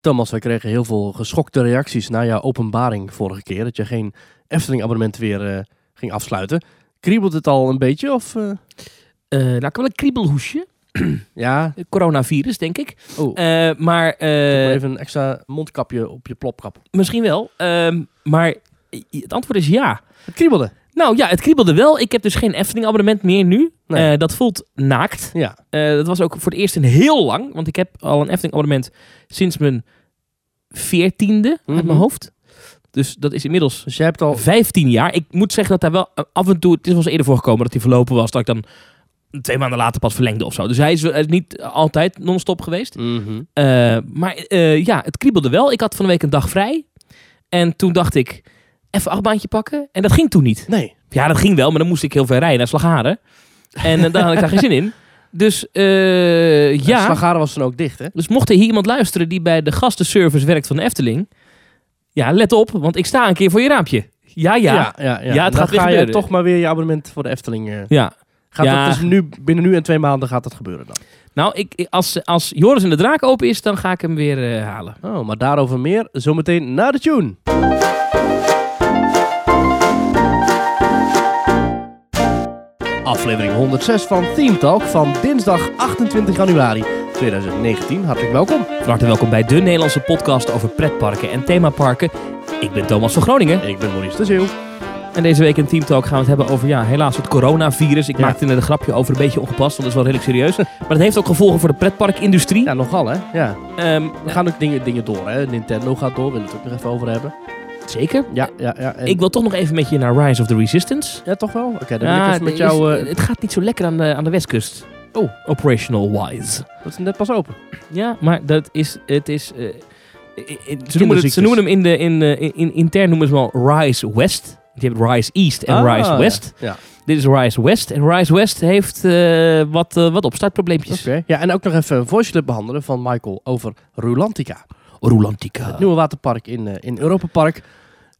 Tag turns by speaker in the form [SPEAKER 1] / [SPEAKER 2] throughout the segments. [SPEAKER 1] Thomas, wij kregen heel veel geschokte reacties na jouw openbaring vorige keer. Dat je geen Efteling-abonnement weer eh, ging afsluiten. Kriebelt het al een beetje? Of, eh,
[SPEAKER 2] Eh, nou, ik heb wel een kriebelhoesje.
[SPEAKER 1] ja,
[SPEAKER 2] Coronavirus, denk ik.
[SPEAKER 1] oh,
[SPEAKER 2] Eh, maar eh,
[SPEAKER 1] even een extra mondkapje op je plopkap.
[SPEAKER 2] misschien wel. Ehm, maar i- het antwoord is ja.
[SPEAKER 1] Het kriebelde.
[SPEAKER 2] Nou ja, het kriebelde wel. Ik heb dus geen Efteling-abonnement meer nu.
[SPEAKER 1] Nee.
[SPEAKER 2] Eh, dat voelt naakt.
[SPEAKER 1] Ja,
[SPEAKER 2] Eh, dat was ook voor het eerst in heel lang. Want ik heb al een Efteling-abonnement sinds mijn veertiende uit
[SPEAKER 1] Mhm.
[SPEAKER 2] mijn hoofd. Dus dat is inmiddels
[SPEAKER 1] dus jij hebt al...
[SPEAKER 2] 15 jaar. Ik moet zeggen dat daar wel eh, af en toe... Het is wel eens eerder voorgekomen dat hij verlopen was. Dat ik dan twee maanden later pas verlengde of zo. Dus hij is, hij is niet altijd non-stop geweest.
[SPEAKER 1] Mhm.
[SPEAKER 2] Eh, maar eh, ja, het kriebelde wel. Ik had van de week een dag vrij. En toen dacht ik, even achtbaantje pakken. En dat ging toen niet.
[SPEAKER 1] Nee.
[SPEAKER 2] Ja, dat ging wel, maar dan moest ik heel ver rijden naar Slagharen. En eh, daar had ik daar geen zin in. Dus eh,
[SPEAKER 1] Ja.
[SPEAKER 2] ja,
[SPEAKER 1] Slagaren was dan ook dicht, hè?
[SPEAKER 2] dus mocht er hier iemand luisteren die bij de gastenservice werkt van de Efteling. Ja, let op, want ik sta een keer voor je raampje. Ja, ja. ja.
[SPEAKER 1] ja,
[SPEAKER 2] Ja, het
[SPEAKER 1] Dan
[SPEAKER 2] gaat weer
[SPEAKER 1] ga je
[SPEAKER 2] gebeuren.
[SPEAKER 1] toch maar weer je abonnement voor de Efteling... eh, gaat
[SPEAKER 2] Ja.
[SPEAKER 1] dat dus nu, binnen nu en twee maanden gaat dat gebeuren dan?
[SPEAKER 2] nou, ik, ik- als, als Joris en de Draak open is, dan ga ik hem weer eh, halen.
[SPEAKER 1] Oh, maar daarover meer zometeen na de tune. Aflevering 106 van Team Talk van dinsdag 28 januari 2019. Hartelijk welkom.
[SPEAKER 2] Van harte welkom bij de Nederlandse podcast over pretparken en themaparken. Ik ben Thomas van Groningen.
[SPEAKER 1] Ik ben Maurice de Zeeuw.
[SPEAKER 2] En deze week in Team Talk gaan we het hebben over, ja, helaas het coronavirus. Ik
[SPEAKER 1] Ja.
[SPEAKER 2] maakte net een grapje over, een beetje ongepast, want dat is wel redelijk serieus. maar het heeft ook gevolgen voor de pretparkindustrie.
[SPEAKER 1] Ja, nogal hè. Ja.
[SPEAKER 2] Ehm,
[SPEAKER 1] We gaan ook dingen, dingen door hè. Nintendo gaat door, willen we het ook nog even over hebben.
[SPEAKER 2] zeker.
[SPEAKER 1] Ja, ja, ja. en-
[SPEAKER 2] Ik wil toch nog even met je naar Rise of the Resistance.
[SPEAKER 1] Ja, toch wel? Oké, dan wil ik
[SPEAKER 2] Ja,
[SPEAKER 1] even met
[SPEAKER 2] er is-
[SPEAKER 1] jou... eh,
[SPEAKER 2] Het gaat niet zo lekker aan de, aan de westkust.
[SPEAKER 1] Oh.
[SPEAKER 2] Operational wise.
[SPEAKER 1] dat is net pas open.
[SPEAKER 2] Ja, maar dat is... Het is eh, eh, eh, ze, noemen het,
[SPEAKER 1] Kinderziektes.
[SPEAKER 2] ze noemen hem in de, in, eh, in, in- intern noemen ze hem al Rise West. Je hebt Rise East en
[SPEAKER 1] Ah,
[SPEAKER 2] Rise West.
[SPEAKER 1] Ja.
[SPEAKER 2] Dit is Rise West. En Rise West heeft eh, wat, eh, wat opstartprobleempjes.
[SPEAKER 1] Oké. Ja, en ook nog even een voice clip behandelen van Michael over Rulantica.
[SPEAKER 2] Rolantica.
[SPEAKER 1] Het nieuwe waterpark in, eh, in Europa Park.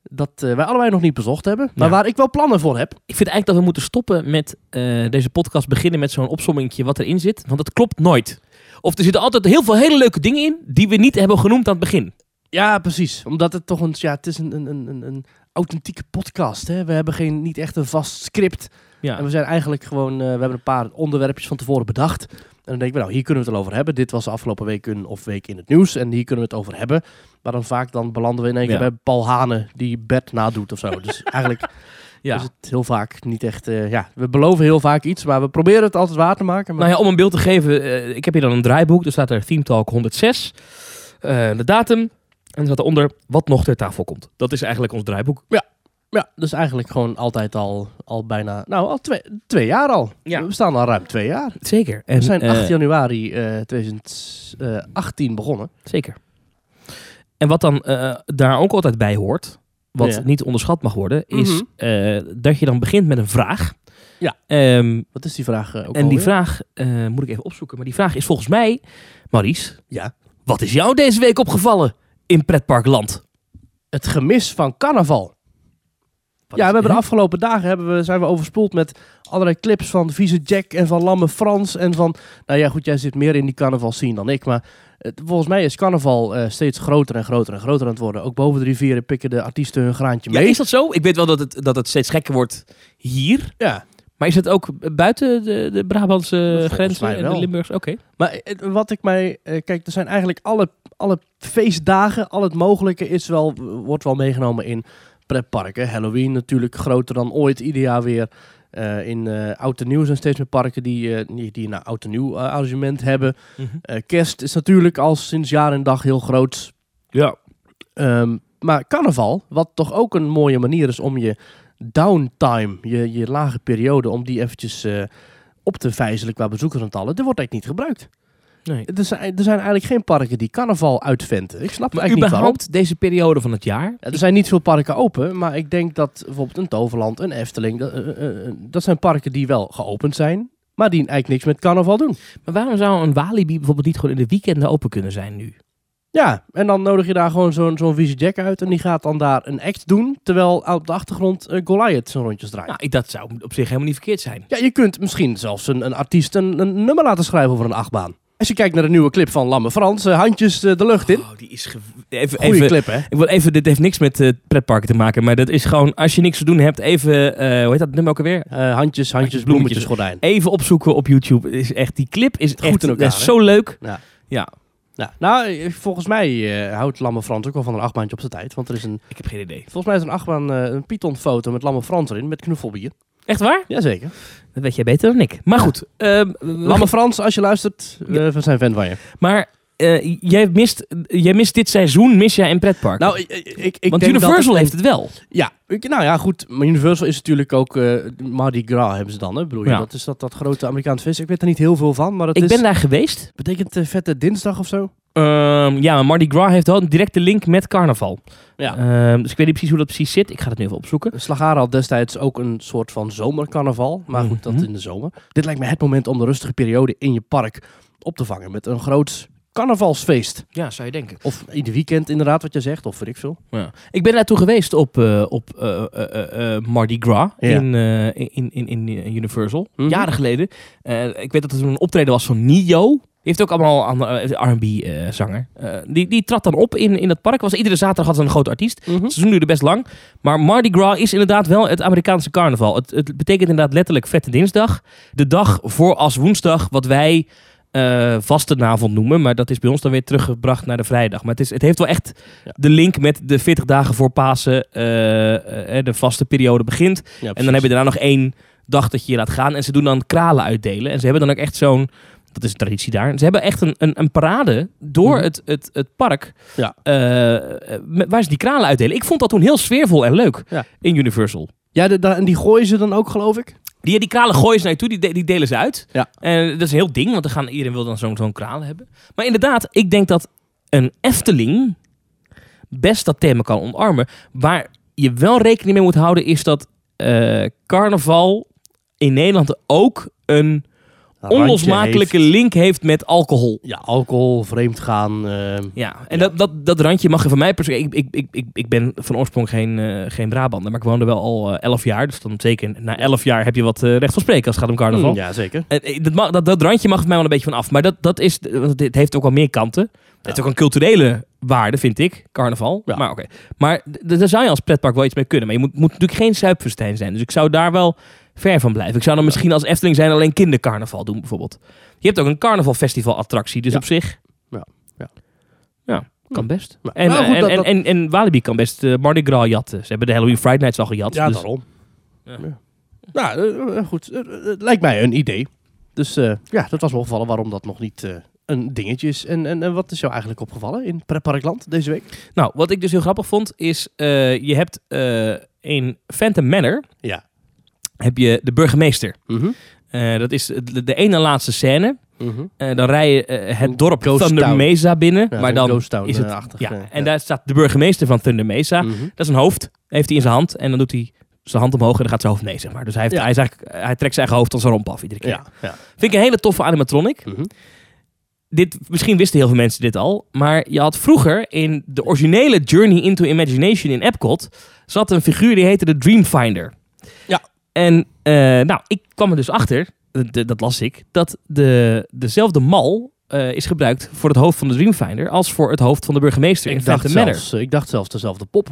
[SPEAKER 1] Dat eh, wij allebei nog niet bezocht hebben. Maar
[SPEAKER 2] Ja.
[SPEAKER 1] waar ik wel plannen voor heb.
[SPEAKER 2] Ik vind eigenlijk dat we moeten stoppen met eh, deze podcast beginnen met zo'n opsommingje wat erin zit. Want dat klopt nooit. Of er zitten altijd heel veel hele leuke dingen in die we niet hebben genoemd aan het begin.
[SPEAKER 1] Ja, precies. Omdat het toch een, ja, het is een, een, een, een- een authentieke podcast. Hè? We hebben geen, niet echt een vast script. En
[SPEAKER 2] Ja.
[SPEAKER 1] we zijn eigenlijk gewoon, eh, we hebben een paar onderwerpjes van tevoren bedacht. En dan denken we, nou, hier kunnen we het al over hebben. Dit was de afgelopen week een, of week in het nieuws. En hier kunnen we het over hebben. Maar dan vaak dan belanden we in één keer
[SPEAKER 2] Ja.
[SPEAKER 1] bij Paul Hane die Bert nadoet of zo. Dus eigenlijk
[SPEAKER 2] Ja.
[SPEAKER 1] is het heel vaak niet echt... eh, ja, we beloven heel vaak iets, maar we proberen het altijd waar te maken. Maar
[SPEAKER 2] Nou ja, om een beeld te geven. eh, ik heb hier dan een draaiboek. Er staat er Theme Talk 106. eh, de datum. En er staat eronder wat nog ter tafel komt. Dat is eigenlijk ons draaiboek.
[SPEAKER 1] Ja, dus eigenlijk gewoon altijd al, al bijna, nou al twee, twee jaar al.
[SPEAKER 2] Ja.
[SPEAKER 1] We staan al ruim twee jaar.
[SPEAKER 2] Zeker. En,
[SPEAKER 1] We zijn
[SPEAKER 2] eh,
[SPEAKER 1] 8 januari eh 2018 begonnen.
[SPEAKER 2] Zeker. En wat dan eh, daar ook altijd bij hoort, wat
[SPEAKER 1] Ja.
[SPEAKER 2] niet onderschat mag worden, is
[SPEAKER 1] Mhm.
[SPEAKER 2] eh, dat je dan begint met een vraag.
[SPEAKER 1] Ja.
[SPEAKER 2] Ehm,
[SPEAKER 1] Wat is die vraag eh, ook
[SPEAKER 2] en die
[SPEAKER 1] alweer?
[SPEAKER 2] vraag eh, moet ik even opzoeken. Maar die vraag is volgens mij, Maurice,
[SPEAKER 1] Ja.
[SPEAKER 2] wat is jou deze week opgevallen in pretparkland?
[SPEAKER 1] Het gemis van carnaval.
[SPEAKER 2] Wat
[SPEAKER 1] ja,
[SPEAKER 2] is-
[SPEAKER 1] we hebben
[SPEAKER 2] hè?
[SPEAKER 1] de afgelopen dagen hebben we, zijn we overspoeld met allerlei clips van Vieze Jack en van Lamme Frans. En van, nou ja goed, jij zit meer in die carnaval scene dan ik. Maar het- volgens mij is carnaval eh, steeds groter en groter en groter aan het worden. Ook boven de rivieren pikken de artiesten hun graantje
[SPEAKER 2] Ja,
[SPEAKER 1] mee.
[SPEAKER 2] is dat zo? Ik weet wel dat het, dat het steeds gekker wordt hier.
[SPEAKER 1] ja.
[SPEAKER 2] Maar is het ook buiten de, de Brabantse
[SPEAKER 1] Volgens mij
[SPEAKER 2] grenzen en
[SPEAKER 1] wel.
[SPEAKER 2] de Limburgse? Oké.
[SPEAKER 1] Maar eh, wat ik mij. eh, Kijk, er zijn eigenlijk alle, alle feestdagen, al het mogelijke is wel, wordt wel meegenomen in pretparken. Halloween natuurlijk groter dan ooit, ieder jaar weer. Eh, in eh Oud en Nieuw zijn steeds meer parken die, eh, die, die een Oud en Nieuw eh, arrangement hebben. Eh, kerst is natuurlijk al sinds jaar en dag heel groot.
[SPEAKER 2] Ja.
[SPEAKER 1] Ehm, maar carnaval, wat toch ook een mooie manier is om je downtime, je, je lage periode, om die eventjes eh, op te vijzelen qua bezoekersaantallen, die wordt eigenlijk niet gebruikt.
[SPEAKER 2] Nee.
[SPEAKER 1] Er zijn, er zijn eigenlijk geen parken die carnaval uitventen. Ik snap het
[SPEAKER 2] Maar
[SPEAKER 1] eigenlijk niet waarom.
[SPEAKER 2] überhaupt deze periode van het jaar,
[SPEAKER 1] Er zijn niet veel parken open, maar ik denk dat bijvoorbeeld een Toverland, een Efteling, dat, eh, eh, dat zijn parken die wel geopend zijn, maar die eigenlijk niks met carnaval doen.
[SPEAKER 2] Maar waarom zou een Walibi bijvoorbeeld niet gewoon in de weekenden open kunnen zijn nu?
[SPEAKER 1] Ja, en dan nodig je daar gewoon zo'n zo'n vieze jack uit en die gaat dan daar een act doen, terwijl op de achtergrond eh, Goliath zijn rondjes draait.
[SPEAKER 2] Nou, ik- dat zou op zich helemaal niet verkeerd zijn.
[SPEAKER 1] Ja, je kunt misschien zelfs een, een artiest een, een nummer laten schrijven over een achtbaan. Als je kijkt naar de nieuwe clip van Lamme Frans, eh, handjes eh, de lucht in. Eh,
[SPEAKER 2] Oh, die is gew- even,
[SPEAKER 1] Goeie
[SPEAKER 2] even,
[SPEAKER 1] clip, hè?
[SPEAKER 2] ik wil even, dit heeft niks met eh pretparken te maken, maar dat is gewoon, als je niks te doen hebt, even, eh, hoe heet dat nummer ook alweer?
[SPEAKER 1] Eh, handjes, handjes,
[SPEAKER 2] Handjes,
[SPEAKER 1] bloemetjes,
[SPEAKER 2] bloemetjes.
[SPEAKER 1] gordijn.
[SPEAKER 2] Even opzoeken op YouTube. Het Is echt, die clip is
[SPEAKER 1] in
[SPEAKER 2] echt
[SPEAKER 1] elkaar,
[SPEAKER 2] dat is
[SPEAKER 1] hè?
[SPEAKER 2] zo leuk.
[SPEAKER 1] Ja, nou, eh, volgens mij eh, houdt Lamme Frans ook wel van een achtbaantje op zijn tijd. Want er is een,
[SPEAKER 2] Ik heb geen idee.
[SPEAKER 1] volgens mij is er een achtbaan, eh, een Python-foto met Lamme Frans erin, met knuffelbier.
[SPEAKER 2] Echt waar?
[SPEAKER 1] Jazeker.
[SPEAKER 2] Dat weet jij beter dan ik. Maar goed. ehm,
[SPEAKER 1] Lamme Frans, als je luistert, eh, we zijn fan van je.
[SPEAKER 2] maar eh, jij, mist, jij mist dit seizoen, mis jij een pretpark.
[SPEAKER 1] Nou, ik, ik, ik- ik
[SPEAKER 2] Want
[SPEAKER 1] denk dat
[SPEAKER 2] Universal
[SPEAKER 1] het-
[SPEAKER 2] heeft het wel.
[SPEAKER 1] Ja, ik- nou ja, goed. Maar Universal is natuurlijk ook eh Mardi Gras hebben ze dan, hè? Bedoel je,
[SPEAKER 2] Ja.
[SPEAKER 1] dat is dat, dat grote Amerikaans vis. Ik weet er niet heel veel van, maar dat
[SPEAKER 2] Ik
[SPEAKER 1] is...
[SPEAKER 2] ben daar geweest.
[SPEAKER 1] Betekent eh, vette dinsdag of zo?
[SPEAKER 2] Ehm, ja, maar Mardi Gras heeft wel een directe link met carnaval.
[SPEAKER 1] Ja.
[SPEAKER 2] Ehm, dus ik weet niet precies hoe dat precies zit. Ik ga dat nu even opzoeken.
[SPEAKER 1] Slagharen had destijds ook een soort van zomercarnaval. Maar goed, dat
[SPEAKER 2] Mhm.
[SPEAKER 1] in de zomer. Dit lijkt me het moment om de rustige periode in je park op te vangen. Met een groot carnavalsfeest.
[SPEAKER 2] Ja, zou je denken.
[SPEAKER 1] Of ieder weekend inderdaad, wat je zegt. Of weet ik veel.
[SPEAKER 2] Ja. Ik ben daartoe geweest op, eh, op eh, eh, eh, eh, Mardi Gras
[SPEAKER 1] Ja.
[SPEAKER 2] in, eh, in, in, in eh, Universal.
[SPEAKER 1] Mhm.
[SPEAKER 2] Jaren geleden. Eh, ik weet dat er toen een optreden was van Nio. Die heeft ook allemaal andere eh, R&B-zanger. Eh, die, die trad dan op in, in dat park. Was, iedere zaterdag had ze een groot artiest.
[SPEAKER 1] Mhm.
[SPEAKER 2] Het seizoen duurde best lang. Maar Mardi Gras is inderdaad wel het Amerikaanse carnaval. Het, het betekent inderdaad letterlijk vette dinsdag. De dag voor als woensdag, wat wij eh vastenavond noemen. Maar dat is bij ons dan weer teruggebracht naar de vrijdag. Maar het, is, het heeft wel echt
[SPEAKER 1] Ja.
[SPEAKER 2] de link met de 40 dagen voor Pasen. eh, eh, de vaste periode begint. En dan heb je daarna nog één dag dat je je laat gaan. En ze doen dan kralen uitdelen. En ze hebben dan ook echt zo'n... Dat is een traditie daar. Ze hebben echt een, een, een parade door
[SPEAKER 1] Mhm.
[SPEAKER 2] het, het, het park.
[SPEAKER 1] Ja.
[SPEAKER 2] eh, eh, met- waar ze die kralen uitdelen. Ik vond dat toen heel sfeervol en leuk
[SPEAKER 1] Ja.
[SPEAKER 2] in Universal.
[SPEAKER 1] Ja, de- da- en die gooien ze dan ook, geloof ik.
[SPEAKER 2] Die, die kralen gooien ze naar je toe, die, de- die delen ze uit.
[SPEAKER 1] Ja.
[SPEAKER 2] En dat is een heel ding, want er gaan, iedereen wil dan zo'n zo'n kraal hebben. Maar inderdaad, ik denk dat een Efteling best dat thema kan omarmen. Waar je wel rekening mee moet houden, is dat eh, carnaval in Nederland ook een onlosmakelijke
[SPEAKER 1] Randje heeft-
[SPEAKER 2] link heeft met alcohol.
[SPEAKER 1] Ja, alcohol, vreemdgaan. ehm
[SPEAKER 2] Ja, en Dat, dat, dat randje mag je van mij persoonlijk... Ik, ik, ik, ik, ik ben van oorsprong geen, eh, geen Brabander, maar ik woonde wel al elf jaar. Dus dan zeker na elf jaar heb je wat eh, recht van spreken als het gaat om carnaval.
[SPEAKER 1] mm, ja, zeker.
[SPEAKER 2] Eh, eh, Dat, mag, dat, dat randje mag voor mij wel een beetje van af. Maar dat, dat is, want dit heeft ook wel meer kanten. Het heeft ook een culturele waarde, vind ik. Carnaval.
[SPEAKER 1] Ja.
[SPEAKER 2] Maar oké. Maar d- d- daar zou je als pretpark wel iets mee kunnen. Maar je moet, moet natuurlijk geen zuipfestijn zijn. Dus ik zou daar wel ver van blijven. Ik zou dan misschien als Efteling zijn alleen kindercarnaval doen, bijvoorbeeld. Je hebt ook een carnavalfestival attractie. Dus
[SPEAKER 1] Ja.
[SPEAKER 2] op zich...
[SPEAKER 1] Ja. Ja.
[SPEAKER 2] Ja, kan best.
[SPEAKER 1] Nou,
[SPEAKER 2] En, eh,
[SPEAKER 1] nou goed,
[SPEAKER 2] en,
[SPEAKER 1] dat-
[SPEAKER 2] en,
[SPEAKER 1] dat-
[SPEAKER 2] en, en Walibi kan best eh, Mardi Gras jatten. Ze hebben de Halloween Friday Nights al gejat.
[SPEAKER 1] Ja,
[SPEAKER 2] dus-
[SPEAKER 1] daarom. Ja.
[SPEAKER 2] Ja.
[SPEAKER 1] Nou, eh, eh, goed. Eh, eh, het lijkt mij een idee. Dus eh, ja, dat was me opgevallen waarom dat nog niet eh, een dingetje is. En, en, en wat is jou eigenlijk opgevallen in Preparkland deze week?
[SPEAKER 2] Nou, wat ik dus heel grappig vond is, eh, je hebt eh, in Phantom Manor
[SPEAKER 1] Ja.
[SPEAKER 2] heb je de burgemeester.
[SPEAKER 1] Mhm.
[SPEAKER 2] Eh, dat is de, de ene laatste scène. Eh, dan rij je eh, het dorp
[SPEAKER 1] Ghost
[SPEAKER 2] Thunder
[SPEAKER 1] Town.
[SPEAKER 2] Mesa binnen,
[SPEAKER 1] Ja,
[SPEAKER 2] maar
[SPEAKER 1] zo'n
[SPEAKER 2] dan
[SPEAKER 1] Ghost Town,
[SPEAKER 2] is het
[SPEAKER 1] eh, achtig,
[SPEAKER 2] ja,
[SPEAKER 1] eh,
[SPEAKER 2] en daar staat de burgemeester van Thunder Mesa.
[SPEAKER 1] Mhm.
[SPEAKER 2] Dat is een hoofd, heeft hij in zijn hand en dan doet hij zijn hand omhoog en dan gaat zijn hoofd nee zeg maar. Dus hij, heeft,
[SPEAKER 1] Ja.
[SPEAKER 2] hij, is eigenlijk, hij trekt zijn eigen hoofd als een romp af iedere keer.
[SPEAKER 1] Ja, ja.
[SPEAKER 2] Vind ik een hele toffe animatronic.
[SPEAKER 1] Mhm.
[SPEAKER 2] Dit, misschien wisten heel veel mensen dit al, maar je had vroeger in de originele Journey into Imagination in Epcot zat een figuur die heette de Dreamfinder.
[SPEAKER 1] Ja.
[SPEAKER 2] En eh, nou, ik kwam er dus achter, d- d- dat las ik, dat de, dezelfde mal eh, is gebruikt voor het hoofd van de Dreamfinder als voor het hoofd van de burgemeester in
[SPEAKER 1] Ik,
[SPEAKER 2] Phantom
[SPEAKER 1] dacht
[SPEAKER 2] Manor.
[SPEAKER 1] zelfs, eh, ik dacht zelfs dezelfde pop.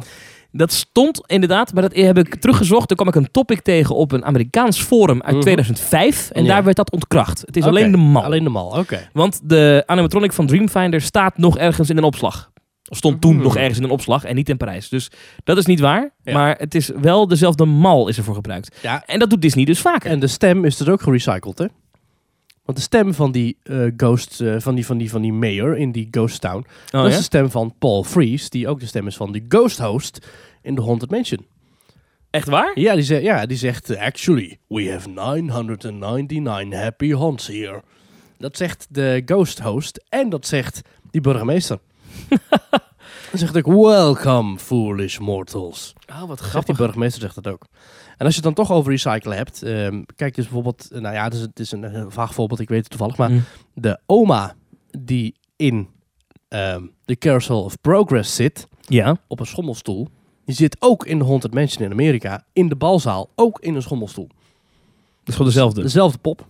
[SPEAKER 2] Dat stond inderdaad, maar dat heb ik teruggezocht. Daar kwam ik een topic tegen op een Amerikaans forum uit
[SPEAKER 1] Mhm.
[SPEAKER 2] 2005 en
[SPEAKER 1] Ja.
[SPEAKER 2] daar werd dat ontkracht. Het is
[SPEAKER 1] Oké,
[SPEAKER 2] alleen de mal.
[SPEAKER 1] Alleen de mal, oké.
[SPEAKER 2] Want de animatronic van Dreamfinder staat nog ergens in een opslag. Of stond toen
[SPEAKER 1] Hmm.
[SPEAKER 2] nog ergens in een opslag en niet in Parijs. Dus dat is niet waar.
[SPEAKER 1] Ja.
[SPEAKER 2] Maar het is wel dezelfde mal is ervoor gebruikt.
[SPEAKER 1] Ja.
[SPEAKER 2] En dat doet Disney dus vaker.
[SPEAKER 1] En de stem is dus ook gerecycled, hè? Want de stem van die eh, ghost, eh, van, die, van, die, van die mayor in die ghost town,
[SPEAKER 2] Oh,
[SPEAKER 1] dat
[SPEAKER 2] ja?
[SPEAKER 1] is de stem van Paul Frees, die ook de stem is van de ghost host in The Haunted Mansion.
[SPEAKER 2] Echt waar?
[SPEAKER 1] Ja, die zegt, ja, die zegt eh, actually, we have 999 happy haunts here. Dat zegt de ghost host en dat zegt die burgemeester. Dan zegt ook, welcome foolish mortals.
[SPEAKER 2] Oh, wat
[SPEAKER 1] Zegt die burgemeester zegt dat ook. En als je het dan toch over recyclen hebt, ehm, kijk dus bijvoorbeeld, eh, nou ja, het is, het is een eh, vaag voorbeeld, ik weet het toevallig, maar
[SPEAKER 2] Mm.
[SPEAKER 1] de oma die in ehm de Carousel of Progress zit,
[SPEAKER 2] Ja.
[SPEAKER 1] op een schommelstoel. Die zit ook in de Haunted Mansion in Amerika. In de balzaal ook in een schommelstoel. Dus-
[SPEAKER 2] Dat is gewoon dezelfde.
[SPEAKER 1] Dezelfde pop.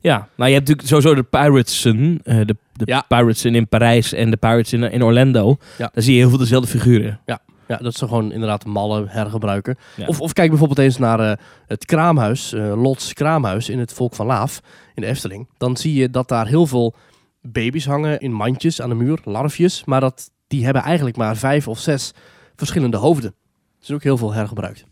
[SPEAKER 2] Ja, nou je hebt natuurlijk sowieso de Piratesen. eh, de de
[SPEAKER 1] Ja.
[SPEAKER 2] Piratesen in Parijs en de Piratesen in, in Orlando.
[SPEAKER 1] Ja.
[SPEAKER 2] Daar zie je heel veel dezelfde figuren.
[SPEAKER 1] Ja, dat ze gewoon inderdaad mallen hergebruiken.
[SPEAKER 2] Ja.
[SPEAKER 1] Of, of kijk bijvoorbeeld eens naar eh, het kraamhuis, eh, Lots kraamhuis in het Volk van Laaf, in de Efteling. Dan zie je dat daar heel veel baby's hangen in mandjes aan de muur, larfjes. Maar dat, die hebben eigenlijk maar vijf of zes verschillende hoofden. Dus ook heel veel hergebruikt.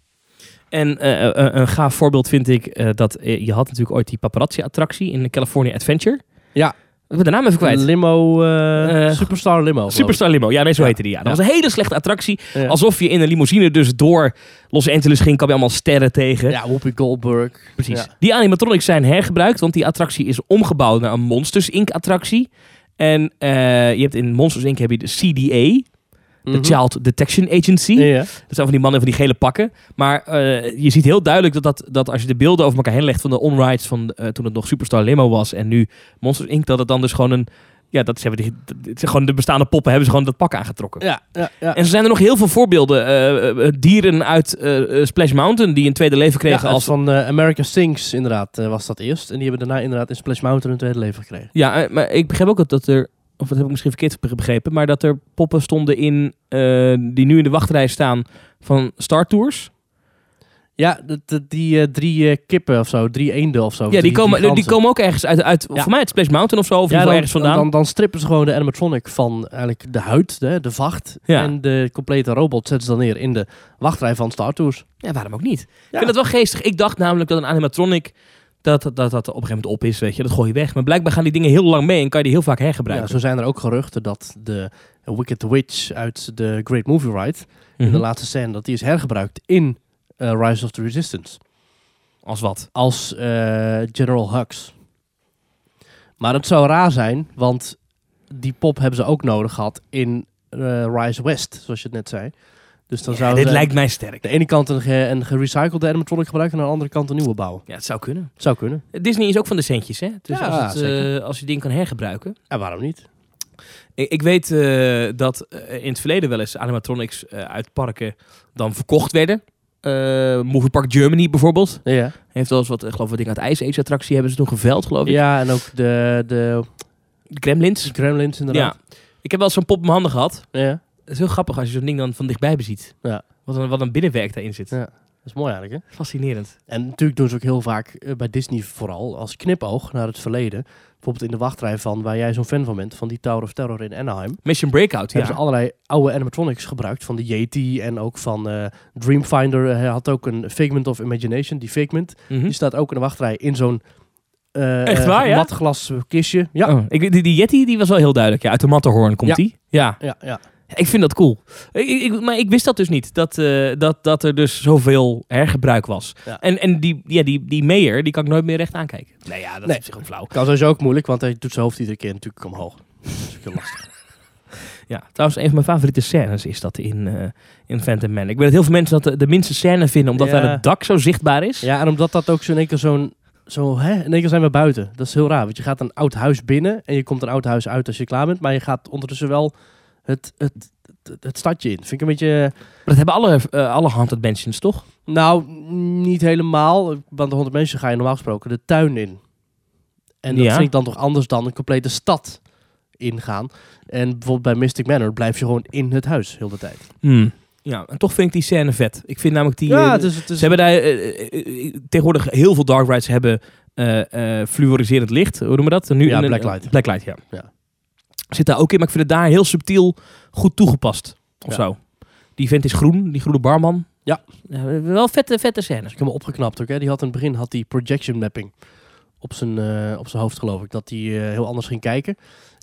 [SPEAKER 2] En eh, eh, een gaaf voorbeeld vind ik eh, dat eh, je had natuurlijk ooit die paparazzi-attractie in de California Adventure.
[SPEAKER 1] Ja.
[SPEAKER 2] Ik ben de naam even kwijt.
[SPEAKER 1] Limo, eh,
[SPEAKER 2] Eh,
[SPEAKER 1] Superstar Limo. geloof ik.
[SPEAKER 2] Superstar Limo. Ja, nee, zo
[SPEAKER 1] Ja.
[SPEAKER 2] heette die. Ja. Dat
[SPEAKER 1] Ja.
[SPEAKER 2] was een hele slechte attractie.
[SPEAKER 1] Ja.
[SPEAKER 2] Alsof je in een limousine dus door Los Angeles ging, kwam je allemaal sterren tegen.
[SPEAKER 1] Ja, Whoopi Goldberg.
[SPEAKER 2] Precies.
[SPEAKER 1] Ja.
[SPEAKER 2] Die animatronics zijn hergebruikt, want die attractie is omgebouwd naar een Monsters Inc. attractie. En eh, je hebt in Monsters Inc. heb je de CDA,
[SPEAKER 1] Mhm.
[SPEAKER 2] de Child Detection Agency.
[SPEAKER 1] Ja.
[SPEAKER 2] Dat zijn van die mannen van die gele pakken. Maar eh, je ziet heel duidelijk dat, dat, dat als je de beelden over elkaar heen legt van de onrides van eh, toen het nog Superstar Limo was en nu Monsters Inc. Dat het dan dus gewoon een... Ja, dat ze hebben die, het zijn gewoon de bestaande poppen hebben ze gewoon dat pak aangetrokken.
[SPEAKER 1] Ja, ja, ja.
[SPEAKER 2] En zo zijn er nog heel veel voorbeelden. Eh, eh, dieren uit eh, eh, Splash Mountain die een tweede leven kregen
[SPEAKER 1] Ja,
[SPEAKER 2] als...
[SPEAKER 1] van eh, America Sings inderdaad eh, was dat eerst. En die hebben daarna inderdaad in Splash Mountain een tweede leven gekregen.
[SPEAKER 2] Ja, eh, maar ik begrijp ook dat, dat er... Of dat heb ik misschien verkeerd be- begrepen. Maar dat er poppen stonden in... eh, die nu in de wachtrij staan van Star Tours.
[SPEAKER 1] Ja, dat- dat- die eh, drie eh, kippen of zo, drie eenden of zo.
[SPEAKER 2] ja, die
[SPEAKER 1] drie
[SPEAKER 2] komen, die
[SPEAKER 1] giganten.
[SPEAKER 2] komen ook ergens uit... uit
[SPEAKER 1] Ja.
[SPEAKER 2] Voor mij uit Splash Mountain of zo. Of in
[SPEAKER 1] Ja,
[SPEAKER 2] ieder
[SPEAKER 1] dan,
[SPEAKER 2] geval ergens vandaan.
[SPEAKER 1] Dan, dan strippen ze gewoon de animatronic van eigenlijk de huid, de, de vacht.
[SPEAKER 2] Ja.
[SPEAKER 1] En de complete robot zetten ze dan neer in de wachtrij van Star Tours.
[SPEAKER 2] Ja, waarom ook niet?
[SPEAKER 1] Ja.
[SPEAKER 2] Ik vind dat wel geestig. Ik dacht namelijk dat een animatronic... Dat dat, dat dat op een gegeven moment op is, weet je. Dat gooi je weg. Maar blijkbaar gaan die dingen heel lang mee en kan je die heel vaak
[SPEAKER 1] Ja,
[SPEAKER 2] hergebruiken.
[SPEAKER 1] zo zijn er ook geruchten dat de Wicked Witch uit de Great Movie Ride,
[SPEAKER 2] Mhm.
[SPEAKER 1] de laatste scène, dat die is hergebruikt in eh, Rise of the Resistance.
[SPEAKER 2] Als wat.
[SPEAKER 1] als eh, General Hux. Maar het zou raar zijn, want die pop hebben ze ook nodig gehad in eh, Rise West, zoals je het net zei. Dus dan
[SPEAKER 2] Ja,
[SPEAKER 1] zouden
[SPEAKER 2] dit
[SPEAKER 1] ze
[SPEAKER 2] lijkt mij sterk.
[SPEAKER 1] de ene kant een, ge- een gerecyclede animatronic gebruiken en aan de andere kant een nieuwe bouwen.
[SPEAKER 2] Ja, het zou kunnen.
[SPEAKER 1] Zou kunnen.
[SPEAKER 2] Disney is ook van de centjes, hè? Dus
[SPEAKER 1] Ja,
[SPEAKER 2] als, het, eh,
[SPEAKER 1] zeker.
[SPEAKER 2] als je ding kan hergebruiken.
[SPEAKER 1] Ja, waarom niet?
[SPEAKER 2] Ik, ik weet eh, dat eh, in het verleden wel eens animatronics eh, uit parken dan verkocht werden. Eh Movie Park Germany bijvoorbeeld.
[SPEAKER 1] Ja,
[SPEAKER 2] Heeft wel eens wat, eh, geloof ik, wat dingen uit Ice Age attractie hebben ze toen geveld, geloof ik.
[SPEAKER 1] ja en ook de, de
[SPEAKER 2] De Gremlins.
[SPEAKER 1] Gremlins
[SPEAKER 2] Ja.
[SPEAKER 1] inderdaad.
[SPEAKER 2] Ik heb wel eens zo'n pop in mijn handen gehad.
[SPEAKER 1] Ja.
[SPEAKER 2] Het is heel grappig als je zo'n ding dan van dichtbij beziet.
[SPEAKER 1] Ja.
[SPEAKER 2] Wat een, wat een binnenwerk daarin zit.
[SPEAKER 1] Ja. Dat is mooi eigenlijk, hè?
[SPEAKER 2] Fascinerend.
[SPEAKER 1] En natuurlijk doen ze ook heel vaak, eh, bij Disney vooral, als knipoog naar het verleden. Bijvoorbeeld in de wachtrij van, waar jij zo'n fan van bent, van die Tower of Terror in Anaheim.
[SPEAKER 2] Mission Breakout, ja.
[SPEAKER 1] hebben ze allerlei oude animatronics gebruikt. Van de Yeti en ook van eh, Dreamfinder. Eh, Hij had ook een Figment of Imagination. Die Figment,
[SPEAKER 2] Mhm.
[SPEAKER 1] die staat ook in de wachtrij in zo'n eh,
[SPEAKER 2] Echt
[SPEAKER 1] eh,
[SPEAKER 2] waar, ja?
[SPEAKER 1] nat glas kistje. Ja.
[SPEAKER 2] Oh, ik, die, die Yeti die was wel heel duidelijk. Ja, uit de Matterhorn komt
[SPEAKER 1] Ja.
[SPEAKER 2] die. Ja.
[SPEAKER 1] Ja, ja.
[SPEAKER 2] Ik vind dat cool. Ik, ik- ik- maar ik wist dat dus niet. Dat, eh, dat, dat er dus zoveel hergebruik was.
[SPEAKER 1] Ja.
[SPEAKER 2] En, en die, ja, die, die Meijer, die kan ik nooit meer recht aankijken. Nee, ja, dat
[SPEAKER 1] Nee.
[SPEAKER 2] is op zich ook flauw.
[SPEAKER 1] Kan sowieso ook moeilijk, want hij doet zijn hoofd iedere keer natuurlijk omhoog. Dat is ook heel lastig.
[SPEAKER 2] Ja, trouwens, een van mijn favoriete scènes is dat in, eh, in Phantom Man. Ik weet dat heel veel mensen dat de, de minste scène vinden, omdat
[SPEAKER 1] Ja.
[SPEAKER 2] daar het dak zo zichtbaar is.
[SPEAKER 1] Ja, en omdat dat ook zo in één keer zo'n... Zo, hè? In één keer zijn we buiten. Dat is heel raar, want je gaat een oud huis binnen... en je komt een oud huis uit als je klaar bent... maar je gaat ondertussen wel het, het, het, het stadje in. Vind ik een beetje...
[SPEAKER 2] Maar dat hebben alle, eh, alle Haunted Mansions, toch?
[SPEAKER 1] Nou, niet helemaal. Want de 100 mensen ga je normaal gesproken de tuin in. En dat
[SPEAKER 2] Ja.
[SPEAKER 1] vind ik dan toch anders dan een complete stad ingaan. En bijvoorbeeld bij Mystic Manor blijf je gewoon in het huis heel de tijd.
[SPEAKER 2] Hmm. Ja, en toch vind ik die scène vet. Ik vind namelijk die... eh,
[SPEAKER 1] ja, het is, het is,
[SPEAKER 2] Ze hebben daar eh, eh, eh, tegenwoordig heel veel dark rides hebben eh, eh, fluoriserend licht. Hoe noemen we dat? Nu
[SPEAKER 1] Ja,
[SPEAKER 2] een-
[SPEAKER 1] blacklight.
[SPEAKER 2] een- Blacklight, ja.
[SPEAKER 1] Ja.
[SPEAKER 2] Zit daar ook in, maar ik vind het daar heel subtiel goed toegepast. Of
[SPEAKER 1] Ja.
[SPEAKER 2] zo. Die vent is groen, die groene barman. Oh
[SPEAKER 1] Ja.
[SPEAKER 2] wel vette, vette scènes.
[SPEAKER 1] ik heb hem opgeknapt ook. Hè. Die had in het begin had die projection mapping op zijn, eh, op zijn hoofd, geloof ik. Dat hij eh, heel anders ging kijken.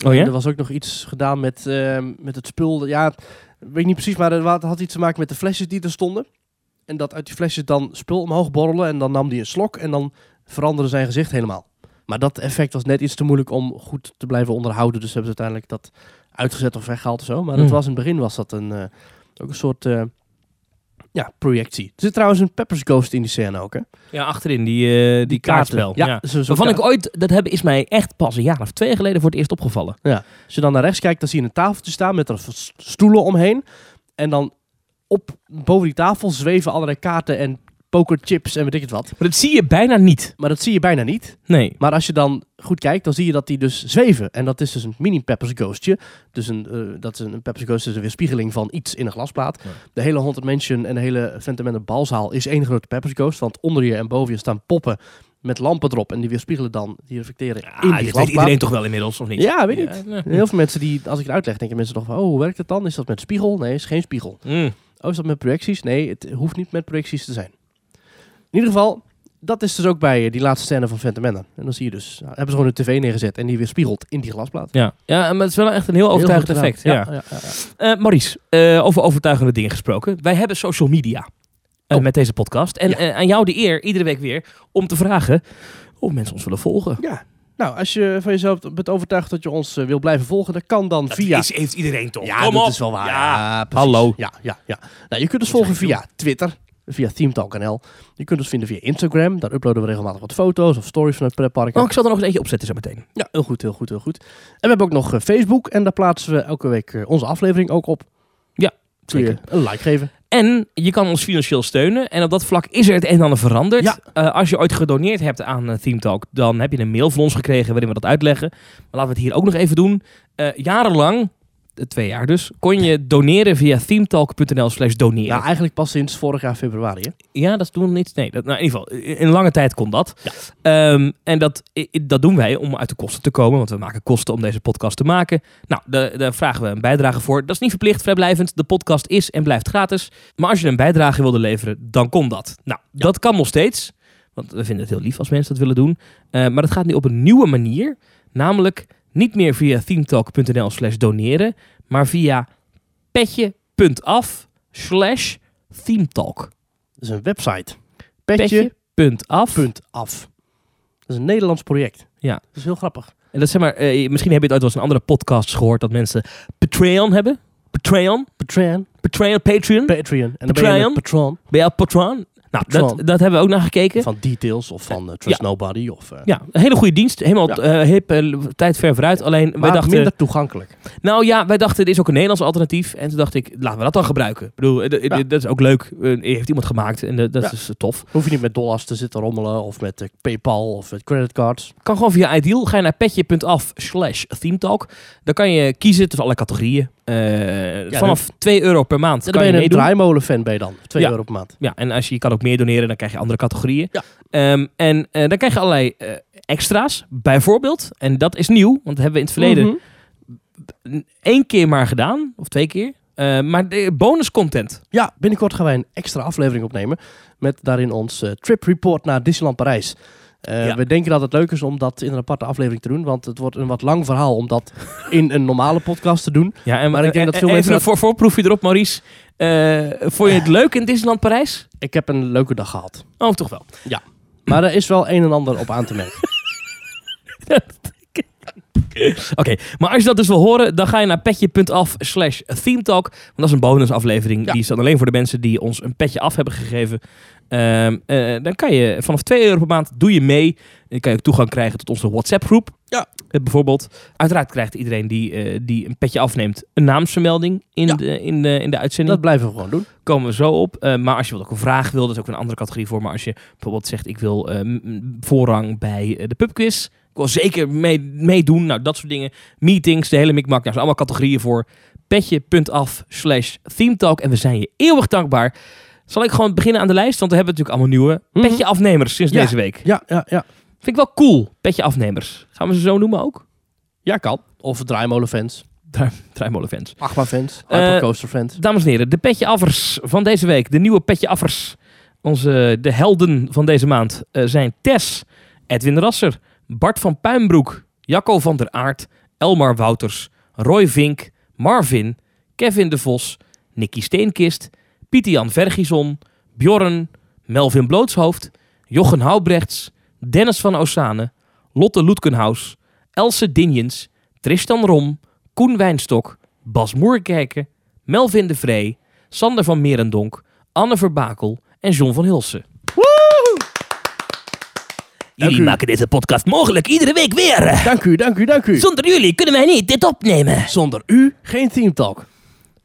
[SPEAKER 2] Oh
[SPEAKER 1] En er was ook nog iets gedaan met, eh, met het spul. Ja, weet ik niet precies, maar er wa- het had iets te maken met de flesjes die er stonden. En dat uit die flesjes dan spul omhoog borrelen. En dan nam hij een slok en dan veranderde zijn gezicht helemaal. Maar dat effect was net iets te moeilijk om goed te blijven onderhouden. Dus hebben ze uiteindelijk dat uitgezet of weggehaald of zo. Maar dat
[SPEAKER 2] Hmm.
[SPEAKER 1] was in het begin was dat een, eh, ook een soort eh, ja, projectie. Er zit trouwens een Peppers Ghost in die scène ook, hè?
[SPEAKER 2] Ja, achterin, die, eh, die, kaartspel.
[SPEAKER 1] Ja, zo- zo-
[SPEAKER 2] Waarvan ik ooit, dat heb, is mij echt pas een jaar of twee geleden voor het eerst opgevallen.
[SPEAKER 1] Als je dan naar rechts kijkt, dan zie je een tafeltje staan met er s- stoelen omheen. En dan op, boven die tafel zweven allerlei kaarten en pokerchips en weet ik het wat.
[SPEAKER 2] Maar dat zie je bijna niet.
[SPEAKER 1] Maar dat zie je bijna niet.
[SPEAKER 2] Nee.
[SPEAKER 1] Maar als je dan goed kijkt, dan zie je dat die dus zweven. En dat is dus een mini Peppers Ghostje. Dus een, eh, dat is een, een Peppers Ghost is een weerspiegeling van iets in een glasplaat.
[SPEAKER 2] Ja.
[SPEAKER 1] De hele Haunted Mansion en de hele Phantom en balzaal is één grote Peppers Ghost. Want onder je en boven je staan poppen met lampen erop. En die weerspiegelen dan, die reflecteren in die
[SPEAKER 2] Ah, dit weet
[SPEAKER 1] glasplaat.
[SPEAKER 2] iedereen toch wel inmiddels, of niet?
[SPEAKER 1] Ja, weet ik.
[SPEAKER 2] Ja, nee.
[SPEAKER 1] Heel veel mensen die, als ik het uitleg, denken mensen toch van, oh, hoe werkt het dan? Is dat met spiegel? Nee, is geen spiegel.
[SPEAKER 2] Mm.
[SPEAKER 1] Oh, is dat met projecties? Nee, het hoeft niet met projecties te zijn. In ieder geval, dat is dus ook bij eh, die laatste scène van Phantom Menace. En dan zie je dus, nou, hebben ze gewoon een tv neergezet en die weer spiegelt in die glasplaat.
[SPEAKER 2] Ja. ja, maar het is wel echt een heel
[SPEAKER 1] Heel goed
[SPEAKER 2] overtuigend
[SPEAKER 1] gedaan.
[SPEAKER 2] effect.
[SPEAKER 1] Ja,
[SPEAKER 2] Ja.
[SPEAKER 1] ja, ja, ja.
[SPEAKER 2] Eh, Maurice, eh, over overtuigende dingen gesproken. Wij hebben social media eh,
[SPEAKER 1] Oh.
[SPEAKER 2] met deze podcast. En
[SPEAKER 1] Ja.
[SPEAKER 2] eh, aan jou de eer, iedere week weer, om te vragen of mensen ons willen volgen.
[SPEAKER 1] Ja. Nou, als je van jezelf bent overtuigd dat je ons eh, wil blijven volgen, dat kan dan via...
[SPEAKER 2] heeft iedereen toch?
[SPEAKER 1] ja, dat is wel waar. Ja, precies.
[SPEAKER 2] Hallo.
[SPEAKER 1] Ja, ja, ja. Nou, je kunt ons volgen via Twitter, via ThemeTalk.nl. Je kunt ons vinden via Instagram. Daar uploaden we regelmatig wat foto's of stories vanuit pretparken.
[SPEAKER 2] Oh, ik zal er nog eens eentje opzetten zo meteen.
[SPEAKER 1] Ja, heel goed, heel goed, heel goed. En we hebben ook nog eh, Facebook en daar plaatsen we elke week eh, onze aflevering ook op.
[SPEAKER 2] Ja,
[SPEAKER 1] Kun je
[SPEAKER 2] zeker.
[SPEAKER 1] een like geven.
[SPEAKER 2] En je kan ons financieel steunen. En op dat vlak is er het een en ander veranderd.
[SPEAKER 1] Ja.
[SPEAKER 2] Eh, als je ooit gedoneerd hebt aan eh, Theme Talk, dan heb je een mail van ons gekregen waarin we dat uitleggen. Maar laten we het hier ook nog even doen. Eh, jarenlang, eh, twee jaar dus, kon je doneren via themetalk.nl slash doneren.
[SPEAKER 1] Nou, eigenlijk pas sinds vorig jaar februari. Hè?
[SPEAKER 2] Ja, dat doen we niet. Nee, dat, nou, in ieder geval, in in lange tijd kon dat.
[SPEAKER 1] Ja.
[SPEAKER 2] Ehm, en dat, i- i- dat doen wij om uit de kosten te komen, want we maken kosten om deze podcast te maken. Nou, daar, daar vragen we een bijdrage voor. Dat is niet verplicht, vrijblijvend. De podcast is en blijft gratis. Maar als je een bijdrage wilde leveren, dan kon dat. Nou, dat kan nog steeds, want we vinden het heel lief als mensen dat willen doen. Eh, maar dat gaat nu op een nieuwe manier, namelijk niet meer via themetalk.nl slash doneren, maar via petje.af slash themetalk
[SPEAKER 1] Dat is een website. Petje.af.
[SPEAKER 2] punt af.
[SPEAKER 1] Dat is een Nederlands project.
[SPEAKER 2] Ja.
[SPEAKER 1] Dat is heel grappig.
[SPEAKER 2] En dat zeg maar, eh, misschien heb je het uit wel eens in andere podcasts gehoord dat mensen Patreon hebben. Patreon,
[SPEAKER 1] Patreon.
[SPEAKER 2] Patreon, Patreon.
[SPEAKER 1] Patreon. En dan ben je
[SPEAKER 2] Patreon?
[SPEAKER 1] een patron
[SPEAKER 2] ben jij Patreon? Nou, dat,
[SPEAKER 1] Patreon.
[SPEAKER 2] dat hebben we ook naar gekeken.
[SPEAKER 1] van Details of van eh, Trust Nobody. Of, eh,
[SPEAKER 2] Ja, een hele goede dienst. Helemaal
[SPEAKER 1] Ja.
[SPEAKER 2] eh, hip, eh, tijd ver vooruit. Alleen, wij
[SPEAKER 1] Maar
[SPEAKER 2] dachten,
[SPEAKER 1] minder toegankelijk.
[SPEAKER 2] nou ja, wij dachten, dit is ook een Nederlands alternatief. En toen dacht ik, laten we dat dan gebruiken. Ik bedoel, eh, d-
[SPEAKER 1] Ja.
[SPEAKER 2] d- dat is ook leuk. Eh, heeft iemand gemaakt en eh, dat
[SPEAKER 1] Ja.
[SPEAKER 2] is eh, tof.
[SPEAKER 1] Hoef je niet met dollars te zitten rommelen of met eh, Paypal of met creditcards.
[SPEAKER 2] Kan gewoon via Ideal. Ga je naar petje.af slash themetalk. Dan kan je kiezen tussen alle categorieën. Eh,
[SPEAKER 1] Ja,
[SPEAKER 2] vanaf 2 euro per maand
[SPEAKER 1] En
[SPEAKER 2] kan
[SPEAKER 1] dan ben
[SPEAKER 2] je
[SPEAKER 1] je een
[SPEAKER 2] meedoen.
[SPEAKER 1] draaimolen fan ben je dan. 2
[SPEAKER 2] Ja.
[SPEAKER 1] euro per maand.
[SPEAKER 2] Ja, en als je, je kan ook meer doneren, dan krijg je andere categorieën.
[SPEAKER 1] Ja.
[SPEAKER 2] Ehm, en eh, dan krijg je allerlei eh, extra's, bijvoorbeeld. En dat is nieuw, want dat hebben we in het verleden
[SPEAKER 1] Mhm.
[SPEAKER 2] één keer maar gedaan, of twee keer. Eh, maar de bonus content.
[SPEAKER 1] Ja, binnenkort gaan wij een extra aflevering opnemen. Met daarin ons eh, trip report naar Disneyland Parijs. Eh,
[SPEAKER 2] Ja.
[SPEAKER 1] We denken dat het leuk is om dat in een aparte aflevering te doen. Want het wordt een wat lang verhaal om dat in een normale podcast te doen.
[SPEAKER 2] Ja, en,
[SPEAKER 1] Maar ik denk
[SPEAKER 2] en-
[SPEAKER 1] dat veel
[SPEAKER 2] en-
[SPEAKER 1] mensen
[SPEAKER 2] Even een voor, voorproefje erop, Maurice. Eh, vond je het leuk in Disneyland Parijs?
[SPEAKER 1] Ik heb een leuke dag gehad.
[SPEAKER 2] Oh, toch wel.
[SPEAKER 1] Maar er is wel een en ander op aan te merken.
[SPEAKER 2] Oké, maar als je dat dus wil horen, dan ga je naar petje.af slash themetalk. Want dat is een bonusaflevering.
[SPEAKER 1] Ja.
[SPEAKER 2] Die is dan alleen voor de mensen die ons een petje af hebben gegeven. Ehm, eh, dan kan je vanaf 2 euro per maand doe je mee. Dan kan je ook toegang krijgen tot onze WhatsApp groep. Eh,
[SPEAKER 1] Ja.
[SPEAKER 2] bijvoorbeeld. Uiteraard krijgt iedereen die, eh, die een petje afneemt een naamsvermelding in,
[SPEAKER 1] Ja.
[SPEAKER 2] de, in, de, in de uitzending.
[SPEAKER 1] dat blijven we gewoon doen.
[SPEAKER 2] Komen we zo op. Eh, maar als je wilt ook een vraag wil, dat is ook een andere categorie voor. Maar als je bijvoorbeeld zegt, ik wil eh, m- m- voorrang bij eh, de pubquiz. Ik wil zeker mee- meedoen. nou, dat soort dingen. Meetings, de hele mikmak. Daar zijn allemaal categorieën voor. Petje.af slash themetalk. En we zijn je eeuwig dankbaar. Zal ik gewoon beginnen aan de lijst? Want we hebben natuurlijk allemaal nieuwe
[SPEAKER 1] Mhm.
[SPEAKER 2] petje afnemers sinds
[SPEAKER 1] Ja.
[SPEAKER 2] deze week.
[SPEAKER 1] Ja, ja, ja.
[SPEAKER 2] Vind ik wel cool. Petje afnemers. Gaan we ze zo noemen ook?
[SPEAKER 1] Ja, kan. Of draaimolenfans,
[SPEAKER 2] Draaimolen fans.
[SPEAKER 1] Agma-fans,
[SPEAKER 2] Eh,
[SPEAKER 1] Hypercoaster-fans.
[SPEAKER 2] Dames en heren, de petje affers van deze week. De nieuwe petje affers. Onze, de helden van deze maand eh, zijn Tess, Edwin Rasser, Bart van Puimbroek, Jacco van der Aert, Elmar Wouters, Roy Vink, Marvin, Kevin de Vos, Nicky Steenkist, Pieter-Jan Vergison, Bjorn, Melvin Blootshoofd, Jochen Houbrechts, Dennis van Osane, Lotte Loetkenhaus, Else Dinjens, Tristan Rom, Koen Wijnstok, Bas Moerkerken, Melvin de Vree, Sander van Merendonk, Anne Verbakel en John van Hulsen.
[SPEAKER 1] Dank
[SPEAKER 2] Jullie
[SPEAKER 1] u.
[SPEAKER 2] maken deze podcast mogelijk iedere week weer.
[SPEAKER 1] Dank u, dank u, dank u.
[SPEAKER 2] Zonder jullie kunnen wij niet dit opnemen.
[SPEAKER 1] Zonder u geen Team Talk.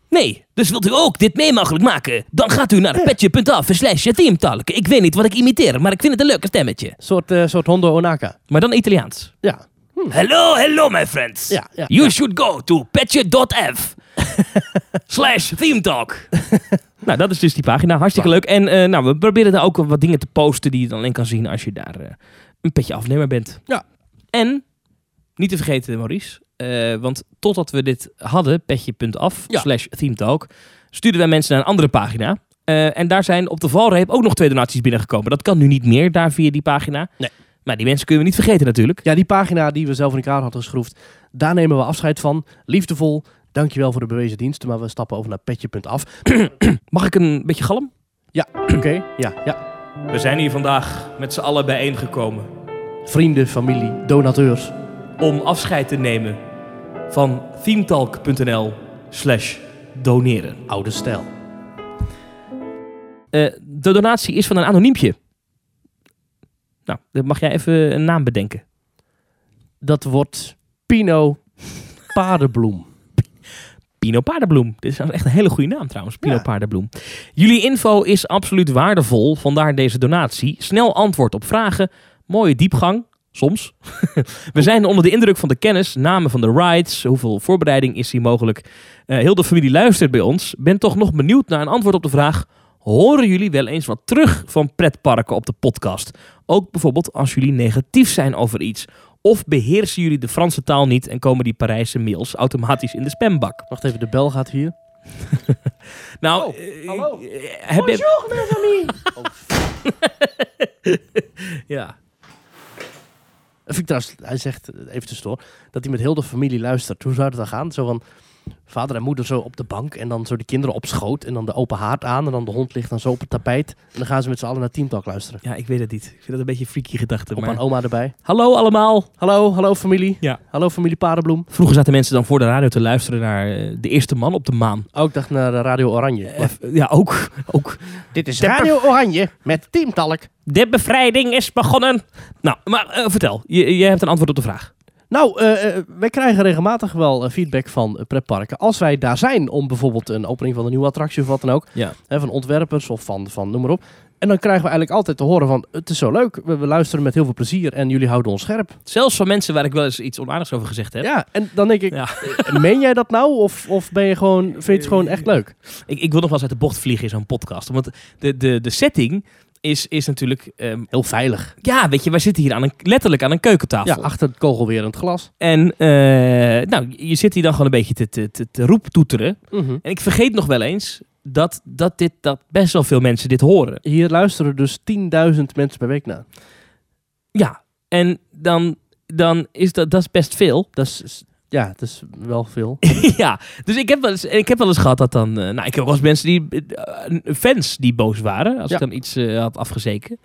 [SPEAKER 2] Nee, dus wilt u ook dit mee mogelijk maken? Dan gaat u naar petje.af slash teamtalk. Ik weet niet wat ik imiteer, maar ik vind het een leuke stemmetje.
[SPEAKER 1] soort, eh, soort Hondo Onaka.
[SPEAKER 2] Maar dan Italiaans.
[SPEAKER 1] Ja.
[SPEAKER 2] Hello, hello my friends.
[SPEAKER 1] Ja, ja,
[SPEAKER 2] you should go to petje.af slash themetalk. nou, dat is dus die pagina. Hartstikke leuk. En eh, nou, we proberen daar ook wat dingen te posten die je dan alleen kan zien als je daar eh, een petje afnemer bent.
[SPEAKER 1] Ja.
[SPEAKER 2] En, niet te vergeten Maurice, eh, want totdat we dit hadden, petje.af
[SPEAKER 1] Ja.
[SPEAKER 2] slash themetalk, stuurden wij mensen naar een andere pagina. Eh, en daar zijn op de valreep ook nog twee donaties binnengekomen. Dat kan nu niet meer daar via die pagina.
[SPEAKER 1] Nee.
[SPEAKER 2] Maar die mensen kunnen we niet vergeten natuurlijk.
[SPEAKER 1] Ja, die pagina die we zelf in elkaar hadden geschroefd, daar nemen we afscheid van. Liefdevol, dankjewel voor de bewezen diensten, maar we stappen over naar petje.af.
[SPEAKER 2] Mag ik een beetje galm?
[SPEAKER 1] Oké, ja, ja.
[SPEAKER 2] We zijn hier vandaag met z'n allen bijeengekomen
[SPEAKER 1] Vrienden, familie, donateurs.
[SPEAKER 2] om afscheid te nemen van themetalk.nl slash doneren.
[SPEAKER 1] Oude stijl.
[SPEAKER 2] Eh, de donatie is van een anoniempje. Nou, dan mag jij even een naam bedenken.
[SPEAKER 1] Dat wordt Pino Paardenbloem.
[SPEAKER 2] Pino Paardenbloem. Dit is echt een hele goede naam trouwens, Pino
[SPEAKER 1] Ja.
[SPEAKER 2] Paardenbloem. Jullie info is absoluut waardevol, vandaar deze donatie. Snel antwoord op vragen, mooie diepgang, soms. We zijn onder de indruk van de kennis, namen van de rides, hoeveel voorbereiding is hier mogelijk. Eh, heel de familie luistert bij ons. Ben toch nog benieuwd naar een antwoord op de vraag... Horen jullie wel eens wat terug van pretparken op de podcast? Ook bijvoorbeeld als jullie negatief zijn over iets. Of beheersen jullie de Franse taal niet en komen die Parijse mails automatisch in de spambak?
[SPEAKER 1] Wacht even, de bel gaat hier.
[SPEAKER 2] Nou,
[SPEAKER 1] Oh,
[SPEAKER 2] eh,
[SPEAKER 1] hallo.
[SPEAKER 2] eh, Heb je... Oh. Ja.
[SPEAKER 1] Dat vind ik trouwens, hij zegt eh, even tussendoor, dat hij met heel de familie luistert. Hoe zou dat dan gaan? Zo van vader en moeder zo op de bank en dan zo de kinderen op schoot en dan de open haard aan en dan de hond ligt dan zo op het tapijt. En dan gaan ze met z'n allen naar Teamtalk luisteren.
[SPEAKER 2] ja, ik weet het niet. Ik vind dat een beetje een freaky gedachte.
[SPEAKER 1] Op
[SPEAKER 2] maar-
[SPEAKER 1] aan oma erbij.
[SPEAKER 2] Hallo allemaal.
[SPEAKER 1] Hallo, hallo familie.
[SPEAKER 2] Ja.
[SPEAKER 1] Hallo familie Parenbloem.
[SPEAKER 2] Vroeger zaten mensen dan voor de radio te luisteren naar eh, de eerste man op de maan.
[SPEAKER 1] Oh, ik dacht naar eh, Radio Oranje.
[SPEAKER 2] Eh, ja, ook. ook.
[SPEAKER 1] dit is
[SPEAKER 2] Radio
[SPEAKER 1] Oranje met Teamtalk.
[SPEAKER 2] De bevrijding is begonnen. Nou, maar eh, vertel. Je, jij hebt een antwoord op de vraag.
[SPEAKER 1] Nou, eh, eh, wij krijgen regelmatig wel eh, feedback van eh, pretparken. Als wij daar zijn om bijvoorbeeld een opening van een nieuwe attractie of wat dan ook.
[SPEAKER 2] Ja.
[SPEAKER 1] Hè, van ontwerpers of van, van noem maar op. En dan krijgen we eigenlijk altijd te horen van het is zo leuk. We, we luisteren met heel veel plezier en jullie houden ons scherp.
[SPEAKER 2] Zelfs van mensen waar ik wel eens iets onaardigs over gezegd heb.
[SPEAKER 1] Ja, en dan denk ik,
[SPEAKER 2] Ja.
[SPEAKER 1] eh, meen jij dat nou? Of, of ben je gewoon, vind je het gewoon echt leuk?
[SPEAKER 2] Ik, ik wil nog wel eens uit de bocht vliegen in zo'n podcast. Want de, de, de setting is, is natuurlijk... ehm,
[SPEAKER 1] Heel veilig.
[SPEAKER 2] ja, weet je, wij zitten hier aan een, letterlijk aan een keukentafel.
[SPEAKER 1] Ja, achter het kogelwerend glas.
[SPEAKER 2] En eh, nou, je zit hier dan gewoon een beetje te, te, te, te roeptoeteren.
[SPEAKER 1] Mhm.
[SPEAKER 2] En ik vergeet nog wel eens dat, dat, dit, dat best wel veel mensen dit horen.
[SPEAKER 1] Hier luisteren dus 10.000 mensen per week naar.
[SPEAKER 2] Ja, en dan, dan is dat, dat is best veel.
[SPEAKER 1] Dat is- is, ja, dat is wel veel.
[SPEAKER 2] ja, dus ik heb, wel eens, ik heb wel eens gehad dat dan... eh, nou, ik heb wel eens mensen die... eh, fans die boos waren als
[SPEAKER 1] Ja.
[SPEAKER 2] ik dan iets eh, had afgezeken.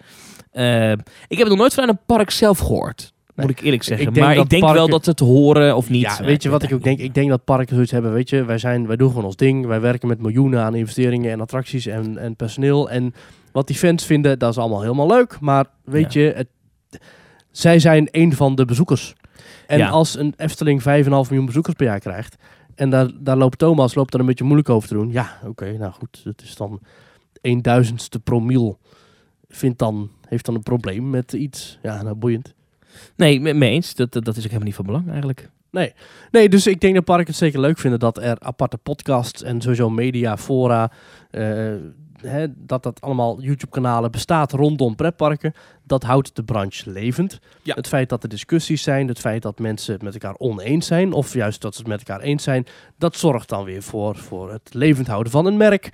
[SPEAKER 2] Eh, ik heb nog nooit vanuit een park zelf gehoord. Moet
[SPEAKER 1] Nee.
[SPEAKER 2] ik eerlijk zeggen.
[SPEAKER 1] denk
[SPEAKER 2] maar
[SPEAKER 1] dat
[SPEAKER 2] ik denk wel
[SPEAKER 1] parken-
[SPEAKER 2] dat ze het horen of niet.
[SPEAKER 1] Ja, weet je wat ik ook denk? Ik denk dat parken zoiets hebben, weet je, wij, zijn, wij doen gewoon ons ding. Wij werken met miljoenen aan investeringen en attracties en, en personeel. En wat die fans vinden, dat is allemaal helemaal leuk. Maar weet
[SPEAKER 2] Ja.
[SPEAKER 1] je, het, zij zijn een van de bezoekers. En
[SPEAKER 2] Ja.
[SPEAKER 1] als een Efteling 5,5 miljoen bezoekers per jaar krijgt... en daar, daar loopt Thomas loopt daar een beetje moeilijk over te doen. Ja, oké, nou goed, dat is dan 1000ste promiel. Vindt dan, heeft dan een probleem met iets. Ja, nou boeiend.
[SPEAKER 2] Nee, me mee eens. Dat, dat, dat is ook helemaal niet van belang eigenlijk.
[SPEAKER 1] Nee, dus ik denk dat Park het zeker leuk vinden dat er aparte podcasts en sowieso media, fora, eh, hè, dat dat allemaal YouTube-kanalen bestaat rondom pretparken. Dat houdt de branche levend.
[SPEAKER 2] Ja.
[SPEAKER 1] Het feit dat er discussies zijn, het feit dat mensen het met elkaar oneens zijn, of juist dat ze het met elkaar eens zijn, dat zorgt dan weer voor, voor het levend houden van een merk.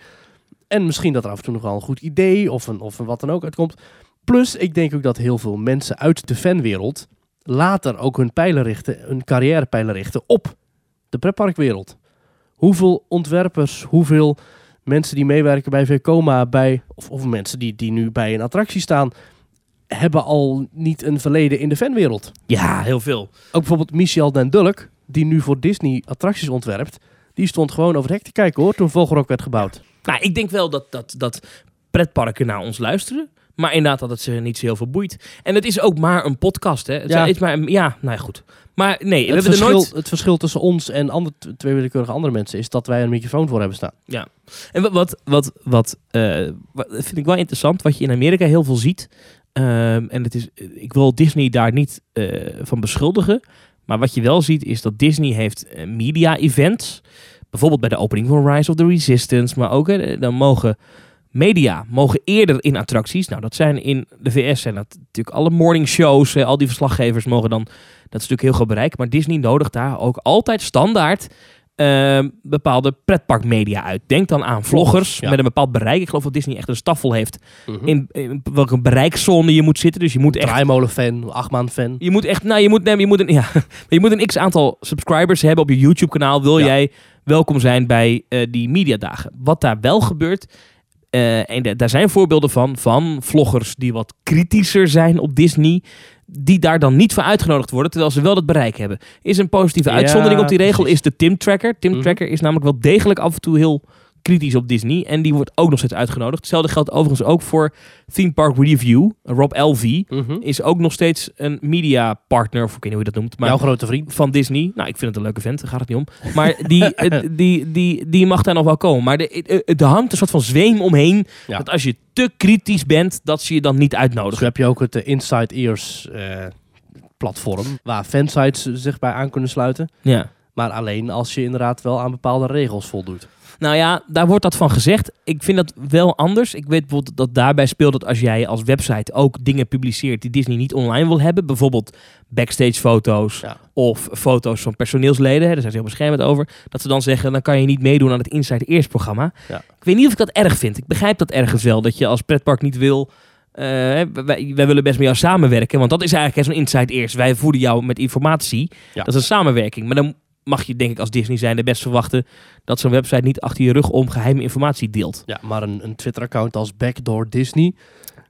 [SPEAKER 1] En misschien dat er af en toe nog wel een goed idee of een, of een wat dan ook uitkomt. Plus, ik denk ook dat heel veel mensen uit de fanwereld later ook hun pijlen richten, hun carrièrepijlen richten op de pretparkwereld. Hoeveel ontwerpers, hoeveel mensen die meewerken bij Vekoma, bij, of, of mensen die, die nu bij een attractie staan, hebben al niet een verleden in de fanwereld.
[SPEAKER 2] Ja, heel veel.
[SPEAKER 1] Ook bijvoorbeeld Michel Den Dulk, die nu voor Disney attracties ontwerpt, die stond gewoon over het hek te kijken hoor, toen Vogelrok werd gebouwd.
[SPEAKER 2] Nou, ik denk wel dat, dat, dat pretparken naar ons luisteren. Maar inderdaad dat het ze niet zo heel veel boeit. En het is ook maar een podcast, hè. Het
[SPEAKER 1] Ja.
[SPEAKER 2] is maar, een- ja, nou ja, goed. Maar nee, we
[SPEAKER 1] het,
[SPEAKER 2] hebben
[SPEAKER 1] verschil,
[SPEAKER 2] er nooit...
[SPEAKER 1] het verschil tussen ons en ander, twee willekeurige andere mensen is dat wij een microfoon voor hebben staan.
[SPEAKER 2] En wa- wat, wat, wat, eh, wa- dat vind ik wel interessant, wat je in Amerika heel veel ziet. ehm, en het is, ik wil Disney daar niet eh, van beschuldigen. Maar wat je wel ziet is dat Disney heeft eh, media-events. Bijvoorbeeld bij de opening van Rise of the Resistance. Maar ook, eh, dan mogen media mogen eerder in attracties. Nou, dat zijn in de VS zijn dat natuurlijk alle morning shows. eh, al die verslaggevers mogen dan... Dat is natuurlijk heel groot bereik. Maar Disney nodigt daar ook altijd standaard ehm, bepaalde pretparkmedia uit. Denk dan aan vloggers
[SPEAKER 1] ja.
[SPEAKER 2] met een bepaald bereik. Ik geloof dat Disney echt een staffel heeft Mhm. in, in welke bereikzone je moet zitten. Dus je moet echt
[SPEAKER 1] Draaimolen-fan, achtmaan-fan.
[SPEAKER 2] je moet echt, nou, je moet, nee, maar je moet een, ja, maar je moet een x aantal subscribers hebben op je YouTube-kanaal. Wil
[SPEAKER 1] Ja.
[SPEAKER 2] jij welkom zijn bij eh, die mediadagen? Wat daar wel gebeurt, eh, en da- daar zijn voorbeelden van, van vloggers die wat kritischer zijn op Disney, die daar dan niet voor uitgenodigd worden, terwijl ze wel dat bereik hebben. Is een positieve
[SPEAKER 1] Ja,
[SPEAKER 2] uitzondering op die regel
[SPEAKER 1] precies.
[SPEAKER 2] is de Tim Tracker. Tim
[SPEAKER 1] Mhm.
[SPEAKER 2] Tracker is namelijk wel degelijk af en toe heel kritisch op Disney en die wordt ook nog steeds uitgenodigd. Hetzelfde geldt overigens ook voor Theme Park Review, Rob Elvie is ook nog steeds een media partner, of ik weet niet hoe je dat noemt, maar
[SPEAKER 1] Jouw grote vriend.
[SPEAKER 2] van Disney. Nou, ik vind het een leuke vent, daar gaat het niet om. Maar die, eh, die, die, die mag daar nog wel komen. Maar de- eh, eh, er hangt een soort van zweem omheen,
[SPEAKER 1] Ja.
[SPEAKER 2] dat als je te kritisch bent, dat ze je dan niet
[SPEAKER 1] Dus
[SPEAKER 2] uitnodigen.
[SPEAKER 1] heb je ook het eh, Inside Ears eh, platform, waar fansites eh, zich bij aan kunnen sluiten.
[SPEAKER 2] Ja.
[SPEAKER 1] Maar alleen als je inderdaad wel aan bepaalde regels voldoet.
[SPEAKER 2] Nou ja, daar wordt dat van gezegd. Ik vind dat wel anders. Ik weet bijvoorbeeld dat daarbij speelt dat als jij als website ook dingen publiceert die Disney niet online wil hebben, bijvoorbeeld backstage foto's
[SPEAKER 1] Ja.
[SPEAKER 2] of foto's van personeelsleden, hè, daar zijn ze heel beschermd over, dat ze dan zeggen, dan kan je niet meedoen aan het Inside Ears programma.
[SPEAKER 1] Ja.
[SPEAKER 2] Ik weet niet of ik dat erg vind. Ik begrijp dat ergens wel, dat je als pretpark niet wil, eh, wij, wij willen best met jou samenwerken, want dat is eigenlijk hè, zo'n Inside Ears. Wij voeden jou met informatie.
[SPEAKER 1] Ja.
[SPEAKER 2] Dat is een samenwerking. Maar dan mag je denk ik als Disney zijnde best verwachten dat zo'n website niet achter je rug om geheime informatie deelt.
[SPEAKER 1] Ja, maar een, een Twitter-account als Backdoor Disney,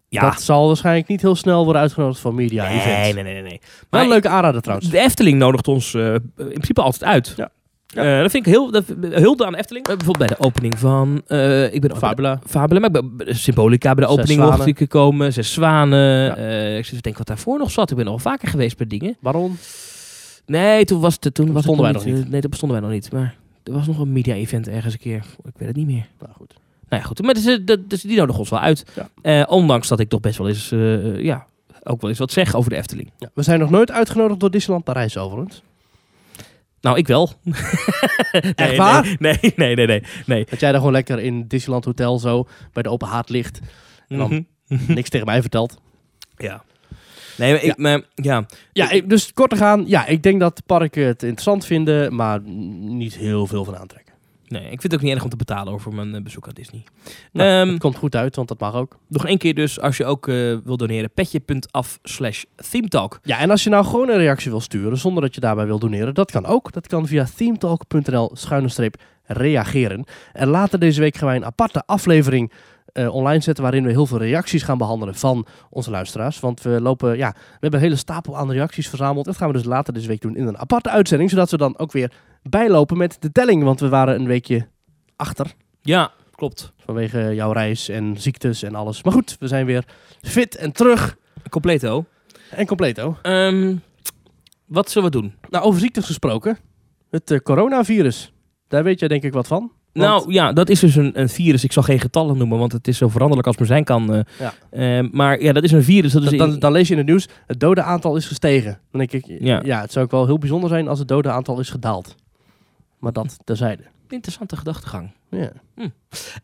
[SPEAKER 2] Ja,
[SPEAKER 1] dat zal waarschijnlijk niet heel snel worden uitgenodigd voor media
[SPEAKER 2] nee,
[SPEAKER 1] events.
[SPEAKER 2] nee, nee, nee, nee.
[SPEAKER 1] Wel een
[SPEAKER 2] Maar
[SPEAKER 1] leuke aanrader trouwens.
[SPEAKER 2] de Efteling nodigt ons eh, in principe altijd uit.
[SPEAKER 1] Nou, Ja.
[SPEAKER 2] Eh, dat vind ik heel, dat, hulde aan de Efteling. Eh, bijvoorbeeld bij de opening van, eh, ik ben ook bij de-
[SPEAKER 1] Fabula.
[SPEAKER 2] Fabula, maar ik ben bij de Symbolica bij de
[SPEAKER 1] Zes
[SPEAKER 2] opening mocht
[SPEAKER 1] zwanen.
[SPEAKER 2] ik gekomen. Zes zwanen.
[SPEAKER 1] Ja.
[SPEAKER 2] Eh, ik zit te denken wat daarvoor nog zat. Ik ben al vaker geweest bij dingen.
[SPEAKER 1] Baron.
[SPEAKER 2] Nee, toen was het toen, was het
[SPEAKER 1] bestonden wij
[SPEAKER 2] nog
[SPEAKER 1] nog
[SPEAKER 2] niet. Nee, dat bestonden wij nog niet. Maar er was nog een media-event ergens een keer. Ik weet het niet meer.
[SPEAKER 1] Nou goed.
[SPEAKER 2] Nou ja, goed. Maar dus, eh, dat- dus die nodigen ons wel uit.
[SPEAKER 1] Ja.
[SPEAKER 2] Eh, ondanks dat ik toch best wel eens, eh, eh, ja, ook wel eens wat zeg over de Efteling.
[SPEAKER 1] Ja, we zijn nog nooit uitgenodigd door Disneyland Parijs overigens.
[SPEAKER 2] Nou, ik wel.
[SPEAKER 1] Echt waar?
[SPEAKER 2] Nee, nee, nee, nee. nee.
[SPEAKER 1] Dat jij daar gewoon lekker in Disneyland Hotel zo bij de open haard ligt. En dan-
[SPEAKER 2] Mhm.
[SPEAKER 1] Niks tegen mij vertelt.
[SPEAKER 2] Ja. Nee, maar ik, Maar, ja.
[SPEAKER 1] Ja, ik- dus kort te gaan. Ja, ik denk dat de parken het interessant vinden, maar niet heel veel van aantrekken.
[SPEAKER 2] Nee, ik vind het ook niet erg om te betalen over mijn eh, bezoek aan Disney.
[SPEAKER 1] Nou,
[SPEAKER 2] Ehm,
[SPEAKER 1] het komt goed uit, want dat mag ook.
[SPEAKER 2] nog één keer dus, als je ook eh wil doneren, petje.af slash themetalk.
[SPEAKER 1] Ja, en als je nou gewoon een reactie wil sturen zonder dat je daarbij wil doneren, dat kan ook. Dat kan via themetalk.nl schuine streep reageren. En later deze week gaan wij een aparte aflevering eh, online zetten waarin we heel veel reacties gaan behandelen van onze luisteraars. Want we lopen, ja, we hebben een hele stapel aan reacties verzameld. Dat gaan we dus later deze week doen in een aparte uitzending, zodat we dan ook weer bijlopen met de telling. Want we waren een weekje achter.
[SPEAKER 2] Ja, klopt.
[SPEAKER 1] Vanwege jouw reis en ziektes en alles. Maar goed, we zijn weer fit en terug.
[SPEAKER 2] Completo.
[SPEAKER 1] En completo.
[SPEAKER 2] Ehm, wat zullen we doen?
[SPEAKER 1] Nou, over ziektes gesproken. Het eh, coronavirus. Daar weet jij denk ik wat van. Want-
[SPEAKER 2] Nou ja, dat is dus een, een virus. Ik zal geen getallen noemen, want het is zo veranderlijk als maar zijn kan. eh.
[SPEAKER 1] Ja.
[SPEAKER 2] Ehm, maar ja, dat is een virus. Dat is
[SPEAKER 1] Dan,
[SPEAKER 2] dus in-
[SPEAKER 1] dan, dan lees je in het nieuws, het dode aantal is gestegen. Dan denk ik, ja.
[SPEAKER 2] Ja.
[SPEAKER 1] het zou ook wel heel bijzonder zijn als het dode aantal is gedaald. Maar dat terzijde.
[SPEAKER 2] interessante gedachtegang.
[SPEAKER 1] Ja.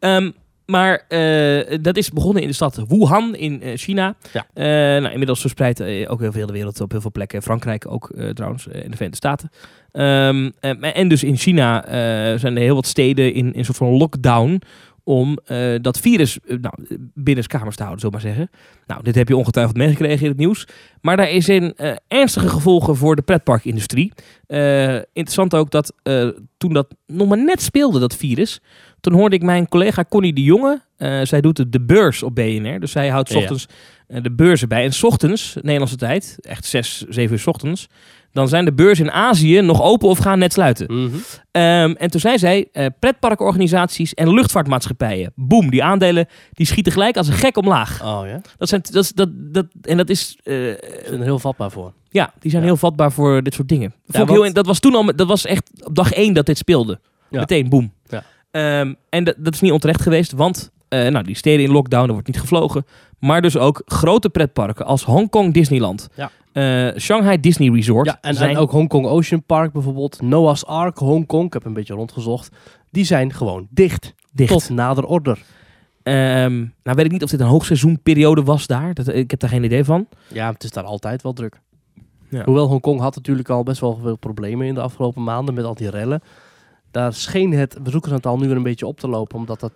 [SPEAKER 2] Ehm, maar eh, dat is begonnen in de stad Wuhan in eh, China.
[SPEAKER 1] Ja.
[SPEAKER 2] Eh, nou, inmiddels verspreid eh, ook heel veel de wereld op heel veel plekken. Frankrijk ook eh, trouwens, eh, in de Verenigde Staten. Ehm, en, en dus in China eh, zijn er heel wat steden in, in een soort van lockdown om eh, dat virus eh, nou, binnenskamers te houden, zullen we maar zeggen. Nou, dit heb je ongetwijfeld meegekregen in het nieuws. Maar daar is in eh, ernstige gevolgen voor de pretparkindustrie. Eh, interessant ook dat eh, toen dat nog maar net speelde, dat virus... Toen hoorde ik mijn collega Connie de Jonge. eh, zij doet de- de beurs op BNR. Dus zij houdt 's
[SPEAKER 1] Oh Ja.
[SPEAKER 2] ochtends eh, de beurzen bij. En 's ochtends, Nederlandse tijd, echt 6, 7 uur 's ochtends... dan zijn de beurzen in Azië nog open of gaan net sluiten.
[SPEAKER 1] Mhm.
[SPEAKER 2] Ehm, en toen zei zij, eh, pretparkorganisaties en luchtvaartmaatschappijen. Boom, die aandelen die schieten gelijk als een gek omlaag.
[SPEAKER 1] Oh ja,
[SPEAKER 2] Dat zijn, dat, is- dat, dat, en dat is, eh,
[SPEAKER 1] ik ben er heel vatbaar voor.
[SPEAKER 2] ja, die zijn
[SPEAKER 1] Ja.
[SPEAKER 2] heel vatbaar voor dit soort dingen. Vond ik
[SPEAKER 1] want-
[SPEAKER 2] heel in- dat was toen al, met- dat was echt op dag één dat dit speelde.
[SPEAKER 1] Ja.
[SPEAKER 2] Meteen, boom.
[SPEAKER 1] Ja.
[SPEAKER 2] Ehm, en dat, dat is niet onterecht geweest, want eh, nou, die steden in lockdown, er wordt niet gevlogen. Maar dus ook grote pretparken als Hongkong Disneyland,
[SPEAKER 1] Ja.
[SPEAKER 2] eh, Shanghai Disney Resort.
[SPEAKER 1] Ja, en,
[SPEAKER 2] zijn
[SPEAKER 1] en ook Hongkong Ocean Park bijvoorbeeld, Noah's Ark, Hongkong, ik heb een beetje rondgezocht. Die zijn gewoon dicht,
[SPEAKER 2] dicht.
[SPEAKER 1] tot nader order.
[SPEAKER 2] Ehm, nou weet ik niet of dit een hoogseizoenperiode was daar. Dat, ik heb daar geen idee van.
[SPEAKER 1] Ja, het is daar altijd wel druk.
[SPEAKER 2] Ja.
[SPEAKER 1] Hoewel Hongkong had natuurlijk al best wel veel problemen in de afgelopen maanden met al die rellen. Daar scheen het bezoekersaantal nu weer een beetje op te lopen, omdat dat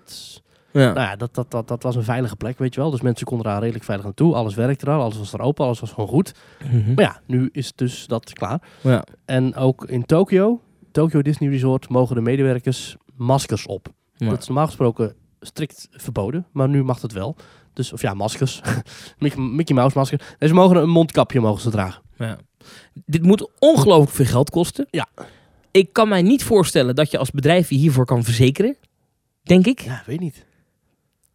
[SPEAKER 2] Ja.
[SPEAKER 1] Nou ja, dat, dat, dat, dat was een veilige plek, weet je wel. Dus mensen konden daar redelijk veilig naartoe. Alles werkte daar, alles was er open, alles was gewoon goed.
[SPEAKER 2] Mhm.
[SPEAKER 1] Maar ja, nu is dus dat klaar.
[SPEAKER 2] Ja.
[SPEAKER 1] En ook in Tokio, Tokyo Disney Resort, mogen de medewerkers maskers op.
[SPEAKER 2] Ja.
[SPEAKER 1] Dat is normaal gesproken strikt verboden, maar nu mag dat wel. Dus, of ja, maskers. Mickey, Mickey Mouse masker. Nee, ze mogen een mondkapje mogen ze dragen.
[SPEAKER 2] Ja. Dit moet ongelooflijk veel geld kosten.
[SPEAKER 1] Ja.
[SPEAKER 2] Ik kan mij niet voorstellen dat je als bedrijf je hiervoor kan verzekeren. Denk ik.
[SPEAKER 1] Ja, weet niet.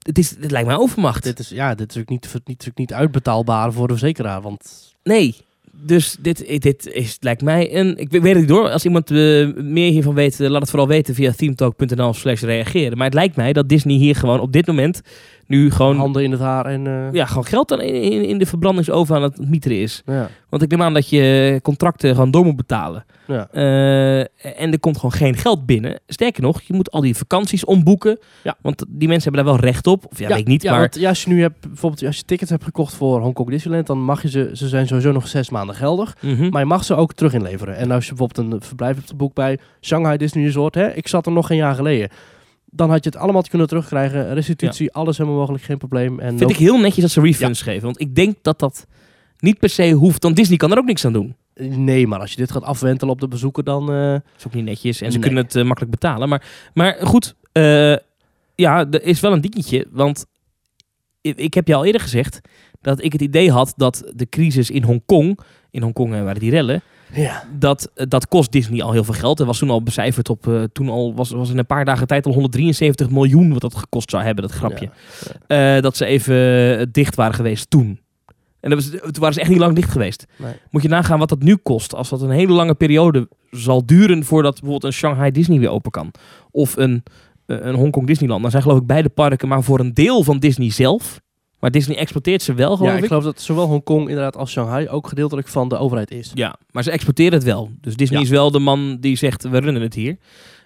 [SPEAKER 2] Het, is, het lijkt mij overmacht.
[SPEAKER 1] Dit is, ja, dit is ook niet, niet, natuurlijk niet uitbetaalbaar voor de verzekeraar, want...
[SPEAKER 2] Nee. Dus dit, dit is, lijkt mij een... Ik weet het niet hoor. Als iemand eh, meer hiervan weet, eh, laat het vooral weten via themetalk.nl slash reageren. Maar het lijkt mij dat Disney hier gewoon op dit moment nu gewoon,
[SPEAKER 1] Handen in het haar en... eh,
[SPEAKER 2] ja, gewoon geld aan- in, in, in de verbrandingsoven aan het mieteren is.
[SPEAKER 1] ja.
[SPEAKER 2] Want ik neem aan dat je contracten gewoon door moet betalen.
[SPEAKER 1] Ja.
[SPEAKER 2] Eh, en er komt gewoon geen geld binnen. Sterker nog, je moet al die vakanties omboeken.
[SPEAKER 1] Ja.
[SPEAKER 2] Want die mensen hebben daar wel recht op. Of ja, weet ik niet.
[SPEAKER 1] ja,
[SPEAKER 2] maar
[SPEAKER 1] want ja, als je nu hebt, bijvoorbeeld als je tickets hebt gekocht voor Hongkong Disneyland, dan mag je ze, ze zijn sowieso nog zes maanden geldig,
[SPEAKER 2] Mhm.
[SPEAKER 1] maar je mag ze ook terug inleveren. En als je bijvoorbeeld een verblijf hebt geboekt bij Shanghai Disney Resort, hè, ik zat er nog een jaar geleden, dan had je het allemaal kunnen terugkrijgen, restitutie, alles helemaal mogelijk, geen probleem. En
[SPEAKER 2] vind
[SPEAKER 1] ook-
[SPEAKER 2] ik heel netjes dat ze refunds geven. Want ik denk dat dat niet per se hoeft. Want Disney kan er ook niks aan doen.
[SPEAKER 1] Nee, maar als je dit gaat afwentelen op de bezoeker, dan... eh,
[SPEAKER 2] Dat is ook niet netjes. En ze
[SPEAKER 1] Nee.
[SPEAKER 2] kunnen het eh, makkelijk betalen. Maar, maar goed, eh, ja, er is wel een dingetje. Want ik, ik heb je al eerder gezegd dat ik het idee had dat de crisis in Hongkong... In Hongkong eh, waren die rellen.
[SPEAKER 1] ja.
[SPEAKER 2] dat, dat kost Disney al heel veel geld. Er was toen al becijferd op, eh, toen al was, was in een paar dagen tijd al 173 miljoen wat dat gekost zou hebben, dat grapje. Eh, dat ze even eh, dicht waren geweest toen. En dat was, toen waren ze echt niet lang dicht geweest.
[SPEAKER 1] Nee.
[SPEAKER 2] Moet je nagaan wat dat nu kost. Als dat een hele lange periode zal duren voordat bijvoorbeeld een Shanghai Disney weer open kan. Of een, eh, een Hongkong Disneyland. Dan zijn geloof ik beide parken maar voor een deel van Disney zelf. Maar Disney exploiteert ze wel
[SPEAKER 1] Ja,
[SPEAKER 2] geloof
[SPEAKER 1] ik
[SPEAKER 2] ik.
[SPEAKER 1] geloof dat zowel Hongkong inderdaad als Shanghai ook gedeeltelijk van de overheid is.
[SPEAKER 2] Ja, maar ze exporteren het wel. Dus Disney
[SPEAKER 1] Ja.
[SPEAKER 2] is wel de man die zegt, we runnen het hier.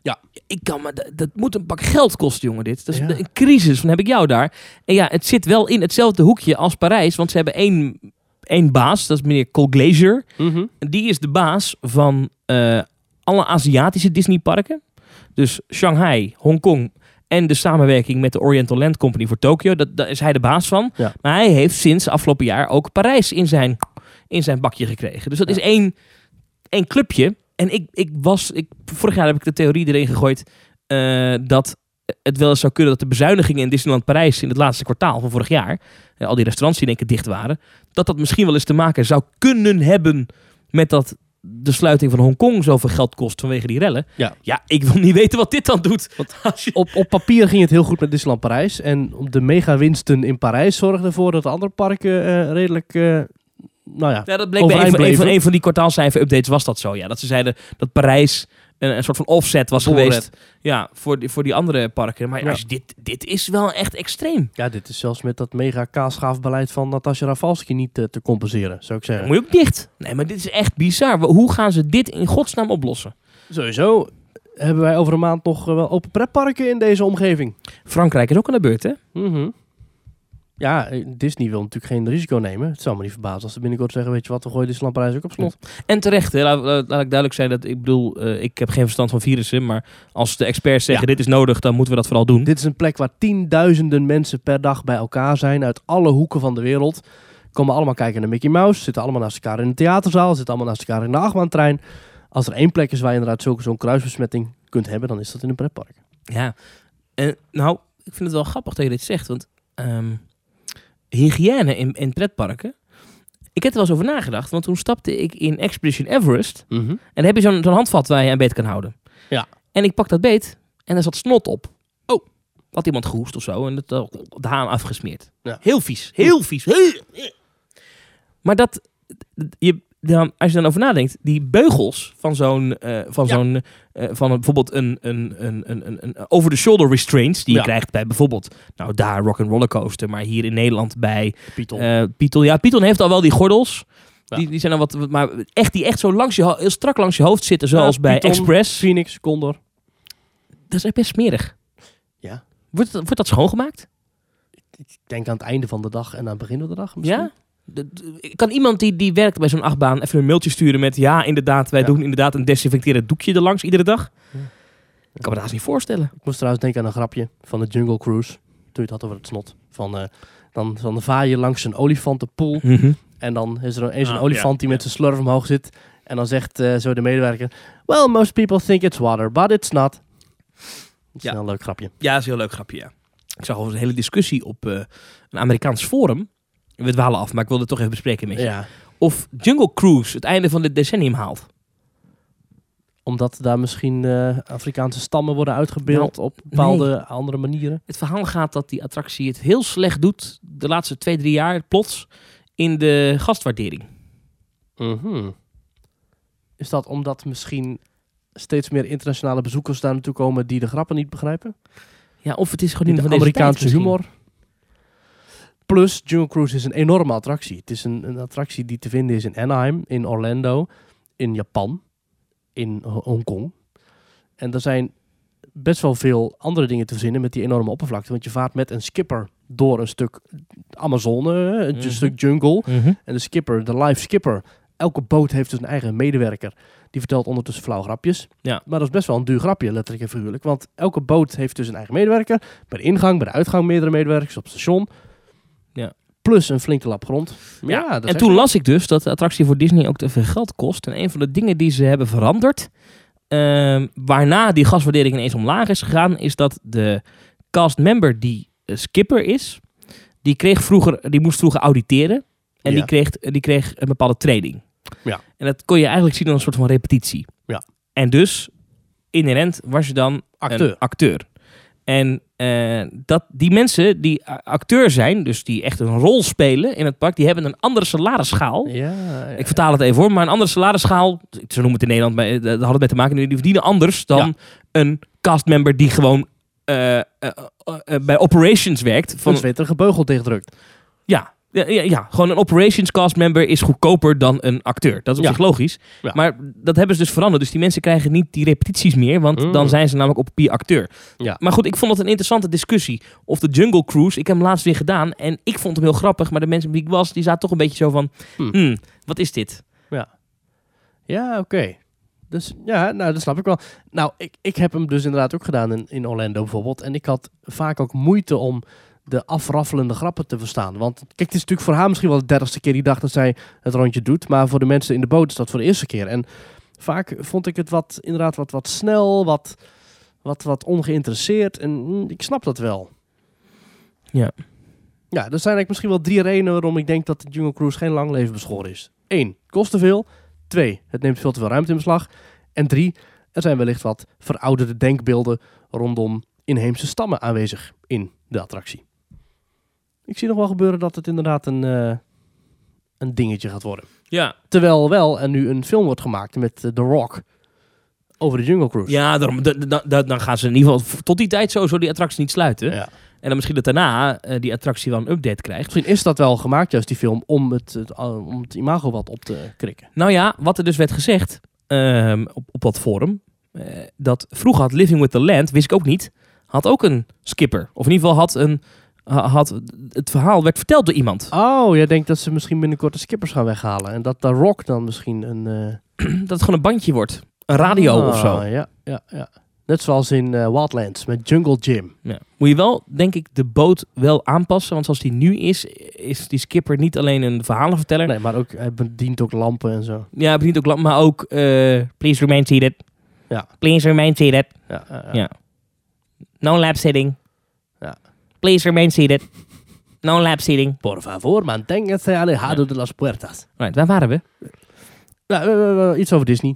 [SPEAKER 1] Ja.
[SPEAKER 2] Ik kan maar, dat, dat moet een pak geld kosten, jongen, dit. Dat is
[SPEAKER 1] Ja.
[SPEAKER 2] een crisis, van heb ik jou daar. En ja, het zit wel in hetzelfde hoekje als Parijs, want ze hebben één, één baas, dat is meneer Colglazier.
[SPEAKER 1] Mhm.
[SPEAKER 2] En Die is de baas van eh, alle Aziatische Disneyparken. Dus Shanghai, Hongkong en de samenwerking met de Oriental Land Company voor Tokio. Dat, daar is hij de baas van.
[SPEAKER 1] Ja.
[SPEAKER 2] Maar hij heeft sinds afgelopen jaar ook Parijs in zijn, in zijn bakje gekregen. Dus dat
[SPEAKER 1] Ja.
[SPEAKER 2] is één, één clubje. En ik, ik was, ik, vorig jaar heb ik de theorie erin gegooid eh, dat het wel eens zou kunnen dat de bezuinigingen in Disneyland Parijs in het laatste kwartaal van vorig jaar, eh, al die restaurants die in één keer dicht waren, dat dat misschien wel eens te maken zou kunnen hebben met dat de sluiting van Hongkong zoveel geld kost vanwege die rellen.
[SPEAKER 1] Ja.
[SPEAKER 2] ja ik wil niet weten wat dit dan doet. Als je-
[SPEAKER 1] op, op papier ging het heel goed met Disneyland Parijs. En de megawinsten in Parijs zorgden ervoor dat de andere parken eh, redelijk... eh, nou ja,
[SPEAKER 2] Ja, dat bleek bij
[SPEAKER 1] Overeind
[SPEAKER 2] een van, een,
[SPEAKER 1] bleven.
[SPEAKER 2] van, een van die kwartaalcijfer-updates was dat zo. Ja, dat ze zeiden dat Parijs een, een soort van offset was
[SPEAKER 1] Voorred.
[SPEAKER 2] geweest ja, voor, die, voor die andere parken. Maar
[SPEAKER 1] Ja.
[SPEAKER 2] als je dit, dit is wel echt extreem.
[SPEAKER 1] ja, dit is zelfs met dat mega kaasgaafbeleid van Natasja Rafalski niet eh, te compenseren, zou ik
[SPEAKER 2] Dan
[SPEAKER 1] zeggen.
[SPEAKER 2] moet je ook dicht. Nee, maar dit is echt bizar. Wa- Hoe gaan ze dit in godsnaam oplossen?
[SPEAKER 1] Sowieso hebben wij over een maand nog eh, wel open pretparken in deze omgeving.
[SPEAKER 2] Frankrijk is ook aan de beurt, hè?
[SPEAKER 1] Mhm. Ja, eh, Disney wil natuurlijk geen risico nemen. Het zou me niet verbazen als ze binnenkort zeggen, weet je wat, we gooien Disneyland Parijs ook op slot.
[SPEAKER 2] En terecht, hè, laat, laat- laat ik duidelijk zijn dat ik bedoel, eh, ik heb geen verstand van virussen. Maar als de experts zeggen dit is nodig, dan moeten we dat vooral doen.
[SPEAKER 1] Dit is een plek waar tienduizenden mensen per dag bij elkaar zijn uit alle hoeken van de wereld. Komen allemaal kijken naar Mickey Mouse, zitten allemaal naast elkaar in de theaterzaal, zitten allemaal naast elkaar in de achtbaantrein. Als er één plek is waar je inderdaad zulke- zo'n kruisbesmetting kunt hebben, dan is dat in een pretpark.
[SPEAKER 2] Ja, en nou, ik vind het wel grappig dat je dit zegt, want ehm, hygiëne in, in pretparken Ik heb er wel eens over nagedacht, want toen stapte ik in Expedition Everest.
[SPEAKER 1] Mhm.
[SPEAKER 2] En dan heb je zo'n zo'n handvat waar je aan beet kan houden.
[SPEAKER 1] Ja.
[SPEAKER 2] En ik pak dat beet en daar zat snot op.
[SPEAKER 1] Oh.
[SPEAKER 2] Had iemand gehoest of zo en het, eh, de haan afgesmeerd.
[SPEAKER 1] Ja.
[SPEAKER 2] Heel vies. Heel vies. Heel- Maar dat, je, dan, als je dan over nadenkt, die beugels van zo'n, eh, van
[SPEAKER 1] Ja.
[SPEAKER 2] zo'n, eh, van een, bijvoorbeeld een, een, een, een, een, een over-the-shoulder restraints die je
[SPEAKER 1] Ja.
[SPEAKER 2] krijgt bij bijvoorbeeld, nou daar Rock'n'Roller Coaster, maar hier in Nederland bij
[SPEAKER 1] Python.
[SPEAKER 2] eh, Python. Ja, Python heeft al wel die gordels.
[SPEAKER 1] Ja.
[SPEAKER 2] Die, die zijn dan wat, wat- maar echt die echt zo langs je, ho- heel strak langs je hoofd zitten, zoals
[SPEAKER 1] Ja,
[SPEAKER 2] bij
[SPEAKER 1] Python,
[SPEAKER 2] Express.
[SPEAKER 1] Phoenix, Condor.
[SPEAKER 2] Dat is best smerig.
[SPEAKER 1] Ja.
[SPEAKER 2] Wordt, dat- wordt dat schoongemaakt?
[SPEAKER 1] Ik denk aan het einde van de dag en aan het begin van de dag misschien.
[SPEAKER 2] Ja? De- de- Kan iemand die, die werkt bij zo'n achtbaan even een mailtje sturen met ja, inderdaad, wij
[SPEAKER 1] Ja.
[SPEAKER 2] doen inderdaad een desinfecterend doekje er langs iedere dag?
[SPEAKER 1] Ja.
[SPEAKER 2] Ik kan me dat haast niet voorstellen.
[SPEAKER 1] Ik moest trouwens denken aan een grapje van de Jungle Cruise. Toen je het had over het snot. Van, eh, dan, dan vaar je langs een olifantenpoel. En dan is er een, is een
[SPEAKER 2] Ah,
[SPEAKER 1] olifant
[SPEAKER 2] ja,
[SPEAKER 1] die
[SPEAKER 2] ja.
[SPEAKER 1] met zijn slurf omhoog zit. En dan zegt eh, zo de medewerker... Well, most people think it's water, but it's not. Dat is
[SPEAKER 2] Ja.
[SPEAKER 1] wel een leuk grapje.
[SPEAKER 2] Ja, dat is een heel leuk grapje, ja. Ik zag overigens een hele discussie op eh, een Amerikaans forum. We dwalen af, maar ik wilde het toch even bespreken met je.
[SPEAKER 1] Ja.
[SPEAKER 2] Of Jungle Cruise het einde van dit decennium haalt.
[SPEAKER 1] Omdat daar misschien eh, Afrikaanse stammen worden uitgebeeld
[SPEAKER 2] Nou,
[SPEAKER 1] op bepaalde andere manieren.
[SPEAKER 2] Het verhaal gaat dat die attractie het heel slecht doet de laatste twee, drie jaar plots in de gastwaardering.
[SPEAKER 1] Is dat omdat misschien steeds meer internationale bezoekers daar naartoe komen die de grappen niet begrijpen?
[SPEAKER 2] Ja, of het is
[SPEAKER 1] Die
[SPEAKER 2] gewoon niet
[SPEAKER 1] de
[SPEAKER 2] Oh, van deze
[SPEAKER 1] Amerikaanse
[SPEAKER 2] tijd misschien.
[SPEAKER 1] humor. Plus, Jungle Cruise is een enorme attractie. Het is een, een attractie die te vinden is in Anaheim, in Orlando, in Japan, in Ho- Hongkong. En er zijn best wel veel andere dingen te verzinnen met die enorme oppervlakte. Want je vaart met een skipper door een stuk Amazone, een
[SPEAKER 2] Mhm.
[SPEAKER 1] stuk jungle.
[SPEAKER 2] Mhm.
[SPEAKER 1] En de skipper, de live skipper. Elke boot heeft dus een eigen medewerker. Die vertelt ondertussen flauw grapjes.
[SPEAKER 2] Ja.
[SPEAKER 1] Maar dat is best wel een duur grapje, letterlijk en figuurlijk. Want elke boot heeft dus een eigen medewerker. Bij de ingang, bij de uitgang meerdere medewerkers op het station.
[SPEAKER 2] Ja.
[SPEAKER 1] Plus een flinke lap grond. Ja, dat is
[SPEAKER 2] en
[SPEAKER 1] echt-
[SPEAKER 2] toen las ik dus dat de attractie voor Disney ook te veel geld kost. En een van de dingen die ze hebben veranderd, ehm, waarna die gaswaardering ineens omlaag is gegaan, is dat de castmember die eh, skipper is, die, kreeg vroeger, die moest vroeger auditeren. En
[SPEAKER 1] Ja.
[SPEAKER 2] die, kreeg, eh, die kreeg een bepaalde training.
[SPEAKER 1] Ja.
[SPEAKER 2] En dat kon je eigenlijk zien als een soort van repetitie.
[SPEAKER 1] Ja.
[SPEAKER 2] En dus, inherent was je dan
[SPEAKER 1] Acteur.
[SPEAKER 2] een acteur. En eh, dat die mensen die a- acteur zijn, dus die echt een rol spelen in het park, die hebben een andere salarisschaal.
[SPEAKER 1] Ja, ja,
[SPEAKER 2] Ik vertaal het even hoor, maar een andere salarisschaal, ze noemen het in Nederland, maar eh, daar had het mee te maken, die verdienen anders dan een castmember die gewoon eh, eh, eh, eh, bij operations werkt.
[SPEAKER 1] Van
[SPEAKER 2] Van,
[SPEAKER 1] een zwitterige beugel dichtdrukt.
[SPEAKER 2] ja, ja, ja, ja, gewoon een operations cast member is goedkoper dan een acteur. Dat is op
[SPEAKER 1] Ja.
[SPEAKER 2] zich logisch.
[SPEAKER 1] Ja.
[SPEAKER 2] Maar dat hebben ze dus veranderd. Dus die mensen krijgen niet die repetities meer, want
[SPEAKER 1] Mm.
[SPEAKER 2] dan zijn ze namelijk op papier acteur.
[SPEAKER 1] Ja.
[SPEAKER 2] Maar goed, ik vond het een interessante discussie. Of de Jungle Cruise, ik heb hem laatst weer gedaan en ik vond hem heel grappig. Maar de mensen die ik was, die zaten toch een beetje zo van,
[SPEAKER 1] Hmm.
[SPEAKER 2] "Hmm, wat is dit?
[SPEAKER 1] Ja, oké. Dus ja, nou, dat snap ik wel. Nou, ik, ik heb hem dus inderdaad ook gedaan in, in Orlando bijvoorbeeld. En ik had vaak ook moeite om de afraffelende grappen te verstaan. Want kijk, het is natuurlijk voor haar misschien wel de dertigste keer die dag dat zij het rondje doet. Maar voor de mensen in de boot is dat voor de eerste keer. En vaak vond ik het wat, inderdaad wat, wat snel, wat, wat, wat ongeïnteresseerd. En mm, ik snap dat wel.
[SPEAKER 2] Ja.
[SPEAKER 1] Ja, er zijn eigenlijk misschien wel drie redenen waarom ik denk dat de Jungle Cruise geen lang leven beschoren is. Eén, het kost te veel. Twee, het neemt veel te veel ruimte in beslag. En drie, er zijn wellicht wat verouderde denkbeelden rondom inheemse stammen aanwezig in de attractie. Ik zie nog wel gebeuren dat het inderdaad een, eh, een dingetje gaat worden.
[SPEAKER 2] Ja.
[SPEAKER 1] Terwijl wel er nu een film wordt gemaakt met eh, The Rock over de Jungle Cruise.
[SPEAKER 2] Ja, daarom, da- da- da- dan gaan ze in ieder geval v- tot die tijd sowieso die attractie niet sluiten.
[SPEAKER 1] Ja.
[SPEAKER 2] En dan misschien dat daarna eh, die attractie wel een update krijgt.
[SPEAKER 1] Misschien is dat wel gemaakt, juist die film, om het, het, eh, om het imago wat op te krikken.
[SPEAKER 2] Nou ja, wat er dus werd gezegd ehm, op, op dat forum. eh, dat vroeger had Living with the Land, wist ik ook niet, had ook een skipper. Of in ieder geval had een. ha- Had, het verhaal werd verteld door iemand.
[SPEAKER 1] Oh, jij denkt dat ze misschien binnenkort de skippers gaan weghalen. En dat The Rock dan misschien een... eh,
[SPEAKER 2] Dat het gewoon een bandje wordt. Een radio
[SPEAKER 1] Ah,
[SPEAKER 2] of zo.
[SPEAKER 1] Ja, ja, ja. Net zoals in eh, Wildlands met Jungle Jim.
[SPEAKER 2] Ja. Moet je wel, denk ik, de boot wel aanpassen. Want zoals die nu is, is die skipper niet alleen een verhalenverteller.
[SPEAKER 1] Nee, maar ook, hij bedient ook lampen en zo.
[SPEAKER 2] Ja, hij bedient ook lamp, maar ook. eh, please remain seated.
[SPEAKER 1] Ja.
[SPEAKER 2] Please remain seated.
[SPEAKER 1] Ja, ja, ja.
[SPEAKER 2] Ja. No lap sitting.
[SPEAKER 1] Ja.
[SPEAKER 2] Please remain seated. No lap seating.
[SPEAKER 1] Por favor, manténgase alejado de las puertas.
[SPEAKER 2] Right, waar waren we?
[SPEAKER 1] Nou, eh, eh, iets over Disney.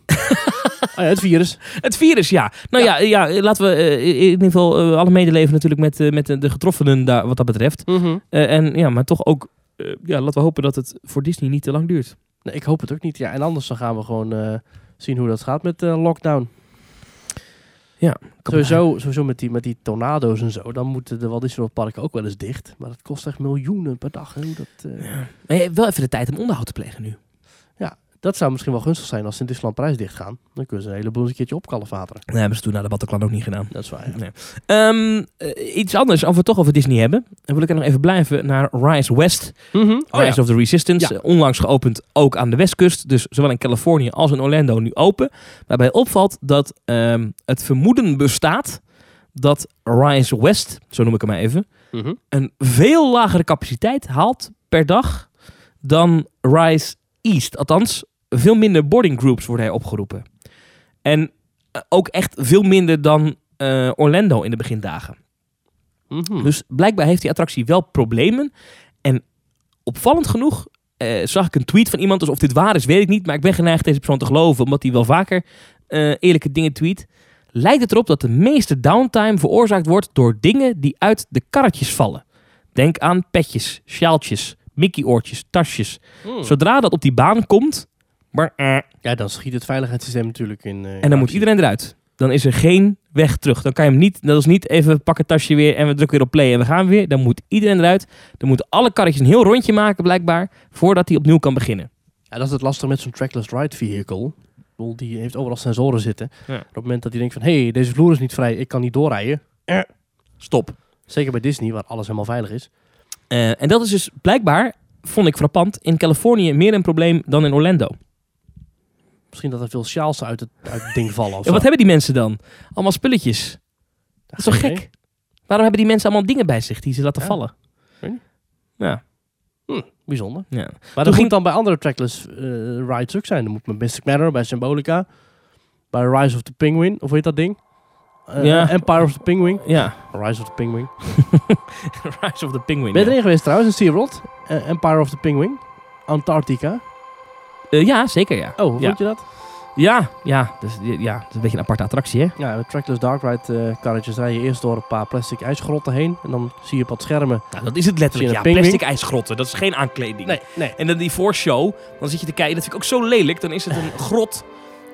[SPEAKER 1] Ah ja, het virus.
[SPEAKER 2] Het virus, ja. Nou ja, ja, laten we eh, in ieder geval eh, alle medeleven natuurlijk met, eh, met de de getroffenen daar, wat dat betreft. Eh, en ja, maar toch ook, eh, ja, laten we hopen dat het voor Disney niet te lang duurt.
[SPEAKER 1] Nee, ik hoop het ook niet. Ja, en anders dan gaan we gewoon eh, zien hoe dat gaat met eh, lockdown.
[SPEAKER 2] Kan maar.
[SPEAKER 1] Sowieso, sowieso met, die, met die tornado's en zo. Dan moeten de Walt Disney World parken ook wel eens dicht. Maar dat kost echt miljoenen per dag. Hè? Hoe dat, eh,
[SPEAKER 2] Maar je hebt wel even de tijd om onderhoud te plegen nu.
[SPEAKER 1] dat zou misschien wel gunstig zijn als ze in Disneyland Prijs dicht gaan. Dan kunnen ze een heleboel eens een keertje opkalfateren.
[SPEAKER 2] Dat hebben ze toen naar de Bataclan ook niet gedaan.
[SPEAKER 1] Dat is waar. ja.
[SPEAKER 2] Ehm, eh, iets anders, als we het toch over Disney hebben. Dan wil ik er nog even blijven naar Rise West.
[SPEAKER 1] Oh, ja.
[SPEAKER 2] Rise of the Resistance.
[SPEAKER 1] Ja.
[SPEAKER 2] eh, Onlangs geopend ook aan de westkust. Dus zowel in Californië als in Orlando nu open. Waarbij opvalt dat ehm, het vermoeden bestaat dat Rise West, zo noem ik hem maar even,
[SPEAKER 1] Mhm.
[SPEAKER 2] een veel lagere capaciteit haalt per dag dan Rise East. Althans, veel minder boarding groups worden er opgeroepen. En eh, ook echt veel minder dan eh, Orlando in de begindagen.
[SPEAKER 1] Mhm.
[SPEAKER 2] Dus blijkbaar heeft die attractie wel problemen. En opvallend genoeg eh, zag ik een tweet van iemand. Dus of dit waar is, weet ik niet. Maar ik ben geneigd deze persoon te geloven. Omdat hij wel vaker eh, eerlijke dingen tweet. Lijkt het erop dat de meeste downtime veroorzaakt wordt door dingen die uit de karretjes vallen. Denk aan petjes, sjaaltjes, mickey-oortjes, tasjes.
[SPEAKER 1] Mhm.
[SPEAKER 2] Zodra dat op die baan komt... Maar, eh,
[SPEAKER 1] Ja, dan schiet het veiligheidssysteem natuurlijk in. eh, in
[SPEAKER 2] en dan moet
[SPEAKER 1] actie.
[SPEAKER 2] iedereen eruit. Dan is er geen weg terug. Dan kan je hem niet, dat is niet even pak het tasje weer en we drukken weer op play en we gaan weer. Dan moet iedereen eruit. Dan moeten alle karretjes een heel rondje maken blijkbaar, voordat hij opnieuw kan beginnen.
[SPEAKER 1] Ja, dat is het lastige met zo'n trackless ride vehicle. Ik bedoel, Die heeft overal sensoren zitten.
[SPEAKER 2] Ja.
[SPEAKER 1] Op het moment dat hij denkt van... hé, hey, deze vloer is niet vrij, ik kan niet doorrijden.
[SPEAKER 2] Stop.
[SPEAKER 1] Zeker bij Disney, waar alles helemaal veilig is.
[SPEAKER 2] Eh, en dat is dus blijkbaar, vond ik frappant, in Californië meer een probleem dan in Orlando.
[SPEAKER 1] Misschien dat er veel sjaals uit het, uit het ding vallen of
[SPEAKER 2] En wat
[SPEAKER 1] zo.
[SPEAKER 2] hebben die mensen dan? Allemaal spulletjes. Dat is toch
[SPEAKER 1] Geen
[SPEAKER 2] gek? Waarom hebben die mensen allemaal dingen bij zich die ze laten
[SPEAKER 1] Ja.
[SPEAKER 2] vallen?
[SPEAKER 1] Weet niet.
[SPEAKER 2] Ja,
[SPEAKER 1] idee. Bijzonder.
[SPEAKER 2] ja.
[SPEAKER 1] Maar
[SPEAKER 2] Toen
[SPEAKER 1] dat
[SPEAKER 2] ging-
[SPEAKER 1] moet dan bij andere trackless eh, rides ook zijn. Dat moet bij Mystic Manor, bij Symbolica, bij Rise of the Penguin, of hoe heet dat ding? Eh,
[SPEAKER 2] Ja.
[SPEAKER 1] Empire of the Penguin.
[SPEAKER 2] ja.
[SPEAKER 1] Rise of the Penguin.
[SPEAKER 2] Rise of the Penguin.
[SPEAKER 1] Ben je
[SPEAKER 2] ja.
[SPEAKER 1] erin geweest trouwens, in SeaWorld? Eh, Empire of the Penguin. Antarctica.
[SPEAKER 2] Eh, ja, zeker ja.
[SPEAKER 1] Oh, hoe
[SPEAKER 2] Ja.
[SPEAKER 1] vond je dat?
[SPEAKER 2] Ja, ja. Dus, ja, dat is een beetje een aparte attractie, hè?
[SPEAKER 1] Ja, met trackless dark ride eh, karretjes rij je eerst door een paar plastic ijsgrotten heen. En dan zie je op wat schermen.
[SPEAKER 2] Nou, dat is het letterlijk,
[SPEAKER 1] Zie je
[SPEAKER 2] ja.
[SPEAKER 1] een pinguïn?
[SPEAKER 2] Plastic ijsgrotten, dat is geen aankleding.
[SPEAKER 1] nee.
[SPEAKER 2] En dan die voorshow, dan zit je te kijken, dat vind ik ook zo lelijk. Dan is het een grot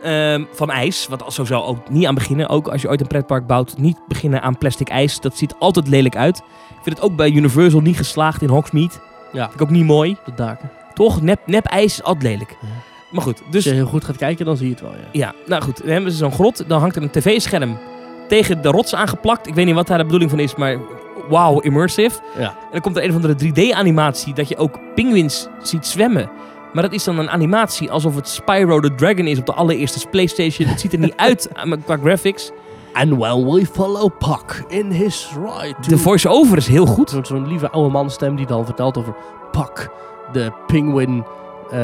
[SPEAKER 2] ehm, van ijs, wat zo zou ook niet aan beginnen. Ook als je ooit een pretpark bouwt, niet beginnen aan plastic ijs. Dat ziet altijd lelijk uit. Ik vind het ook bij Universal niet geslaagd in Hogsmeade.
[SPEAKER 1] Ja.
[SPEAKER 2] Vind ik ook niet mooi.
[SPEAKER 1] De daken.
[SPEAKER 2] Toch, nep, nep ijs is altijd lelijk.
[SPEAKER 1] Ja.
[SPEAKER 2] Maar goed,
[SPEAKER 1] Als je
[SPEAKER 2] dus...
[SPEAKER 1] heel goed gaat kijken, dan zie je het wel, ja.
[SPEAKER 2] Ja, nou goed, dan hebben ze zo'n grot, dan hangt er een tv-scherm tegen de rots aangeplakt. Ik weet niet wat daar de bedoeling van is, maar wauw, immersive.
[SPEAKER 1] Ja.
[SPEAKER 2] En dan komt er een of andere 3D-animatie dat je ook pinguïns ziet zwemmen. Maar dat is dan een animatie alsof het Spyro the Dragon is op de allereerste PlayStation. Het ziet er niet uit aan- qua graphics.
[SPEAKER 1] And while we follow Puck in his ride.
[SPEAKER 2] De voice-over is heel goed.
[SPEAKER 1] Zo'n zo'n lieve oude manstem die dan vertelt over Puck, de penguin. eh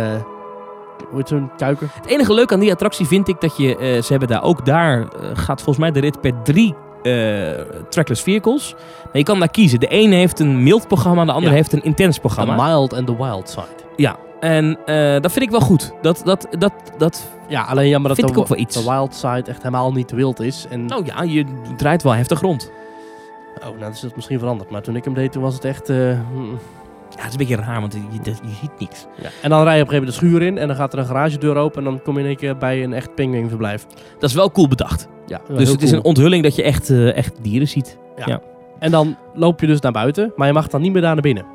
[SPEAKER 1] hoe heet zo'n kuiker?
[SPEAKER 2] Het enige leuke aan die attractie vind ik dat je, eh, ze hebben daar ook daar, eh, gaat volgens mij de rit per drie eh, trackless vehicles. Maar je kan daar kiezen. De ene heeft een mild programma, de andere
[SPEAKER 1] Ja.
[SPEAKER 2] heeft een intens
[SPEAKER 1] The
[SPEAKER 2] programma.
[SPEAKER 1] mild and the wild side.
[SPEAKER 2] En eh, dat vind ik wel goed. Dat, dat, dat, dat...
[SPEAKER 1] Ja, alleen jammer dat
[SPEAKER 2] Vind
[SPEAKER 1] de,
[SPEAKER 2] ik ook wel iets.
[SPEAKER 1] de wild side echt helemaal niet wild is. En,
[SPEAKER 2] Nou ja, je draait wel heftig rond.
[SPEAKER 1] oh, nou is dat misschien veranderd. Maar toen ik hem deed, toen was het echt... eh, mm.
[SPEAKER 2] Ja, het is een beetje raar, want je, je, je ziet niks.
[SPEAKER 1] Ja. En dan rij je op een gegeven moment de schuur in en dan gaat er een garagedeur open en dan kom je in één keer bij een echt pinguïnverblijf.
[SPEAKER 2] Dat is wel cool bedacht.
[SPEAKER 1] Ja,
[SPEAKER 2] dus het is een onthulling dat je echt, eh, echt dieren ziet.
[SPEAKER 1] En dan loop je dus naar buiten, maar je mag dan niet meer daar naar binnen.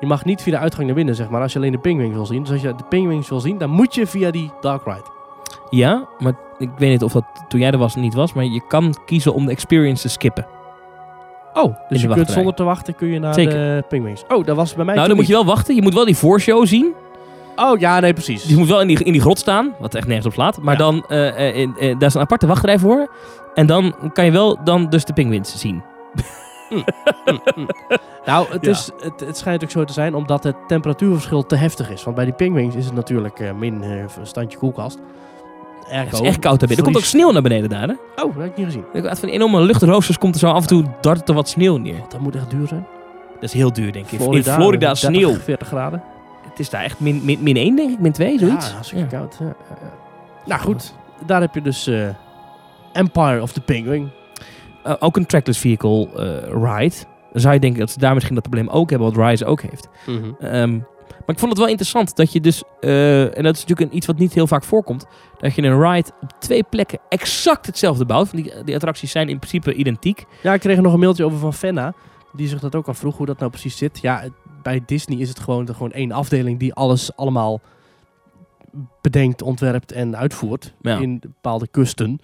[SPEAKER 1] Je mag niet via de uitgang naar binnen, zeg maar, als je alleen de pinguïn wil zien. Dus als je de pinguïns wil zien, dan moet je via die dark ride.
[SPEAKER 2] Ja, maar ik weet niet of dat toen jij er was niet was. Maar je kan kiezen om de experience te skippen.
[SPEAKER 1] Oh,
[SPEAKER 2] de
[SPEAKER 1] dus je kunt
[SPEAKER 2] wachtrij.
[SPEAKER 1] zonder te wachten kun je naar
[SPEAKER 2] Zeker.
[SPEAKER 1] de pinguïns. Oh, dat was bij mij
[SPEAKER 2] nou,
[SPEAKER 1] toen
[SPEAKER 2] dan moet je wel wachten. Je moet wel die voorshow zien.
[SPEAKER 1] niet. Oh, ja, nee, precies.
[SPEAKER 2] Dus je moet wel in die, in die grot staan. Wat echt nergens op slaat. Maar
[SPEAKER 1] Ja.
[SPEAKER 2] dan, eh, eh, eh, eh, daar is een aparte wachtrij voor. En dan kan je wel dan dus de penguins zien.
[SPEAKER 1] Nou, het,
[SPEAKER 2] Ja.
[SPEAKER 1] is, het, het schijnt ook zo te zijn omdat het temperatuurverschil te heftig is. Want bij die pinguïns is het natuurlijk eh, min eh, een standje koelkast.
[SPEAKER 2] Het is echt koud daar binnen. Er komt ook
[SPEAKER 1] Vries.
[SPEAKER 2] sneeuw naar beneden daar. Hè?
[SPEAKER 1] Oh, dat heb ik niet gezien.
[SPEAKER 2] Uit van die enorme luchtroosters komt er zo af en toe dart er wat sneeuw neer.
[SPEAKER 1] God, dat moet echt duur zijn.
[SPEAKER 2] Dat is heel duur, denk ik. in Florida sneeuw.
[SPEAKER 1] 30, 40 graden.
[SPEAKER 2] Het is daar echt min, min, min 1, denk ik. Min 2, zoiets.
[SPEAKER 1] Ja, hartstikke
[SPEAKER 2] Ja.
[SPEAKER 1] koud. ja, ja, ja. Nou goed, daar heb je dus eh, Empire of the Penguin.
[SPEAKER 2] Eh, ook een trackless vehicle eh, ride. Dan zou je denken dat ze daar misschien dat probleem ook hebben, wat Rise ook heeft. Ehm, maar ik vond het wel interessant dat je dus, eh, en dat is natuurlijk een, iets wat niet heel vaak voorkomt, dat je een ride op twee plekken exact hetzelfde bouwt. Want die, die attracties zijn in principe identiek.
[SPEAKER 1] Ja, ik kreeg er nog een mailtje over van Fenna. Die zich dat ook al vroeg hoe dat nou precies zit. Ja, het- bij Disney is het gewoon, gewoon één afdeling die alles allemaal bedenkt, ontwerpt en uitvoert.
[SPEAKER 2] Ja. Mm,
[SPEAKER 1] In bepaalde kusten.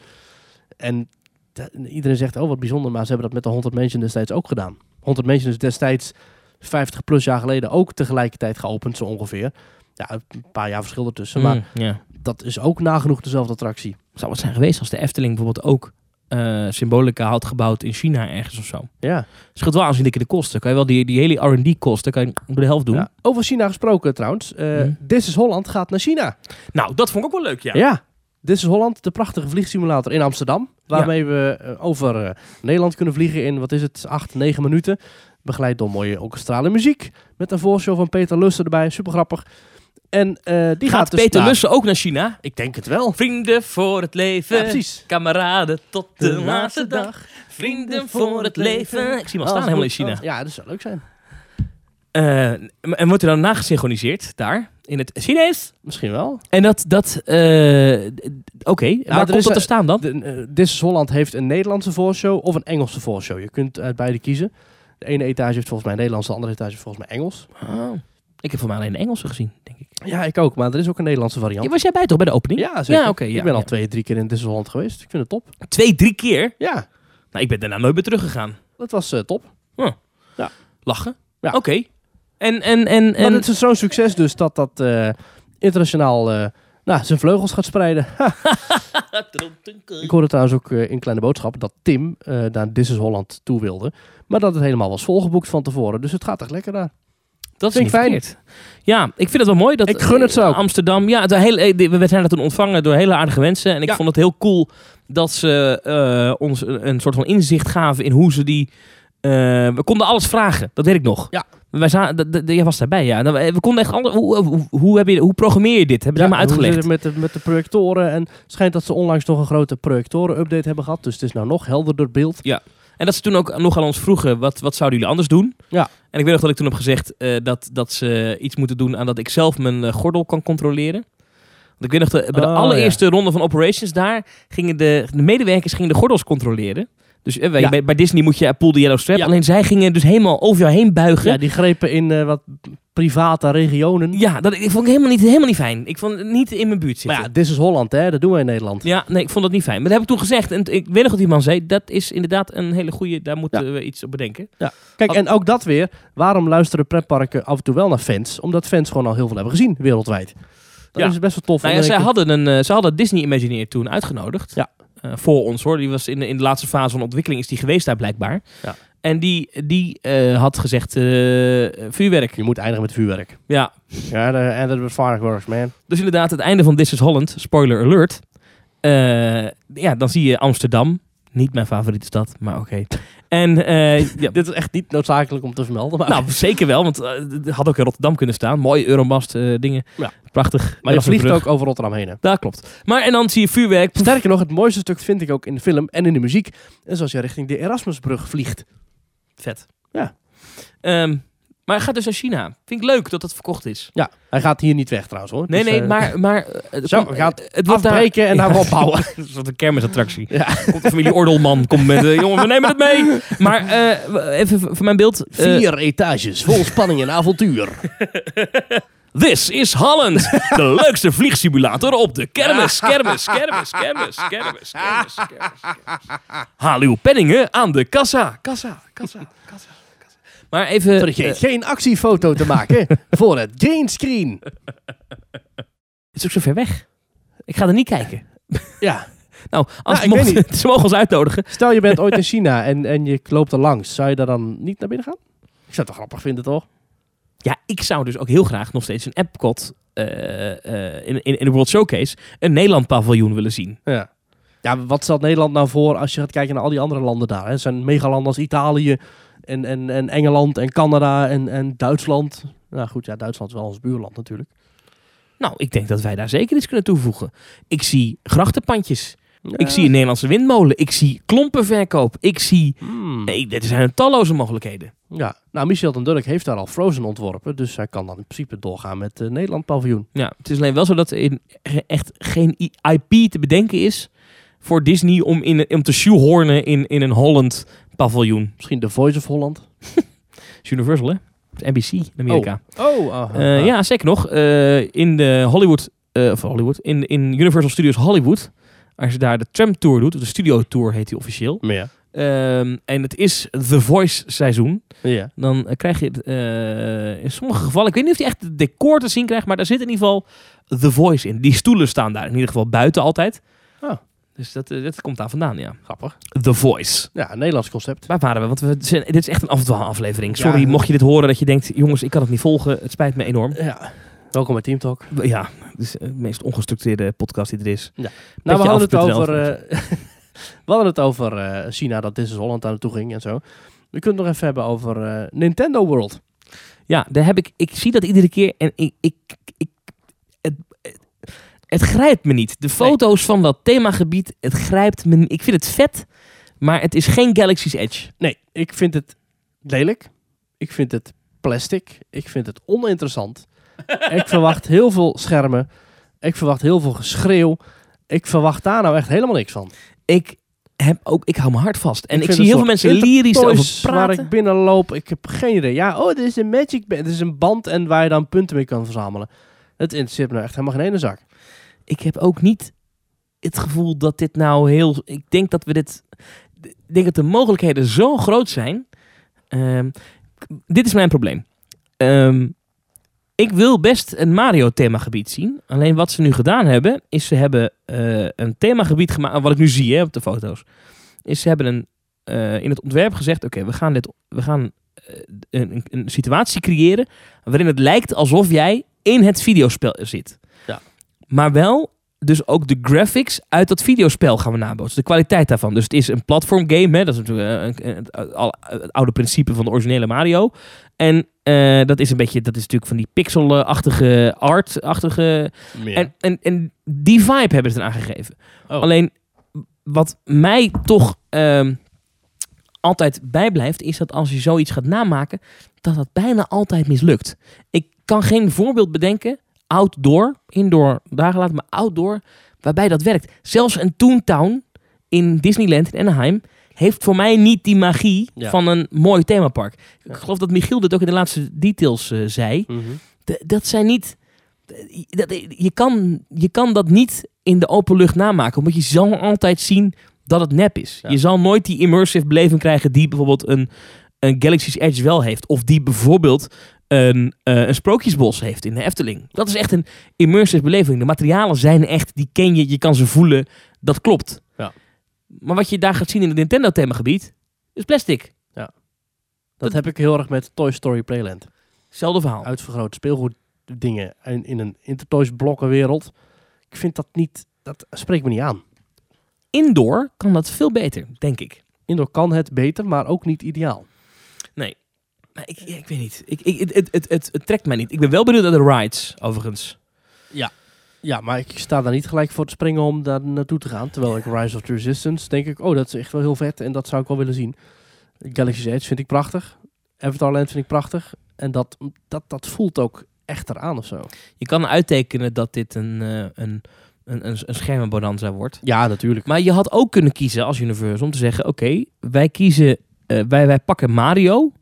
[SPEAKER 1] En da- iedereen zegt, oh wat bijzonder, maar ze hebben dat met de 100 mensen destijds ook gedaan. 100 mensen is destijds 50 plus jaar geleden ook tegelijkertijd geopend, zo ongeveer. Ja, een paar jaar verschil ertussen. Maar
[SPEAKER 2] Mm, ja.
[SPEAKER 1] dat is ook nagenoeg dezelfde attractie.
[SPEAKER 2] zou het zijn geweest als de Efteling bijvoorbeeld ook eh, symbolica had gebouwd in China ergens of zo.
[SPEAKER 1] Ja.
[SPEAKER 2] Scheelt wel aanzienlijk in de kosten. Kan je wel die, die hele R&D-kosten kan je door de helft doen.
[SPEAKER 1] Ja. Over China gesproken trouwens. Eh
[SPEAKER 2] Hm.
[SPEAKER 1] This is Holland gaat naar China.
[SPEAKER 2] Nou, dat vond ik ook wel leuk, ja.
[SPEAKER 1] Ja. Dit is Holland, de prachtige vliegsimulator in Amsterdam. Waarmee we eh, over eh, Nederland kunnen vliegen in, wat is het, 8, 9 minuten. Begeleid door mooie orkestrale muziek. Met een voorshow van Peter Lussen erbij, super grappig. En eh, die gaat,
[SPEAKER 2] Gaat
[SPEAKER 1] dus
[SPEAKER 2] Peter
[SPEAKER 1] naar-
[SPEAKER 2] Lussen ook naar China?
[SPEAKER 1] Ik denk het wel.
[SPEAKER 2] Vrienden voor het leven.
[SPEAKER 1] Ja, precies.
[SPEAKER 2] Kameraden tot de laatste dag. Vrienden voor het leven. Ik zie hem al staan helemaal in China.
[SPEAKER 1] Ja, dat zou leuk zijn.
[SPEAKER 2] Eh, en wordt er dan nagesynchroniseerd daar? In het Chinees?
[SPEAKER 1] Misschien wel.
[SPEAKER 2] En dat... dat eh, d- Oké, waar
[SPEAKER 1] er
[SPEAKER 2] komt
[SPEAKER 1] is,
[SPEAKER 2] dat te
[SPEAKER 1] eh,
[SPEAKER 2] staan dan?
[SPEAKER 1] De, eh, This is Holland heeft een Nederlandse voorshow of een Engelse voorshow. Je kunt uit beide kiezen. De ene etage heeft volgens mij Nederlands, de andere etage heeft volgens mij Engels.
[SPEAKER 2] Oh. Ik heb voor mij alleen de Engelse gezien, denk ik.
[SPEAKER 1] Ja, ik ook, maar er is ook een Nederlandse variant.
[SPEAKER 2] Ja, was jij bij toch, bij de opening?
[SPEAKER 1] Ja, zeker.
[SPEAKER 2] Ja, oké, ja,
[SPEAKER 1] ik ben al
[SPEAKER 2] ja.
[SPEAKER 1] twee, drie keer in Disneyland geweest. Ik vind het top.
[SPEAKER 2] Twee, drie keer?
[SPEAKER 1] Ja,
[SPEAKER 2] Nou, ik ben daarna nooit meer teruggegaan.
[SPEAKER 1] dat was eh, top.
[SPEAKER 2] Lachen?
[SPEAKER 1] Ja.
[SPEAKER 2] Oké. En, en, en,
[SPEAKER 1] En
[SPEAKER 2] en...
[SPEAKER 1] het is zo'n succes dus dat dat eh, internationaal eh, nou, zijn vleugels gaat spreiden. Ik hoorde trouwens ook eh, in Kleine Boodschap dat Tim eh, naar This is Holland toe wilde. Maar dat het helemaal was volgeboekt van tevoren. Dus het gaat echt lekker daar.
[SPEAKER 2] Dat is
[SPEAKER 1] Vind
[SPEAKER 2] niet
[SPEAKER 1] ik fijn.
[SPEAKER 2] verkeerd. Ja, ik vind het wel mooi. Dat, eh,
[SPEAKER 1] Ik gun het ze ook.
[SPEAKER 2] Amsterdam, ja, de hele, eh, we zijn dat toen ontvangen door hele aardige mensen. En ik
[SPEAKER 1] Ja.
[SPEAKER 2] vond het heel cool dat ze eh, ons een een soort van inzicht gaven in hoe ze die... eh, we konden alles vragen, dat weet ik nog.
[SPEAKER 1] Ja.
[SPEAKER 2] Wij za- d- d- jij was daarbij, ja. Nou, we- We konden echt... Alle, hoe, hoe, hoe, heb je, hoe programmeer je dit? Hebben ze
[SPEAKER 1] Ja,
[SPEAKER 2] maar
[SPEAKER 1] en hoe
[SPEAKER 2] uitgelegd.
[SPEAKER 1] zit het Met de, met de projectoren. En het schijnt dat ze onlangs nog een grote projectoren-update hebben gehad. Dus het is nou nog helderder beeld.
[SPEAKER 2] En dat ze toen ook nog aan ons vroegen, wat, wat zouden jullie anders doen?
[SPEAKER 1] Ja.
[SPEAKER 2] En ik weet nog dat ik toen heb gezegd eh, dat, dat ze iets moeten doen aan dat ik zelf mijn eh, gordel kan controleren. Want ik weet nog, de, bij de
[SPEAKER 1] Oh,
[SPEAKER 2] allereerste ronde van Operations daar gingen de, de medewerkers gingen de gordels controleren. Dus eh, bij,
[SPEAKER 1] Ja.
[SPEAKER 2] bij, bij Disney moet je eh, pull the yellow strap.
[SPEAKER 1] Ja.
[SPEAKER 2] Alleen zij gingen dus helemaal over jou heen buigen.
[SPEAKER 1] Ja,
[SPEAKER 2] Ja,
[SPEAKER 1] die grepen in eh, wat private regionen.
[SPEAKER 2] dat, ik vond ik helemaal niet, helemaal niet fijn. Ik vond het niet in mijn buurt
[SPEAKER 1] Maar
[SPEAKER 2] zitten.
[SPEAKER 1] ja, This is Holland, hè? Dat doen wij in Nederland.
[SPEAKER 2] Ja, nee, ik vond dat niet fijn. Maar dat heb ik toen gezegd. En ik weet nog dat die man zei, dat is inderdaad een hele goede, daar moeten we iets op bedenken.
[SPEAKER 1] Kijk,
[SPEAKER 2] Wat-
[SPEAKER 1] en ook dat weer. Waarom luisteren pretparken af en toe wel naar fans? Omdat fans gewoon al heel veel hebben gezien wereldwijd. Dat
[SPEAKER 2] Ja.
[SPEAKER 1] is best wel tof.
[SPEAKER 2] Nou ja,
[SPEAKER 1] En dan
[SPEAKER 2] zij
[SPEAKER 1] denk
[SPEAKER 2] hadden, een, eh, ze hadden Disney Imagineer toen uitgenodigd.
[SPEAKER 1] Ja.
[SPEAKER 2] Eh, voor ons hoor. Die was in, de- in de laatste fase van ontwikkeling is die geweest daar blijkbaar.
[SPEAKER 1] Ja.
[SPEAKER 2] En die, die eh, had gezegd eh, vuurwerk.
[SPEAKER 1] ik, je moet eindigen met vuurwerk.
[SPEAKER 2] Ja.
[SPEAKER 1] Ja, de- en dat wordt fireworks, man.
[SPEAKER 2] Dus inderdaad, het einde van This is Holland, spoiler alert. Eh, ja, dan zie je Amsterdam. Niet mijn favoriete stad, maar oké. En eh, ja,
[SPEAKER 1] Dit is echt niet noodzakelijk om te vermelden. Maar,
[SPEAKER 2] nou, zeker wel, want eh, het had ook in Rotterdam kunnen staan. Mooie Euromast eh, dingen.
[SPEAKER 1] Ja.
[SPEAKER 2] Prachtig.
[SPEAKER 1] maar je vliegt
[SPEAKER 2] Erasmusbrug.
[SPEAKER 1] ook over Rotterdam heen. hè.
[SPEAKER 2] Daar klopt. Maar en dan zie je vuurwerk.
[SPEAKER 1] Sterker nog, het mooiste stuk vind ik ook in de film en in de muziek. En zoals je richting de Erasmusbrug vliegt.
[SPEAKER 2] Vet.
[SPEAKER 1] Ja.
[SPEAKER 2] Ehm, maar hij gaat dus naar China. Vind ik leuk dat dat verkocht is.
[SPEAKER 1] Ja, hij gaat hier niet weg trouwens hoor.
[SPEAKER 2] Nee,
[SPEAKER 1] Dus,
[SPEAKER 2] nee,
[SPEAKER 1] eh,
[SPEAKER 2] maar... maar eh, het
[SPEAKER 1] Zo,
[SPEAKER 2] komt-
[SPEAKER 1] gaat
[SPEAKER 2] eh, het wordt daar-
[SPEAKER 1] Afbreken en
[SPEAKER 2] Ja.
[SPEAKER 1] daarop opbouwen.
[SPEAKER 2] Dat is wat een kermisattractie.
[SPEAKER 1] Ja.
[SPEAKER 2] Komt de familie Ordelman, komt met... eh, jongen, we nemen het mee! Maar eh, w- even v- voor mijn beeld. eh,
[SPEAKER 1] Vier etages, vol spanning en avontuur.
[SPEAKER 2] This is Holland. De leukste vliegsimulator op de kermis. Kermis, kermis, kermis, kermis, kermis, kermis. Haal uw penningen aan de kassa. Kassa, kassa, kassa. kassa. Maar even... eh,
[SPEAKER 1] Vergeet geen actiefoto te maken voor het greenscreen.
[SPEAKER 2] Het is ook zo ver weg. Ik ga er niet kijken.
[SPEAKER 1] Ja.
[SPEAKER 2] Nou, als
[SPEAKER 1] ik
[SPEAKER 2] mocht,
[SPEAKER 1] weet
[SPEAKER 2] ze mogen ons uitnodigen.
[SPEAKER 1] Stel je bent ooit in China en, en je loopt er langs. Zou je daar dan niet naar binnen gaan? Ik zou het toch grappig vinden, toch?
[SPEAKER 2] Ja, ik zou dus ook heel graag nog steeds een Epcot eh, eh, in, in, in de World Showcase een Nederland paviljoen willen zien.
[SPEAKER 1] Ja. Ja, wat stelt Nederland nou voor als je gaat kijken naar al die andere landen daar? hè? Het zijn megalanden als Italië En, en, en Engeland en Canada en, en Duitsland. Nou goed, ja, Duitsland is wel ons buurland natuurlijk.
[SPEAKER 2] Nou, ik denk dat wij daar zeker iets kunnen toevoegen. Ik zie grachtenpandjes. Ik
[SPEAKER 1] Ja.
[SPEAKER 2] zie een Nederlandse windmolen. Ik zie klompenverkoop. Ik zie...
[SPEAKER 1] Hmm.
[SPEAKER 2] Nee, er zijn talloze mogelijkheden.
[SPEAKER 1] Ja, nou, Michel den Durk heeft daar al Frozen ontworpen. Dus hij kan dan in principe doorgaan met eh Nederland paviljoen.
[SPEAKER 2] Ja, het is alleen wel zo dat er in ge- echt geen I- IP te bedenken is voor Disney om, in, om te shoehornen in, in een Holland paviljoen.
[SPEAKER 1] Misschien de Voice of Holland.
[SPEAKER 2] Het is Universal, hè? Het is NBC in Amerika.
[SPEAKER 1] Oh,
[SPEAKER 2] Eh, ja, zeker nog. eh, in de Hollywood, eh, of Hollywood, in, in Universal Studios Hollywood, als je daar de tram tour doet, of de studio tour heet die officieel,
[SPEAKER 1] Meer.
[SPEAKER 2] ehm, en het is The Voice seizoen,
[SPEAKER 1] Ja.
[SPEAKER 2] dan eh, krijg je het, eh, in sommige gevallen, ik weet niet of je echt het decor te zien krijgt, maar daar zit in ieder geval The Voice in. Die stoelen staan daar in ieder geval buiten altijd.
[SPEAKER 1] Ah.
[SPEAKER 2] Dus dat, eh, dat komt daar vandaan, ja.
[SPEAKER 1] Grappig.
[SPEAKER 2] The Voice.
[SPEAKER 1] Ja, een Nederlands concept.
[SPEAKER 2] Waar waren we? Want we zijn- dit is echt een afdwaalaflevering. Sorry,
[SPEAKER 1] Ja.
[SPEAKER 2] mocht je dit horen dat je denkt, jongens, ik kan het niet volgen. Het spijt me enorm.
[SPEAKER 1] Ja. Welkom bij Team Talk.
[SPEAKER 2] Ja, het is eh, de meest ongestructureerde podcast die er is.
[SPEAKER 1] Nou, we
[SPEAKER 2] Petje
[SPEAKER 1] hadden, het
[SPEAKER 2] af.nl
[SPEAKER 1] over, eh, we hadden het over eh, China, dat This is Holland aan toe ging en zo. We kunnen het nog even hebben over eh, Nintendo World.
[SPEAKER 2] Ja, daar heb ik, ik zie dat iedere keer en ik, ik, ik het, het grijpt me niet. De foto's van dat themagebied, het grijpt me niet. Ik vind het vet, maar het is geen Galaxy's Edge.
[SPEAKER 1] Nee, ik vind het lelijk. Ik vind het plastic. Ik vind het oninteressant. ik verwacht heel veel schermen. Ik verwacht heel veel geschreeuw. Ik verwacht daar nou echt helemaal niks van.
[SPEAKER 2] Ik heb ook, ik hou mijn hart vast. En
[SPEAKER 1] Ik
[SPEAKER 2] ik,
[SPEAKER 1] vind
[SPEAKER 2] zie
[SPEAKER 1] het
[SPEAKER 2] heel veel
[SPEAKER 1] soort
[SPEAKER 2] mensen lyrisch over
[SPEAKER 1] Toys waar
[SPEAKER 2] praten.
[SPEAKER 1] ik binnenloop, ik heb geen idee. Ja, oh, dit is een magic band. Dit is een band en waar je dan punten mee kan verzamelen. Het interesseert me nou echt helemaal geen ene zak.
[SPEAKER 2] ik heb ook niet het gevoel dat dit nou heel. Ik denk dat we dit. Ik denk dat de mogelijkheden zo groot zijn. Ehm, k- dit is mijn probleem. Ehm, ik wil best een Mario-themagebied zien. Alleen wat ze nu gedaan hebben, is ze hebben eh, een themagebied gemaakt. Wat ik nu zie hè, op de foto's. Is ze hebben een, eh, in het ontwerp gezegd: oké, we gaan, dit, we gaan eh, een, een- een situatie creëren. waarin het lijkt alsof jij in het videospel zit.
[SPEAKER 1] Ja.
[SPEAKER 2] Maar wel dus ook de graphics uit dat videospel gaan we nabootsen. De kwaliteit daarvan. Dus het is een platform game. Hè? Dat is natuurlijk eh, een- een- het al- het oude principe van de originele Mario. En eh, dat is een beetje, dat is natuurlijk van die pixel-achtige art-achtige. En, en, en die vibe hebben ze eraan gegeven.
[SPEAKER 1] Oh.
[SPEAKER 2] Alleen wat mij toch ehm, altijd bijblijft, is dat als je zoiets gaat namaken, dat dat bijna altijd mislukt. Ik kan geen voorbeeld bedenken, outdoor, indoor, daar gelaten, maar outdoor, waarbij dat werkt. Zelfs een Toontown in Disneyland in Anaheim heeft voor mij niet die magie
[SPEAKER 1] Ja.
[SPEAKER 2] van een mooi themapark.
[SPEAKER 1] Ja.
[SPEAKER 2] Ik geloof dat Michiel dit ook in de laatste details eh, zei.
[SPEAKER 1] Mhm.
[SPEAKER 2] D- dat zijn niet. d- Dat, je, kan, je kan dat niet in de open lucht namaken. Omdat je zal altijd zien dat het nep is.
[SPEAKER 1] Ja.
[SPEAKER 2] Je zal nooit die immersive beleving krijgen die bijvoorbeeld een, een Galaxy's Edge wel heeft. Of die bijvoorbeeld een, eh, een sprookjesbos heeft in de Efteling. Dat is echt een immersive beleving. De materialen zijn echt, die ken je, je kan ze voelen. Dat klopt.
[SPEAKER 1] Ja.
[SPEAKER 2] Maar wat je daar gaat zien in het Nintendo-themagebied is plastic.
[SPEAKER 1] Dat heb ik heel erg met Toy Story Playland.
[SPEAKER 2] Hetzelfde verhaal.
[SPEAKER 1] Uitvergroot speelgoed dingen in, in een Intertoys blokkenwereld. Ik vind dat niet, dat spreekt me niet aan.
[SPEAKER 2] Indoor kan dat veel beter, denk ik.
[SPEAKER 1] Indoor kan het beter, maar ook niet ideaal.
[SPEAKER 2] Maar ik, ik weet niet. Ik, ik, het, het, het, het, het trekt mij niet. Ik ben wel benieuwd naar de rides, overigens.
[SPEAKER 1] Ja, maar ik sta daar niet gelijk voor te springen om daar naartoe te gaan. Terwijl ik Rise of the Resistance denk ik, oh dat is echt wel heel vet en dat zou ik wel willen zien. Galaxy's Edge vind ik prachtig. Avatarland vind ik prachtig. En dat, dat, dat voelt ook echter aan of zo.
[SPEAKER 2] Je kan uittekenen dat dit een, eh, een, een, een, een schermenbonanza wordt.
[SPEAKER 1] Ja, natuurlijk.
[SPEAKER 2] Maar je had ook kunnen kiezen als Universal om te zeggen... oké, wij kiezen... eh, wij, wij pakken Mario.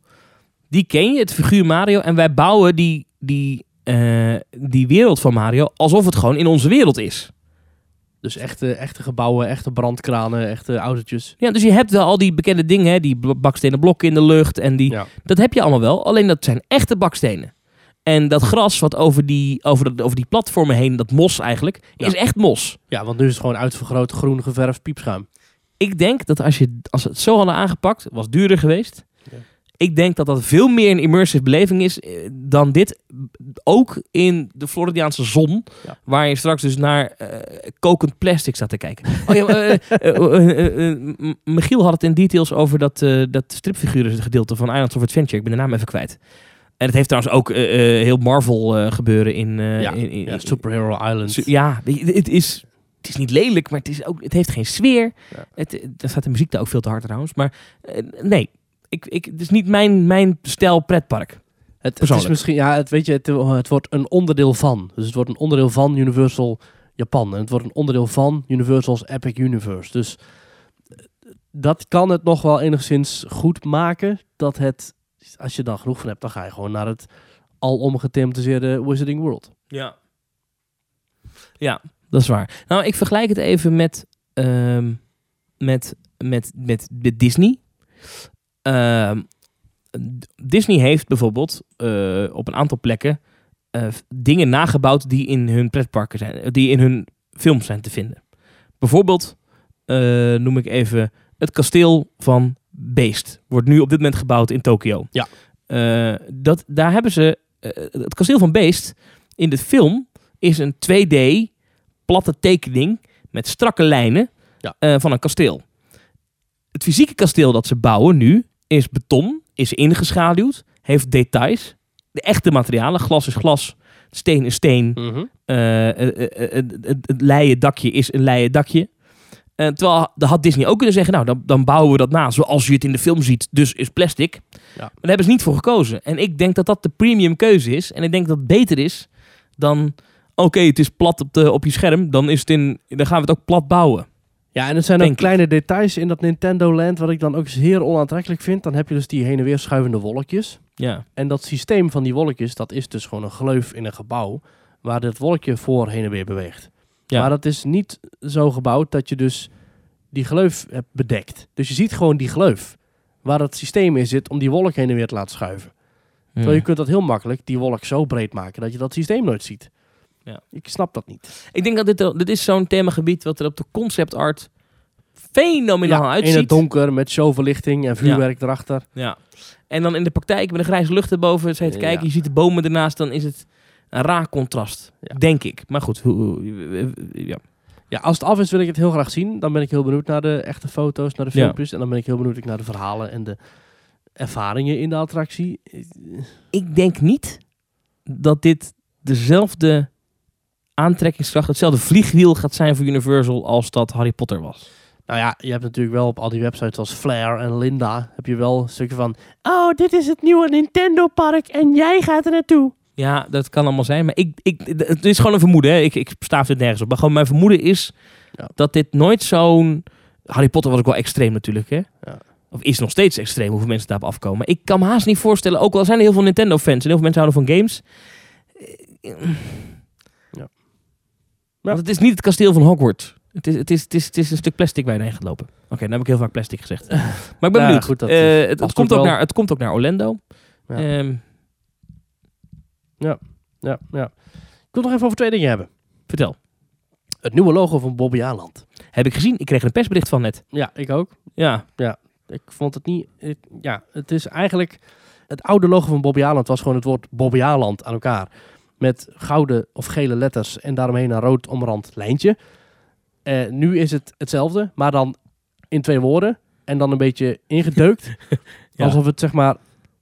[SPEAKER 2] Die ken je, het figuur Mario. En wij bouwen die, die, eh, die wereld van Mario... alsof het gewoon in onze wereld is.
[SPEAKER 1] Dus echte, echte gebouwen, echte brandkranen, echte autootjes.
[SPEAKER 2] Ja, dus je hebt wel al die bekende dingen... Hè, die bl- bakstenen blokken in de lucht en die...
[SPEAKER 1] Ja.
[SPEAKER 2] Dat heb je allemaal wel, alleen dat zijn echte bakstenen. En dat gras wat over die, over dat- over die platformen heen, dat mos eigenlijk,
[SPEAKER 1] Ja.
[SPEAKER 2] is echt mos.
[SPEAKER 1] Ja, want nu is het gewoon uitvergroot groen geverfd piepschuim.
[SPEAKER 2] Ik denk dat als, je, als ze het zo hadden aangepakt, was het duurder geweest.
[SPEAKER 1] Ja.
[SPEAKER 2] Ik denk dat dat veel meer een immersive beleving is eh, dan dit. Ook in de Floridiaanse zon,
[SPEAKER 1] Ja.
[SPEAKER 2] waar je straks dus naar eh, kokend plastic staat te kijken. Oh ja, eh, eh, eh, eh, eh, M- Michiel had het in details over dat, eh dat stripfiguren gedeelte van Islands of Adventure. Ik ben de naam even kwijt. En het heeft trouwens ook eh, eh, heel Marvel eh, gebeuren in, eh,
[SPEAKER 1] ja,
[SPEAKER 2] in, in-
[SPEAKER 1] ja,
[SPEAKER 2] in-
[SPEAKER 1] Superhero Island.
[SPEAKER 2] Zo- ja, weet je, het is, het is niet lelijk, maar het, is ook, het heeft geen sfeer.
[SPEAKER 1] Ja.
[SPEAKER 2] Het, eh, daar staat de muziek daar ook veel te hard trouwens. Maar eh, nee, ik, ik, het is niet mijn, mijn stijl pretpark.
[SPEAKER 1] Het, het is
[SPEAKER 2] Persoonlijk.
[SPEAKER 1] misschien, ja, het, weet je, het, eh, het wordt een onderdeel van. Dus het wordt een onderdeel van Universal Japan. En het wordt een onderdeel van Universal's Epic Universe. Dus eh, dat kan het nog wel enigszins goed maken. Dat het, als je dan genoeg van hebt, dan ga je gewoon naar het al omgethematiseerde Wizarding World.
[SPEAKER 2] Ja. Ja, dat is waar. Nou, ik vergelijk het even met, ehm, met, met, met, met Disney. Ehm, D- Disney heeft bijvoorbeeld eh, op een aantal plekken eh, f- dingen nagebouwd die in hun pretparken zijn, eh, die in hun films zijn te vinden. Bijvoorbeeld eh, noem ik even het kasteel van Beest. Wordt nu op dit moment gebouwd in Tokio.
[SPEAKER 1] Ja.
[SPEAKER 2] Eh, dat, daar hebben ze eh, het kasteel van Beest in de film is een 2D platte tekening met strakke lijnen
[SPEAKER 1] Ja.
[SPEAKER 2] eh, van een kasteel. Het fysieke kasteel dat ze bouwen nu is beton, is ingeschaduwd, heeft details. De echte materialen, glas is glas, steen is steen, eh, eh, eh, eh, het- het leien dakje is een leien dakje. Eh, terwijl dan had Disney ook kunnen zeggen, nou dan, dan bouwen we dat na zoals je het in de film ziet, dus is plastic. Maar daar hebben ze niet voor gekozen. En ik denk dat dat de premium keuze is. En ik denk dat het beter is dan, oké het is plat op, de, op je scherm, dan, is het in, dan gaan we het ook plat bouwen.
[SPEAKER 1] Ja, en het zijn
[SPEAKER 2] Denk
[SPEAKER 1] ook
[SPEAKER 2] ik.
[SPEAKER 1] kleine details in dat Nintendo Land, wat ik dan ook zeer onaantrekkelijk vind. Dan heb je dus die heen en weer schuivende wolkjes.
[SPEAKER 2] Ja,
[SPEAKER 1] En dat systeem van die wolkjes, dat is dus gewoon een gleuf in een gebouw waar dat wolkje voor heen en weer beweegt.
[SPEAKER 2] Ja.
[SPEAKER 1] Maar dat is niet zo gebouwd dat je dus die gleuf hebt bedekt. Dus je ziet gewoon die gleuf waar dat systeem in zit om die wolk heen en weer te laten schuiven. Terwijl je kunt dat heel makkelijk, die wolk zo breed maken dat je dat systeem nooit ziet.
[SPEAKER 2] Ja.
[SPEAKER 1] Ik snap dat niet.
[SPEAKER 2] Ik denk dat dit, er- dit is zo'n themagebied wat er op de concept art fenomenaal uitziet.
[SPEAKER 1] in het donker met showverlichting en vuurwerk erachter.
[SPEAKER 2] Ja. En dan in de praktijk met een grijze lucht erboven, zit je te
[SPEAKER 1] Ja.
[SPEAKER 2] kijken, je ziet de bomen ernaast, dan is het een raar contrast,
[SPEAKER 1] Ja.
[SPEAKER 2] denk ik. Maar goed, hoe, hoe- hoe- ja.
[SPEAKER 1] Ja, als het af is wil ik het heel graag zien. Dan ben ik heel benieuwd naar de echte foto's, naar de
[SPEAKER 2] Ja.
[SPEAKER 1] filmpjes. En dan ben ik heel benieuwd ook naar de verhalen en de ervaringen in de attractie.
[SPEAKER 2] ik denk niet dat dit dezelfde aantrekkingskracht, hetzelfde vliegwiel gaat zijn voor Universal als dat Harry Potter was.
[SPEAKER 1] Nou ja, je hebt natuurlijk wel op al die websites als Flair en Linda... heb je wel stukken van... Oh, dit is het nieuwe Nintendo Park en jij gaat er naartoe.
[SPEAKER 2] Ja, dat kan allemaal zijn, maar ik, ik, het is gewoon een vermoeden. Hè. Ik, ik staaf dit nergens op, maar gewoon mijn vermoeden is
[SPEAKER 1] Ja.
[SPEAKER 2] dat dit nooit zo'n... Harry Potter was ook wel extreem natuurlijk, hè?
[SPEAKER 1] Ja.
[SPEAKER 2] Of is nog steeds extreem hoeveel mensen daarop afkomen. Maar ik kan me haast niet voorstellen, ook al zijn er heel veel Nintendo-fans en heel veel mensen houden van games... eh,
[SPEAKER 1] Ja.
[SPEAKER 2] Want het is niet het kasteel van Hogwarts. Het is, het is, het is, het is een stuk plastic waar je heen gaat lopen. Oké, nou heb ik heel vaak plastic gezegd. Maar ik ben
[SPEAKER 1] Nou ja,
[SPEAKER 2] benieuwd.
[SPEAKER 1] goed, dat
[SPEAKER 2] Eh,
[SPEAKER 1] is-
[SPEAKER 2] het- het,
[SPEAKER 1] past
[SPEAKER 2] komt
[SPEAKER 1] ook
[SPEAKER 2] ook
[SPEAKER 1] wel.
[SPEAKER 2] naar, het komt ook naar Orlando.
[SPEAKER 1] Ja.
[SPEAKER 2] Ehm,
[SPEAKER 1] Ja, ja. Ik wil nog even over twee dingen hebben.
[SPEAKER 2] vertel.
[SPEAKER 1] Het nieuwe logo van Bobby Aland.
[SPEAKER 2] Heb ik gezien. Ik kreeg er een persbericht van net.
[SPEAKER 1] Ja, ik ook.
[SPEAKER 2] Ja.
[SPEAKER 1] Ik vond het niet... ik- ja, het is eigenlijk... Het oude logo van Bobby Aland was gewoon het woord Bobby Aland aan elkaar. Met gouden of gele letters en daaromheen een rood omrand lijntje. Eh, nu is het hetzelfde, maar dan in twee woorden. En dan een beetje ingedeukt.
[SPEAKER 2] Ja.
[SPEAKER 1] Alsof het zeg maar...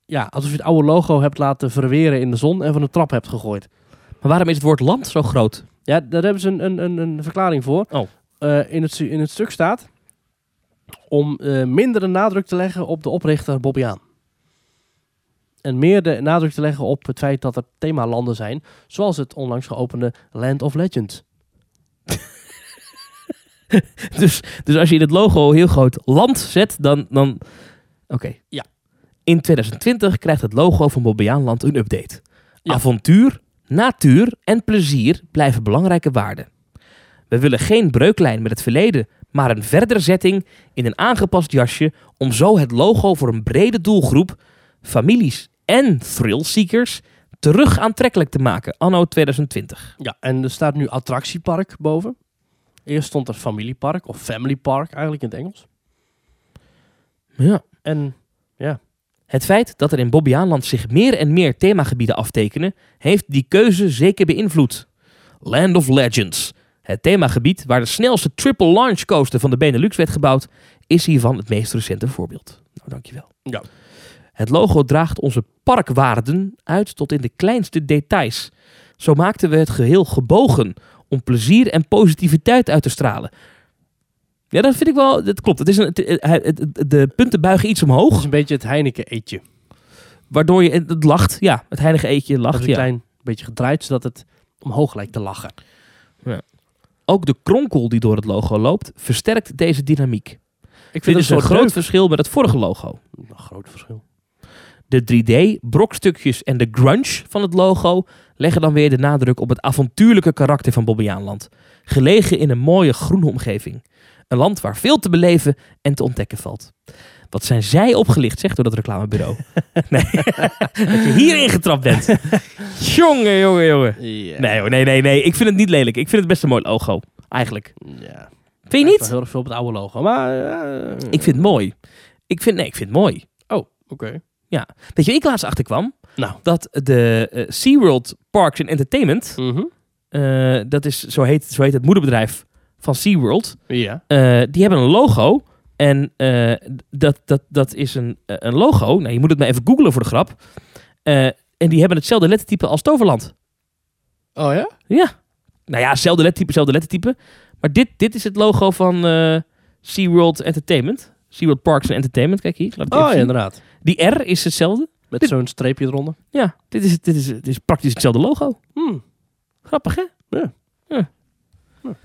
[SPEAKER 1] Ja, alsof je het oude logo hebt laten verweren in de zon en van de trap hebt gegooid.
[SPEAKER 2] Maar waarom is het woord land zo groot?
[SPEAKER 1] Ja, daar hebben ze een, een, een, een verklaring voor.
[SPEAKER 2] Oh.
[SPEAKER 1] Eh, in, het, stu- in het stuk staat om eh, minder de nadruk te leggen op de oprichter Bobby Aan. En meer de nadruk te leggen op het feit dat er themalanden zijn, zoals het onlangs geopende Land of Legends.
[SPEAKER 2] Dus, dus als je in het logo heel groot land zet, dan... dan... Oké.
[SPEAKER 1] Ja.
[SPEAKER 2] In 2020 krijgt het logo van Bobbejaanland een update.
[SPEAKER 1] Ja.
[SPEAKER 2] Avontuur, natuur en plezier blijven belangrijke waarden. We willen geen breuklijn met het verleden, maar een verderzetting in een aangepast jasje om zo het logo voor een brede doelgroep, families en thrillseekers terug aantrekkelijk te maken anno 2020.
[SPEAKER 1] Ja, en er staat nu attractiepark boven. Eerst stond er familiepark of family park eigenlijk in het Engels.
[SPEAKER 2] Ja.
[SPEAKER 1] En
[SPEAKER 2] Het feit dat er in Bobbejaanland zich meer en meer themagebieden aftekenen, heeft die keuze zeker beïnvloed. Land of Legends, het themagebied waar de snelste triple launch coaster van de Benelux werd gebouwd, is hiervan het meest recente voorbeeld. Nou, dankjewel.
[SPEAKER 1] Ja.
[SPEAKER 2] Het logo draagt onze parkwaarden uit tot in de kleinste details. Zo maakten we het geheel gebogen om plezier en positiviteit uit te stralen. Ja, dat vind ik wel. Dat klopt. Het is een, het- het- het- de punten buigen iets
[SPEAKER 1] Dat
[SPEAKER 2] omhoog.
[SPEAKER 1] is een beetje het Heineken-eetje.
[SPEAKER 2] Waardoor je het lacht, ja, het heilige eetje
[SPEAKER 1] Dat is
[SPEAKER 2] lacht.
[SPEAKER 1] een
[SPEAKER 2] Ja.
[SPEAKER 1] klein beetje gedraaid, zodat het omhoog lijkt te lachen.
[SPEAKER 2] Ook de kronkel die door het logo loopt, versterkt deze dynamiek.
[SPEAKER 1] Ik
[SPEAKER 2] Dit is een groot
[SPEAKER 1] groot,
[SPEAKER 2] verschil met het vorige logo.
[SPEAKER 1] groot verschil.
[SPEAKER 2] De 3D, brokstukjes en de grunge van het logo leggen dan weer de nadruk op het avontuurlijke karakter van Bobbejaanland. Gelegen in een mooie groene omgeving. Een land waar veel te beleven en te ontdekken valt. Wat zijn zij opgelicht, zegt door dat reclamebureau. nee, dat je hierin getrapt bent. jongen, jongen, jongen. Nee hoor, nee, nee, nee. Ik vind het niet lelijk. Ik vind het best een mooi logo. Eigenlijk.
[SPEAKER 1] Ja.
[SPEAKER 2] Vind je
[SPEAKER 1] Lijkt wel
[SPEAKER 2] niet?
[SPEAKER 1] heel erg veel op het oude logo, maar... eh,
[SPEAKER 2] Ik vind het mooi. Ik vind, nee, ik vind het mooi.
[SPEAKER 1] Oké.
[SPEAKER 2] Weet je, waar ik laatst achterkwam
[SPEAKER 1] Nou.
[SPEAKER 2] dat de eh, SeaWorld Parks and Entertainment,
[SPEAKER 1] Mhm.
[SPEAKER 2] eh, dat is, zo heet, zo heet het moederbedrijf van SeaWorld,
[SPEAKER 1] Ja.
[SPEAKER 2] eh, die hebben een logo. En eh, dat, dat, dat is een, eh, een logo. Nou, je moet het maar even googlen voor de grap. Eh, en die hebben hetzelfde lettertype als Toverland.
[SPEAKER 1] Oh ja?
[SPEAKER 2] Ja. Nou ja, hetzelfde lettertype, hetzelfde lettertype. Maar dit, dit is het logo van eh, SeaWorld Entertainment. SeaWorld Parks and Entertainment. Kijk hier. Laat ik het
[SPEAKER 1] Oh ja,
[SPEAKER 2] even zien.
[SPEAKER 1] inderdaad.
[SPEAKER 2] Die R is hetzelfde.
[SPEAKER 1] Met
[SPEAKER 2] Dit-
[SPEAKER 1] zo'n streepje eronder.
[SPEAKER 2] Ja, dit is, dit is, dit is praktisch hetzelfde logo.
[SPEAKER 1] Hmm.
[SPEAKER 2] Grappig, hè?
[SPEAKER 1] Ja.
[SPEAKER 2] Ja.
[SPEAKER 1] Ja.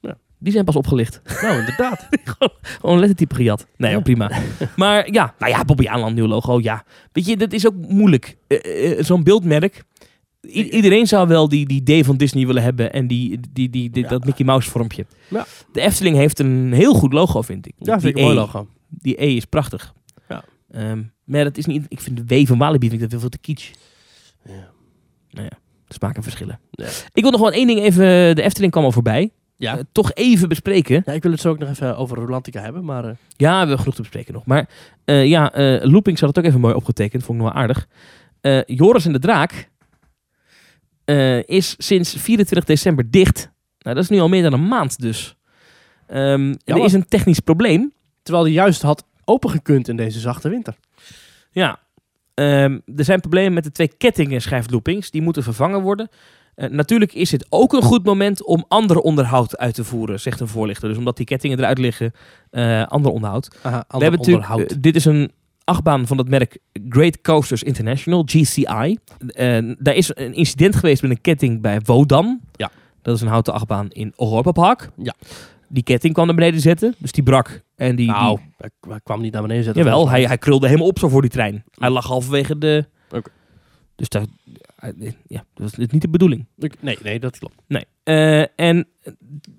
[SPEAKER 1] Ja.
[SPEAKER 2] Die zijn pas opgelicht.
[SPEAKER 1] Nou, inderdaad.
[SPEAKER 2] Gewoon lettertype gejat. Nee,
[SPEAKER 1] Ja.
[SPEAKER 2] hoor, prima. maar ja, nou ja, Bobby Aanland, nieuw logo, ja. Weet je, dat is ook moeilijk. Eh, eh, Zo'n beeldmerk. I- iedereen zou wel die, die D van Disney willen hebben en die, die, die, die-
[SPEAKER 1] Ja.
[SPEAKER 2] dat Mickey Mouse vormpje.
[SPEAKER 1] Ja.
[SPEAKER 2] De Efteling heeft een heel goed logo, vind ik.
[SPEAKER 1] ja,
[SPEAKER 2] Die
[SPEAKER 1] vind ik een mooi
[SPEAKER 2] E.
[SPEAKER 1] logo.
[SPEAKER 2] Die E is prachtig.
[SPEAKER 1] Ja.
[SPEAKER 2] Ehm, maar dat is niet... Ik vind de W van Walibi vind ik dat veel te kitsch.
[SPEAKER 1] Ja.
[SPEAKER 2] Smaken verschillen.
[SPEAKER 1] Ja.
[SPEAKER 2] Ik wil nog wel één ding even... De Efteling kwam al voorbij.
[SPEAKER 1] Ja.
[SPEAKER 2] Eh, toch even bespreken.
[SPEAKER 1] Ja, ik wil het zo ook nog even over Rolantica hebben, maar... eh,
[SPEAKER 2] Ja, we hebben genoeg te bespreken nog. Maar eh, ja, eh, Loopings had het ook even mooi opgetekend. Vond ik nog wel aardig. Eh, Joris en de Draak eh, is sinds 24 december dicht. Nou, dat is nu al meer dan een maand dus. Ehm, er
[SPEAKER 1] Jammer.
[SPEAKER 2] is een technisch probleem.
[SPEAKER 1] terwijl die juist had opengekund in deze zachte winter.
[SPEAKER 2] Ja. Ehm, er zijn problemen met de twee kettingen, schrijft Loopings. Die moeten vervangen worden. Eh, natuurlijk is dit ook een goed moment om ander onderhoud uit te voeren, zegt een voorlichter. Dus omdat die kettingen eruit liggen, eh ander onderhoud.
[SPEAKER 1] Aha,
[SPEAKER 2] We hebben natuurlijk, eh, dit is een achtbaan van het merk Great Coasters International, GCI. Eh, daar is een incident geweest met een ketting bij Wodan.
[SPEAKER 1] Ja.
[SPEAKER 2] Dat is een houten achtbaan in Europa Park.
[SPEAKER 1] Ja.
[SPEAKER 2] Die ketting kwam naar beneden zetten, dus die brak. En die,
[SPEAKER 1] nou,
[SPEAKER 2] die-
[SPEAKER 1] hij k- hij kwam niet naar beneden zetten.
[SPEAKER 2] jawel, hij,
[SPEAKER 1] volgens
[SPEAKER 2] hij krulde helemaal op zo voor die trein. Hij lag halverwege de...
[SPEAKER 1] Oké.
[SPEAKER 2] Dus daar, ja, dat was niet de bedoeling.
[SPEAKER 1] mij. Ik- Nee, nee, dat klopt.
[SPEAKER 2] Nee. Eh, en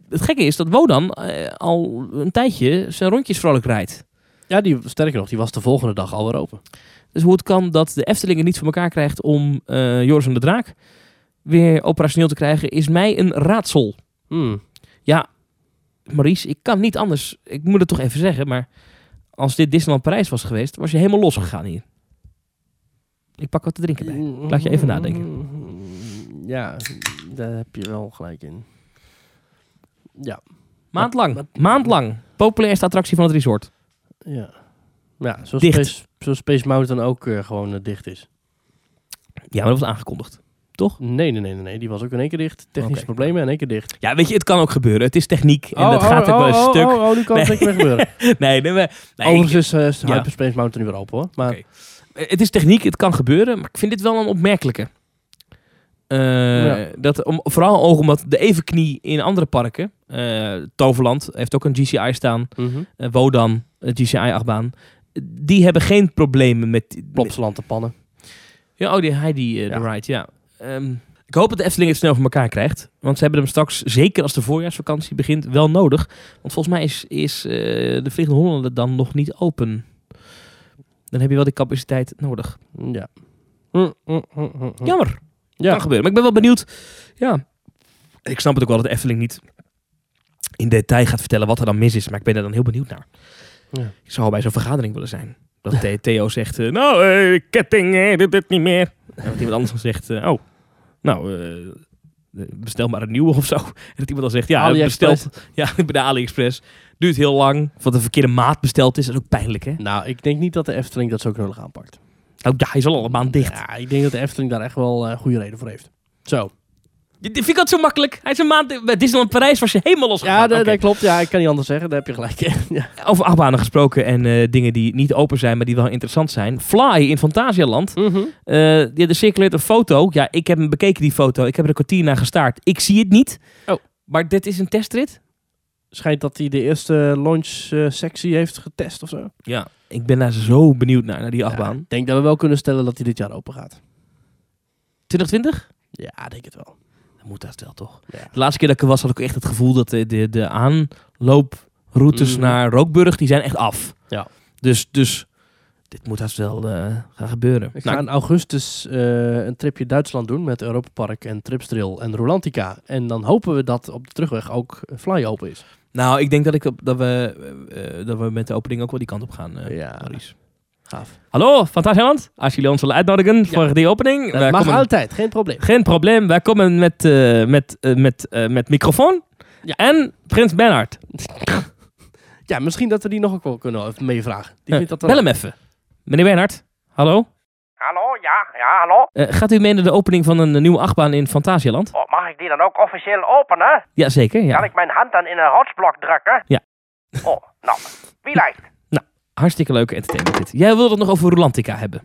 [SPEAKER 2] het gekke is dat Wodan eh, al een tijdje zijn rondjes vrolijk rijdt.
[SPEAKER 1] Ja, die, sterker nog, die was de volgende dag alweer open.
[SPEAKER 2] Dus hoe het kan dat de Efteling het niet voor elkaar krijgt om eh, Joris en de Draak weer operationeel te krijgen, is mij een raadsel.
[SPEAKER 1] Hmm.
[SPEAKER 2] Maurice, ik kan niet anders. Ik moet het toch even zeggen, maar als dit Disneyland Parijs was geweest, was je helemaal losgegaan hier. Ik pak wat te drinken bij. Laat je even nadenken.
[SPEAKER 1] Mm-hmm. Ja, daar heb je wel gelijk in. Ja,
[SPEAKER 2] Maandlang.
[SPEAKER 1] Wat- wat-
[SPEAKER 2] Maandlang. Populairste attractie van het resort.
[SPEAKER 1] ja. Ja, zoals,
[SPEAKER 2] Dicht.
[SPEAKER 1] Space, zoals Space Mountain ook eh, gewoon eh, dicht is.
[SPEAKER 2] Ja, maar dat was aangekondigd. Toch?
[SPEAKER 1] Nee, nee, nee, nee, nee. Die was ook in één keer dicht. Technische
[SPEAKER 2] Oké.
[SPEAKER 1] problemen in één keer dicht.
[SPEAKER 2] Ja, weet je, het kan ook gebeuren. Het is techniek en dat gaat ook wel eens
[SPEAKER 1] oh,
[SPEAKER 2] stuk.
[SPEAKER 1] Oh, oh, nu kan het
[SPEAKER 2] Nee.
[SPEAKER 1] niks meer gebeuren.
[SPEAKER 2] Nee, nee, nee. nee,
[SPEAKER 1] Overigens is eh, is
[SPEAKER 2] Ja.
[SPEAKER 1] Hyperspace Mountain nu weer open hoor. Maar
[SPEAKER 2] Oké. Het is techniek, het kan gebeuren, maar ik vind dit wel een opmerkelijke. Eh,
[SPEAKER 1] Ja.
[SPEAKER 2] dat om, vooral ook omdat de evenknie in andere parken, eh, Toverland heeft ook een GCI staan,
[SPEAKER 1] mhm.
[SPEAKER 2] eh, Wodan, een GCI-achtbaan, die hebben geen problemen met...
[SPEAKER 1] Plopsaland te pannen.
[SPEAKER 2] Ja, oh, die Heidi eh, de
[SPEAKER 1] Ja.
[SPEAKER 2] Ride, ja. Ehm, ik hoop dat de Efteling het snel voor elkaar krijgt. Want ze hebben hem straks, zeker als de voorjaarsvakantie begint, wel nodig. Want volgens mij is, is eh, de Vliegende Hollander dan nog niet open. Dan heb je wel die capaciteit nodig.
[SPEAKER 1] Mm-hmm. Ja.
[SPEAKER 2] Mm,
[SPEAKER 1] Hm.
[SPEAKER 2] Jammer.
[SPEAKER 1] Ja.
[SPEAKER 2] Kan gebeuren. Maar ik ben wel benieuwd. Ja. Ik snap het ook wel dat de Efteling niet in detail gaat vertellen wat er dan mis is. Maar ik ben er dan heel benieuwd naar.
[SPEAKER 1] Ja.
[SPEAKER 2] Ik zou bij zo'n vergadering willen zijn. Dat The- Theo zegt, eh, nou, eh, ketting, eh, dit, dit niet meer. En dat iemand anders dan zegt, eh, oh, nou, eh, bestel maar een nieuwe of zo. En dat iemand dan zegt, ja,
[SPEAKER 1] AliExpress.
[SPEAKER 2] besteld. Ja, bij de AliExpress. Duurt heel lang, wat de verkeerde maat besteld is. Dat is ook pijnlijk, hè?
[SPEAKER 1] Nou, ik denk niet dat de Efteling dat zo knullig aanpakt.
[SPEAKER 2] Nou, ja, hij is al allemaal dicht.
[SPEAKER 1] Ja, ik denk dat de Efteling daar echt wel eh, goede reden voor heeft. Zo.
[SPEAKER 2] Je- Vind ik dat zo makkelijk? Hij is een maand bij Disneyland Parijs was je helemaal losgegaan.
[SPEAKER 1] Ja, dat,
[SPEAKER 2] Oké.
[SPEAKER 1] dat klopt. Ja, ik kan niet anders zeggen. Daar heb je gelijk. in. ja.
[SPEAKER 2] Over achtbanen gesproken en eh, dingen die niet open zijn, maar die wel interessant zijn. Fly in Fantasialand.
[SPEAKER 1] Mhm.
[SPEAKER 2] Eh, ja, er circuleert een foto. Ja, ik heb hem bekeken, die foto. Ik heb er een kwartier naar gestaard. Ik zie het niet.
[SPEAKER 1] Oh.
[SPEAKER 2] Maar dit is een testrit?
[SPEAKER 1] Schijnt dat hij de eerste launch-sectie heeft getest of zo.
[SPEAKER 2] Ja. Ik ben daar zo benieuwd naar, naar die
[SPEAKER 1] Ja,
[SPEAKER 2] achtbaan.
[SPEAKER 1] ik denk dat we wel kunnen stellen dat hij dit jaar open gaat.
[SPEAKER 2] 2020?
[SPEAKER 1] Ja, ik denk het wel.
[SPEAKER 2] Dat moet dat wel, toch?
[SPEAKER 1] Ja.
[SPEAKER 2] De laatste keer dat ik er was, had ik echt het gevoel dat de, de, de aanlooproutes
[SPEAKER 1] Mhm.
[SPEAKER 2] naar Rookburg, die zijn echt af.
[SPEAKER 1] Ja.
[SPEAKER 2] Dus, dus dit moet dat wel eh, gaan gebeuren.
[SPEAKER 1] Ik ga
[SPEAKER 2] Nou,
[SPEAKER 1] in augustus eh, een tripje Duitsland doen met Europa Park en Tripsdrill en Rolantica. En dan hopen we dat op de terugweg ook eh, Fly open is.
[SPEAKER 2] Nou, ik denk dat, ik, op- dat, we, eh, eh, dat we met de opening ook wel die kant op gaan, eh,
[SPEAKER 1] Ja.
[SPEAKER 2] Maurice.
[SPEAKER 1] Gaaf.
[SPEAKER 2] Hallo, Fantasialand. Als jullie ons willen uitnodigen voor die opening.
[SPEAKER 1] Dat
[SPEAKER 2] wij
[SPEAKER 1] mag
[SPEAKER 2] komen-
[SPEAKER 1] altijd, geen probleem.
[SPEAKER 2] Geen probleem. Wij komen met, eh, met, eh, met, eh, met microfoon
[SPEAKER 1] Ja.
[SPEAKER 2] en Prins Bernhard.
[SPEAKER 1] Ja, misschien dat we die nog ook wel kunnen meevragen. Die
[SPEAKER 2] Eh,
[SPEAKER 1] vindt dat wel
[SPEAKER 2] Bel hem even. Meneer Bernhard, hallo.
[SPEAKER 3] Hallo, ja, ja, hallo.
[SPEAKER 2] Eh, gaat u mee naar de opening van een nieuwe achtbaan in Fantasialand?
[SPEAKER 3] Oh, mag ik die dan ook officieel openen?
[SPEAKER 2] Jazeker, ja.
[SPEAKER 3] Kan ik mijn hand dan in een rotsblok drukken?
[SPEAKER 2] Ja.
[SPEAKER 3] Oh, nou, wie lijkt?
[SPEAKER 2] Hartstikke leuke entertainment dit. Jij wilde het nog over Rolantica hebben.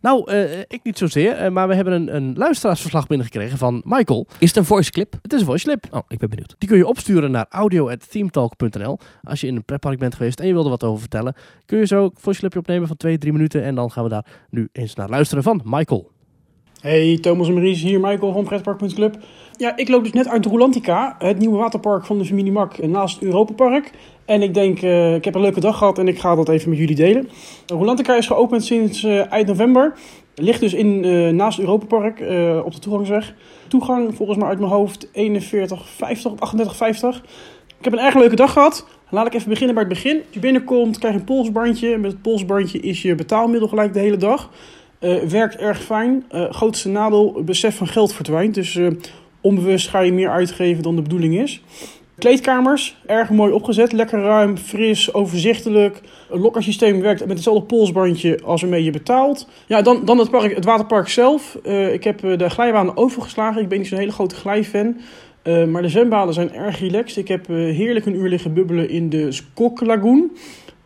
[SPEAKER 1] Nou, eh, ik niet zozeer, eh, maar we hebben een, een luisteraarsverslag binnengekregen van Michael.
[SPEAKER 2] Is het een voice clip?
[SPEAKER 1] Het is een voice clip.
[SPEAKER 2] Oh, ik ben benieuwd.
[SPEAKER 1] Die kun je opsturen naar audio.themetalk.nl. Als je in een pretpark bent geweest en je wilde wat over vertellen, kun je zo een voice clipje opnemen van 2, 3 minuten. En dan gaan we daar nu eens naar luisteren van Michael.
[SPEAKER 4] Hey, Thomas en Maurice hier, Michael van pretpark.club. Ja, ik loop dus net uit Rolantica, het nieuwe waterpark van de familie Mak naast Europapark. En ik denk, eh, ik heb een leuke dag gehad en ik ga dat even met jullie delen. Rolantica is geopend sinds eh, eind november. Ligt dus in, eh, naast Europapark eh, op de toegangsweg. Toegang volgens mij uit mijn hoofd 41,50 op 38,50. Ik heb een erg leuke dag gehad. Laat ik even beginnen bij het begin. Als je binnenkomt, krijg je een polsbandje. Met het polsbandje is je betaalmiddel gelijk de hele dag. Eh, werkt erg fijn. Eh, grootste nadeel, het besef van geld verdwijnt. Dus eh, onbewust ga je meer uitgeven dan de bedoeling is. Kleedkamers, erg mooi opgezet. Lekker ruim, fris, overzichtelijk. Een lokkersysteem werkt met hetzelfde polsbandje als ermee je betaalt. Ja, dan, dan het, park, het waterpark zelf. Eh, ik heb eh, de glijbanen overgeslagen. Ik ben niet zo'n hele grote glijfan. Eh, maar de zwembaden zijn erg relaxed. Ik heb eh, heerlijk een uur liggen bubbelen in de Skok Lagoon.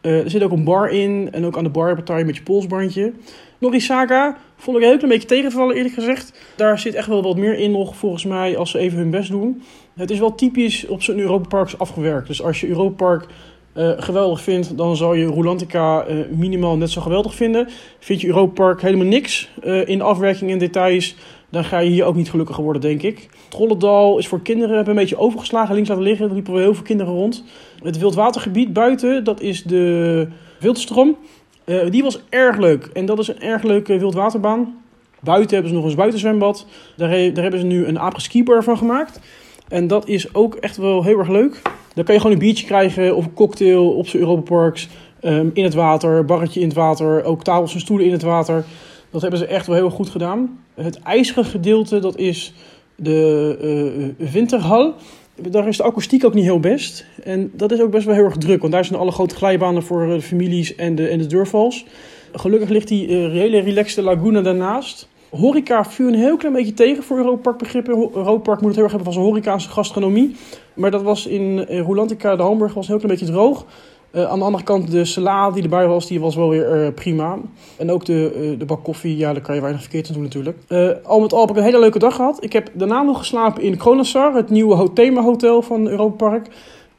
[SPEAKER 4] Eh, er zit ook een bar in. En ook aan de bar betaal je met je polsbandje. Norisaga vond ik een heel klein beetje tegenvallen eerlijk gezegd. Daar zit echt wel wat meer in nog volgens mij als ze even hun best doen. Het is wel typisch op zo'n Europaparks afgewerkt. Dus als je Europapark eh geweldig vindt, dan zal je Rolantica eh, minimaal net zo geweldig vinden. Vind je Europapark helemaal niks eh, in de afwerking en details, dan ga je hier ook niet gelukkiger worden denk ik. Trollendal is voor kinderen, hebben we een beetje overgeslagen links laten liggen. Er liepen wel heel veel kinderen rond. Het wildwatergebied buiten, dat is de Wildstroom. Eh, die was erg leuk. En dat is een erg leuke wildwaterbaan. Buiten hebben ze nog eens buitenzwembad. Daar, he- daar hebben ze nu een apres bar van gemaakt. En dat is ook echt wel heel erg leuk. Daar kan je gewoon een biertje krijgen of een cocktail op z'n Europaparks. Ehm in het water, barretje in het water, ook tafels en stoelen in het water. Dat hebben ze echt wel heel goed gedaan. Het ijzige gedeelte, dat is de eh winterhal. Daar is de akoestiek ook niet heel best. En dat is ook best wel heel erg druk, want daar zijn alle grote glijbanen voor eh, de families en de, en de deurvals. Gelukkig ligt die eh hele relaxte laguna daarnaast. Horeca viel een heel klein beetje tegen voor Europark begrippen. Ho- Europark moet het heel erg hebben van zijn horeca en zijn gastronomie. Maar dat was in eh, Rolantica, de hamburger, was een heel klein beetje droog. Eh, aan de andere kant, de salade die erbij was, die was wel weer eh, prima. En ook de, eh, de bak koffie, ja, daar kan je weinig verkeerd aan doen natuurlijk. Eh, al met al heb ik een hele leuke dag gehad. Ik heb daarna nog geslapen in Kronasar, het nieuwe ho- themahotel van Europa Park.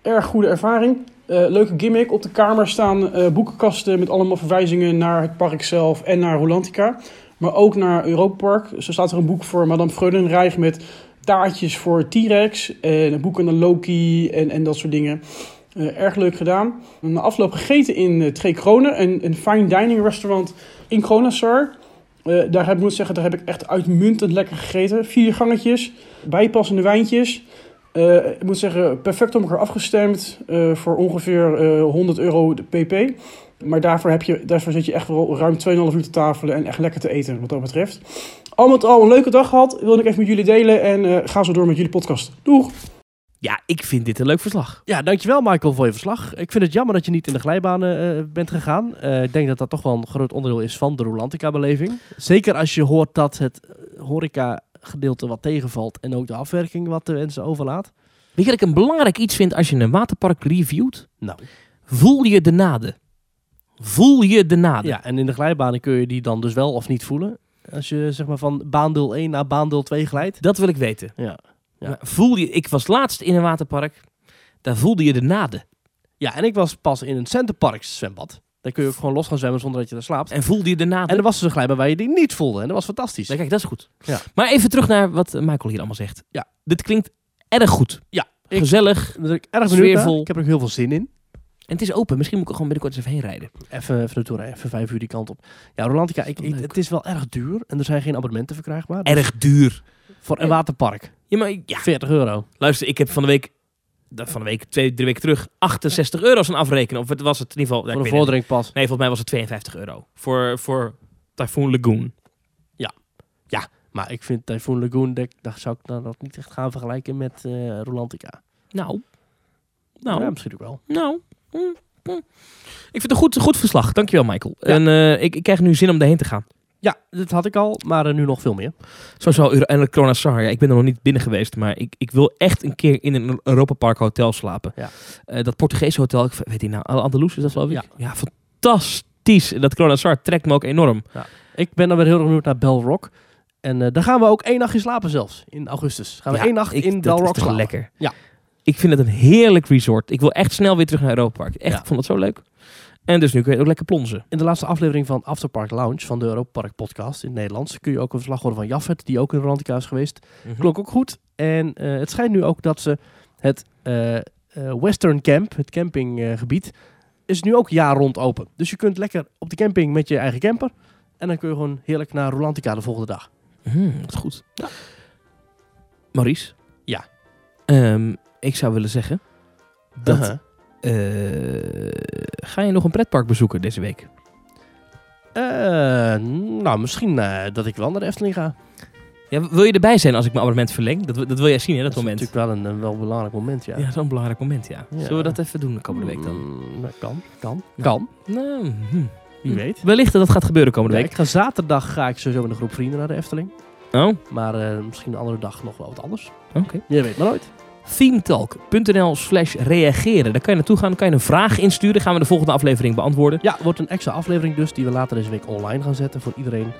[SPEAKER 4] Erg goede ervaring. Eh, leuke gimmick. Op de kamer staan eh, boekenkasten met allemaal verwijzingen naar het park zelf en naar Rolantica. Maar ook naar Europa Park. Zo staat er een boek voor Madame Freudenreich met taartjes voor T-Rex. En een boek aan de Loki en, en dat soort dingen. Eh, erg leuk gedaan. Na afloop gegeten in eh, Twee Kronen, een, een fine dining restaurant in Kronasar. Eh, daar heb, moet ik zeggen, daar heb ik echt uitmuntend lekker gegeten. Vier gangetjes, bijpassende wijntjes. Eh, ik moet zeggen, perfect op elkaar afgestemd eh, voor ongeveer eh, 100 euro de pp. Maar daarvoor, heb je, daarvoor zit je echt wel ruim 2,5 uur te tafelen en echt lekker te eten, wat dat betreft. Al met al een leuke dag gehad. Wilde ik even met jullie delen en eh, ga zo door met jullie podcast. Doeg!
[SPEAKER 2] Ja, ik vind dit een leuk verslag.
[SPEAKER 1] Ja, dankjewel Michael voor je verslag. Ik vind het jammer dat je niet in de glijbanen eh, bent gegaan. Eh, ik denk dat dat toch wel een groot onderdeel is van de Rolantica-beleving. Zeker als je hoort dat het eh, horeca-gedeelte wat tegenvalt en ook de afwerking wat de wensen overlaat.
[SPEAKER 2] Weet je wat ik een belangrijk iets vind als je een waterpark reviewt?
[SPEAKER 1] Nou,
[SPEAKER 2] Voel je de naden. Voel je Ah, de naden.
[SPEAKER 1] ja, en in de glijbanen kun je die dan dus wel of niet voelen. Als je zeg maar van baandeel 1 naar baandeel 2 glijdt.
[SPEAKER 2] Dat wil ik weten.
[SPEAKER 1] Ja. Ja.
[SPEAKER 2] Maar Voel je, ik was laatst in een waterpark. Daar voelde je de naden.
[SPEAKER 1] ja, en ik was pas in een Centerpark zwembad. Daar kun je ook gewoon los gaan zwemmen zonder dat je daar slaapt.
[SPEAKER 2] En voelde je de naden.
[SPEAKER 1] En er was dus een glijbaan waar je die niet voelde. En dat was fantastisch.
[SPEAKER 2] Nou, kijk, dat is goed.
[SPEAKER 1] Ja.
[SPEAKER 2] Maar even terug naar wat eh, Michael hier allemaal zegt.
[SPEAKER 1] Ja.
[SPEAKER 2] Dit klinkt erg goed.
[SPEAKER 1] Ja, ik-
[SPEAKER 2] Gezellig.
[SPEAKER 1] Daar ben ik erg benieuwd naar.
[SPEAKER 2] Sfeervol.
[SPEAKER 1] Ik heb er ook heel veel zin in.
[SPEAKER 2] En het is open. Misschien moet ik er gewoon binnenkort eens even heen rijden.
[SPEAKER 1] Even, even naartoe rijden, even vijf uur die kant op. Ja, Rolantica, ik, ik-
[SPEAKER 2] Leuk.
[SPEAKER 1] het is wel erg duur en er zijn geen abonnementen verkrijgbaar. Dus
[SPEAKER 2] Erg duur.
[SPEAKER 1] voor een waterpark,
[SPEAKER 2] Ja, maar ja.
[SPEAKER 1] 40 euro.
[SPEAKER 2] Luister, ik heb van de week... dat Van de week, twee, drie weken terug, 68 euro aan afrekenen. Of het was het in ieder geval... ja, ik
[SPEAKER 1] voor een
[SPEAKER 2] weet het niet.
[SPEAKER 1] vordering pas.
[SPEAKER 2] Nee, volgens mij was het 52 euro. Voor, voor Typhoon Lagoon.
[SPEAKER 1] Maar ik vind Typhoon Lagoon, dat, dat zou ik nou dat niet echt gaan vergelijken met eh Rolantica.
[SPEAKER 2] Nou. Nou.
[SPEAKER 1] Ja, misschien ook wel.
[SPEAKER 2] Nou. mm, mm. Ik vind het een goed, goed verslag. Dankjewel, Michael. En eh, ik, ik krijg nu zin om daarheen te gaan.
[SPEAKER 1] Ja, dat had ik al, maar eh, nu nog veel meer.
[SPEAKER 2] Sowieso Euro- en Kronasar. Ja, ik ben er nog niet binnen geweest, maar ik, ik wil echt een keer in een Europa Park hotel slapen.
[SPEAKER 1] Ja.
[SPEAKER 2] Eh, dat Portugese hotel, ik weet die nou, Al- Andalus is dat geloof ik?
[SPEAKER 1] Ja.
[SPEAKER 2] fantastisch. En Dat Kronasar trekt me ook enorm.
[SPEAKER 1] Ik ben dan weer heel erg benieuwd naar Belrock. En eh, daar gaan we ook één nachtje slapen zelfs, in augustus. Gaan we
[SPEAKER 2] Ja,
[SPEAKER 1] één nacht
[SPEAKER 2] ik-
[SPEAKER 1] in
[SPEAKER 2] dat is
[SPEAKER 1] Belrock
[SPEAKER 2] toch
[SPEAKER 1] slapen.
[SPEAKER 2] lekker.
[SPEAKER 1] Ja.
[SPEAKER 2] Ik vind het een heerlijk resort. Ik wil echt snel weer terug naar Europa Park. Echt,
[SPEAKER 1] Ja.
[SPEAKER 2] ik vond het zo leuk. En dus nu kun je ook lekker plonzen.
[SPEAKER 1] In de laatste aflevering van Afterpark Lounge van de Europark podcast in het Nederlands kun je ook een verslag horen van Jaffet, die ook in Rolantica is geweest. klonk ook goed. En eh, het schijnt nu ook dat ze het eh, eh, Western Camp, het campinggebied, is nu ook jaar rond open. Dus je kunt lekker op de camping met je eigen camper. En dan kun je gewoon heerlijk naar Rolantica de volgende dag.
[SPEAKER 2] Hmm, dat is goed.
[SPEAKER 1] Ja.
[SPEAKER 2] Maurice?
[SPEAKER 1] Ja.
[SPEAKER 2] Ehm, ik zou willen zeggen dat...
[SPEAKER 1] Uh-huh.
[SPEAKER 2] Eh, ga je nog een pretpark bezoeken deze week?
[SPEAKER 1] Eh, nou, misschien eh, dat ik wel naar de Efteling ga.
[SPEAKER 2] Ja, wil je erbij zijn als ik mijn abonnement verleng? Dat, dat wil jij zien, hè, dat,
[SPEAKER 1] is
[SPEAKER 2] moment.
[SPEAKER 1] natuurlijk wel een, een wel belangrijk moment, ja.
[SPEAKER 2] Ja, zo'n belangrijk moment, ja.
[SPEAKER 1] Ja.
[SPEAKER 2] Zullen we dat even doen de komende week dan?
[SPEAKER 1] Mm, nou, kan, kan,
[SPEAKER 2] Ja.
[SPEAKER 1] kan.
[SPEAKER 2] Nou, hm.
[SPEAKER 1] Wie weet.
[SPEAKER 2] Wellicht dat dat gaat gebeuren komende
[SPEAKER 1] Ja,
[SPEAKER 2] week.
[SPEAKER 1] ik ga zaterdag ga ik sowieso met een groep vrienden naar de Efteling.
[SPEAKER 2] Oh, oké.
[SPEAKER 1] Maar eh, misschien een andere dag nog wel wat anders. Je weet maar nooit.
[SPEAKER 2] Themetalk.nl slash reageren. Daar kan je naartoe gaan, dan kan je een vraag insturen. Gaan we de volgende aflevering beantwoorden.
[SPEAKER 1] Ja, wordt een extra aflevering dus die we later deze week online gaan zetten voor iedereen.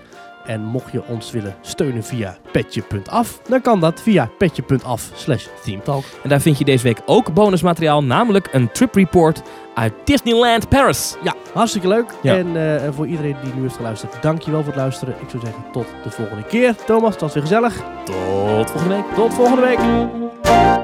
[SPEAKER 1] En mocht je ons willen steunen via petje.af, dan kan dat via petje.af slash teamtalk.
[SPEAKER 2] En daar vind je deze week ook bonusmateriaal, namelijk een trip report uit Disneyland Paris.
[SPEAKER 1] Ja, hartstikke leuk.
[SPEAKER 2] Ja.
[SPEAKER 1] En eh, voor iedereen die nu heeft geluisterd, dankjewel voor het luisteren. Ik zou zeggen tot de volgende keer. Thomas, dat was weer gezellig.
[SPEAKER 2] Tot volgende week.
[SPEAKER 1] Tot volgende week.